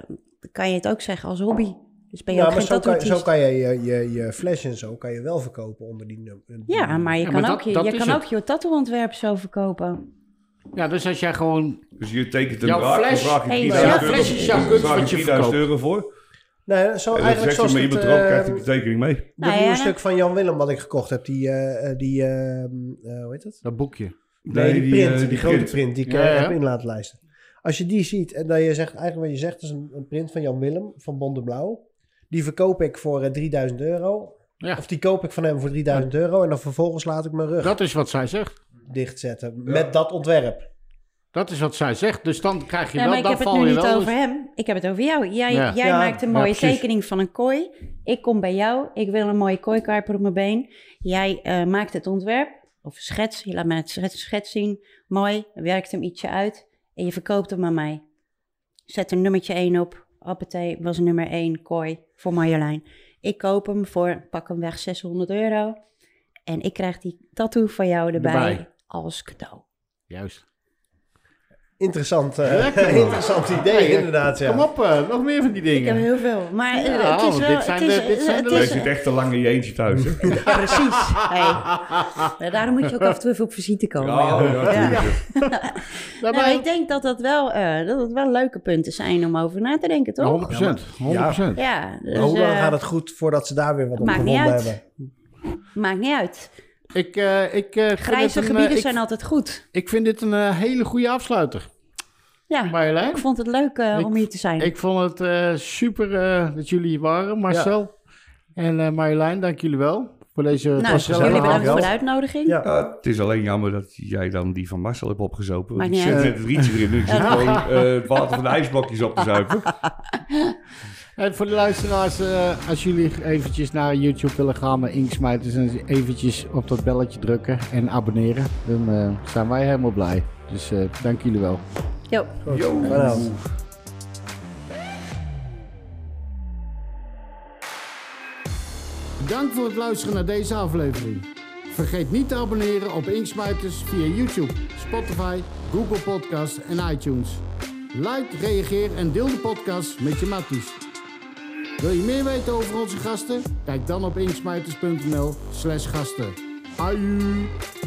[SPEAKER 3] kan je het ook zeggen als hobby. Dus ben je
[SPEAKER 2] ja,
[SPEAKER 3] ook
[SPEAKER 2] maar
[SPEAKER 3] geen
[SPEAKER 2] zo kan,
[SPEAKER 3] tattoo
[SPEAKER 2] zo kan je je, je je flash en zo kan je wel verkopen onder die nummer.
[SPEAKER 3] Ja, maar je
[SPEAKER 5] Ja,
[SPEAKER 3] kan,
[SPEAKER 5] maar
[SPEAKER 3] ook,
[SPEAKER 5] dat-
[SPEAKER 3] je,
[SPEAKER 5] dat
[SPEAKER 3] je
[SPEAKER 5] is
[SPEAKER 3] kan
[SPEAKER 5] het.
[SPEAKER 3] ook je tattoo-ontwerp zo verkopen.
[SPEAKER 5] Ja, dus als jij gewoon...
[SPEAKER 4] Dus je tekent een
[SPEAKER 5] Jouw
[SPEAKER 4] draak, dan
[SPEAKER 5] flash-
[SPEAKER 4] vraag je
[SPEAKER 3] Hey,
[SPEAKER 4] 4000
[SPEAKER 5] jouw
[SPEAKER 4] euro-
[SPEAKER 5] flash is jouw
[SPEAKER 4] dan
[SPEAKER 5] kunst
[SPEAKER 4] vraag je
[SPEAKER 5] wat je
[SPEAKER 4] 4000
[SPEAKER 5] verkoopt.
[SPEAKER 4] euro voor.
[SPEAKER 2] Nee, zo
[SPEAKER 4] En dan
[SPEAKER 2] eigenlijk
[SPEAKER 4] zegt je
[SPEAKER 2] zoals
[SPEAKER 4] met
[SPEAKER 2] dat,
[SPEAKER 4] iemand erop,
[SPEAKER 2] eh,
[SPEAKER 4] krijgt hij de tekening mee.
[SPEAKER 2] dat
[SPEAKER 3] Nou ja,
[SPEAKER 2] nieuwe
[SPEAKER 3] dan-
[SPEAKER 2] stuk van Jan Willem wat ik gekocht heb. Die, eh, eh, die eh, eh, hoe heet dat?
[SPEAKER 5] Dat boekje.
[SPEAKER 2] Nee, die, print,
[SPEAKER 4] eh,
[SPEAKER 2] die, grote print,
[SPEAKER 4] print.
[SPEAKER 2] die ik
[SPEAKER 5] Ja,
[SPEAKER 2] eh,
[SPEAKER 5] ja.
[SPEAKER 2] heb in laten lijsten. Als je die ziet en dat je zegt, eigenlijk wat je zegt is een, een print van Jan Willem van Bonde Blauw. Die verkoop ik voor eh, 3000 euro.
[SPEAKER 5] Ja.
[SPEAKER 2] Of die koop ik van hem voor 3000 euro. En dan vervolgens laat ik mijn rug
[SPEAKER 5] Dat is wat zij zegt.
[SPEAKER 2] dichtzetten met dat ontwerp.
[SPEAKER 5] Dat is wat zij zegt. Dus dan krijg je
[SPEAKER 3] Ja,
[SPEAKER 5] wel...
[SPEAKER 3] maar ik
[SPEAKER 5] dan
[SPEAKER 3] heb het
[SPEAKER 5] val
[SPEAKER 3] nu
[SPEAKER 5] je
[SPEAKER 3] niet
[SPEAKER 5] wel
[SPEAKER 3] over hem. Ik heb het over jou. Jij,
[SPEAKER 5] Ja.
[SPEAKER 3] jij
[SPEAKER 2] Ja,
[SPEAKER 3] maakt een
[SPEAKER 5] ja,
[SPEAKER 3] mooie
[SPEAKER 5] precies.
[SPEAKER 3] tekening van een kooi. Ik kom bij jou. Ik wil een mooie kooikarper op mijn been. Jij eh, maakt het ontwerp. Of schets. Je laat mij het schets, schets zien. Mooi. Werkt hem ietsje uit. En je verkoopt hem aan mij. Zet er nummertje 1 op. Appetee was nummer 1 kooi voor Marjolein. Ik koop hem voor, pak hem weg, 600 euro. En ik krijg die tattoo van jou erbij
[SPEAKER 5] Erbij.
[SPEAKER 3] als cadeau.
[SPEAKER 5] Juist.
[SPEAKER 2] Interessant, eh,
[SPEAKER 5] Lekker, man.
[SPEAKER 2] <laughs> interessant idee,
[SPEAKER 5] Hey,
[SPEAKER 2] inderdaad. Ja.
[SPEAKER 5] Kom op, eh, nog meer van die
[SPEAKER 3] Ik
[SPEAKER 5] dingen.
[SPEAKER 3] heb heel veel. Maar eh,
[SPEAKER 5] Ja,
[SPEAKER 3] het is
[SPEAKER 5] want
[SPEAKER 3] wel...
[SPEAKER 5] dit zijn
[SPEAKER 3] het is,
[SPEAKER 5] de- dit zijn de
[SPEAKER 3] het
[SPEAKER 4] Jij
[SPEAKER 3] is-
[SPEAKER 4] zit echt te lang in je eentje thuis. hè?
[SPEAKER 3] Precies. Hey. Nou, daarom moet je ook af en toe even op visite komen.
[SPEAKER 4] Ja,
[SPEAKER 3] joh.
[SPEAKER 4] ja,
[SPEAKER 3] Ja.
[SPEAKER 4] tuurlijk.
[SPEAKER 5] Daarbij-
[SPEAKER 3] Nou, ik denk dat dat, wel, eh, dat dat wel leuke punten zijn om over na te denken,
[SPEAKER 5] Ja,
[SPEAKER 3] toch?
[SPEAKER 5] 100%. 100%.
[SPEAKER 3] Ja, dus,
[SPEAKER 2] Maar hoe lang
[SPEAKER 3] eh,
[SPEAKER 2] Oh, gaat het goed voordat ze daar weer wat op
[SPEAKER 3] maakt niet
[SPEAKER 2] gevonden
[SPEAKER 3] uit.
[SPEAKER 2] hebben?
[SPEAKER 3] maakt niet uit.
[SPEAKER 5] Ik, eh, ik, eh, vind dit
[SPEAKER 3] Grijze
[SPEAKER 5] een, eh,
[SPEAKER 3] gebieden
[SPEAKER 5] ik,
[SPEAKER 3] zijn altijd goed.
[SPEAKER 5] Ik vind dit een eh, hele goede afsluiter.
[SPEAKER 3] Ja,
[SPEAKER 5] Marjolein?
[SPEAKER 3] ik vond het leuk eh,
[SPEAKER 5] Ik-
[SPEAKER 3] om hier te zijn.
[SPEAKER 5] Ik vond het eh, super eh, dat jullie hier waren, Marcel. En eh Marjolein, dank jullie wel voor deze
[SPEAKER 3] nou,
[SPEAKER 5] gezellige
[SPEAKER 3] jullie bedankt
[SPEAKER 5] avond.
[SPEAKER 3] voor de uitnodiging.
[SPEAKER 2] Ja.
[SPEAKER 4] Ja, het is alleen jammer dat jij dan die van Marcel hebt opgezopen.
[SPEAKER 3] Maakt
[SPEAKER 4] Want ik
[SPEAKER 3] niet
[SPEAKER 4] zit
[SPEAKER 3] uit.
[SPEAKER 4] met het rietje erin. Ik zit gewoon eh, het water van de ijsblokjes op te zuipen.
[SPEAKER 5] En voor de luisteraars, eh, als jullie eventjes naar YouTube willen gaan, naar Inksmijters, en eventjes op dat belletje drukken en abonneren, dan eh, zijn wij helemaal blij. Dus eh, dank jullie wel.
[SPEAKER 3] Jo.
[SPEAKER 4] Yo.
[SPEAKER 2] Vanavond.
[SPEAKER 7] Bedankt voor het luisteren naar deze aflevering. Vergeet niet te abonneren op Inksmijters via YouTube, Spotify, Google Podcasts en iTunes. Like, reageer en deel de podcast met je matties. Wil je meer weten over onze gasten? Kijk dan op inksmijters.nl slash gasten. Aju!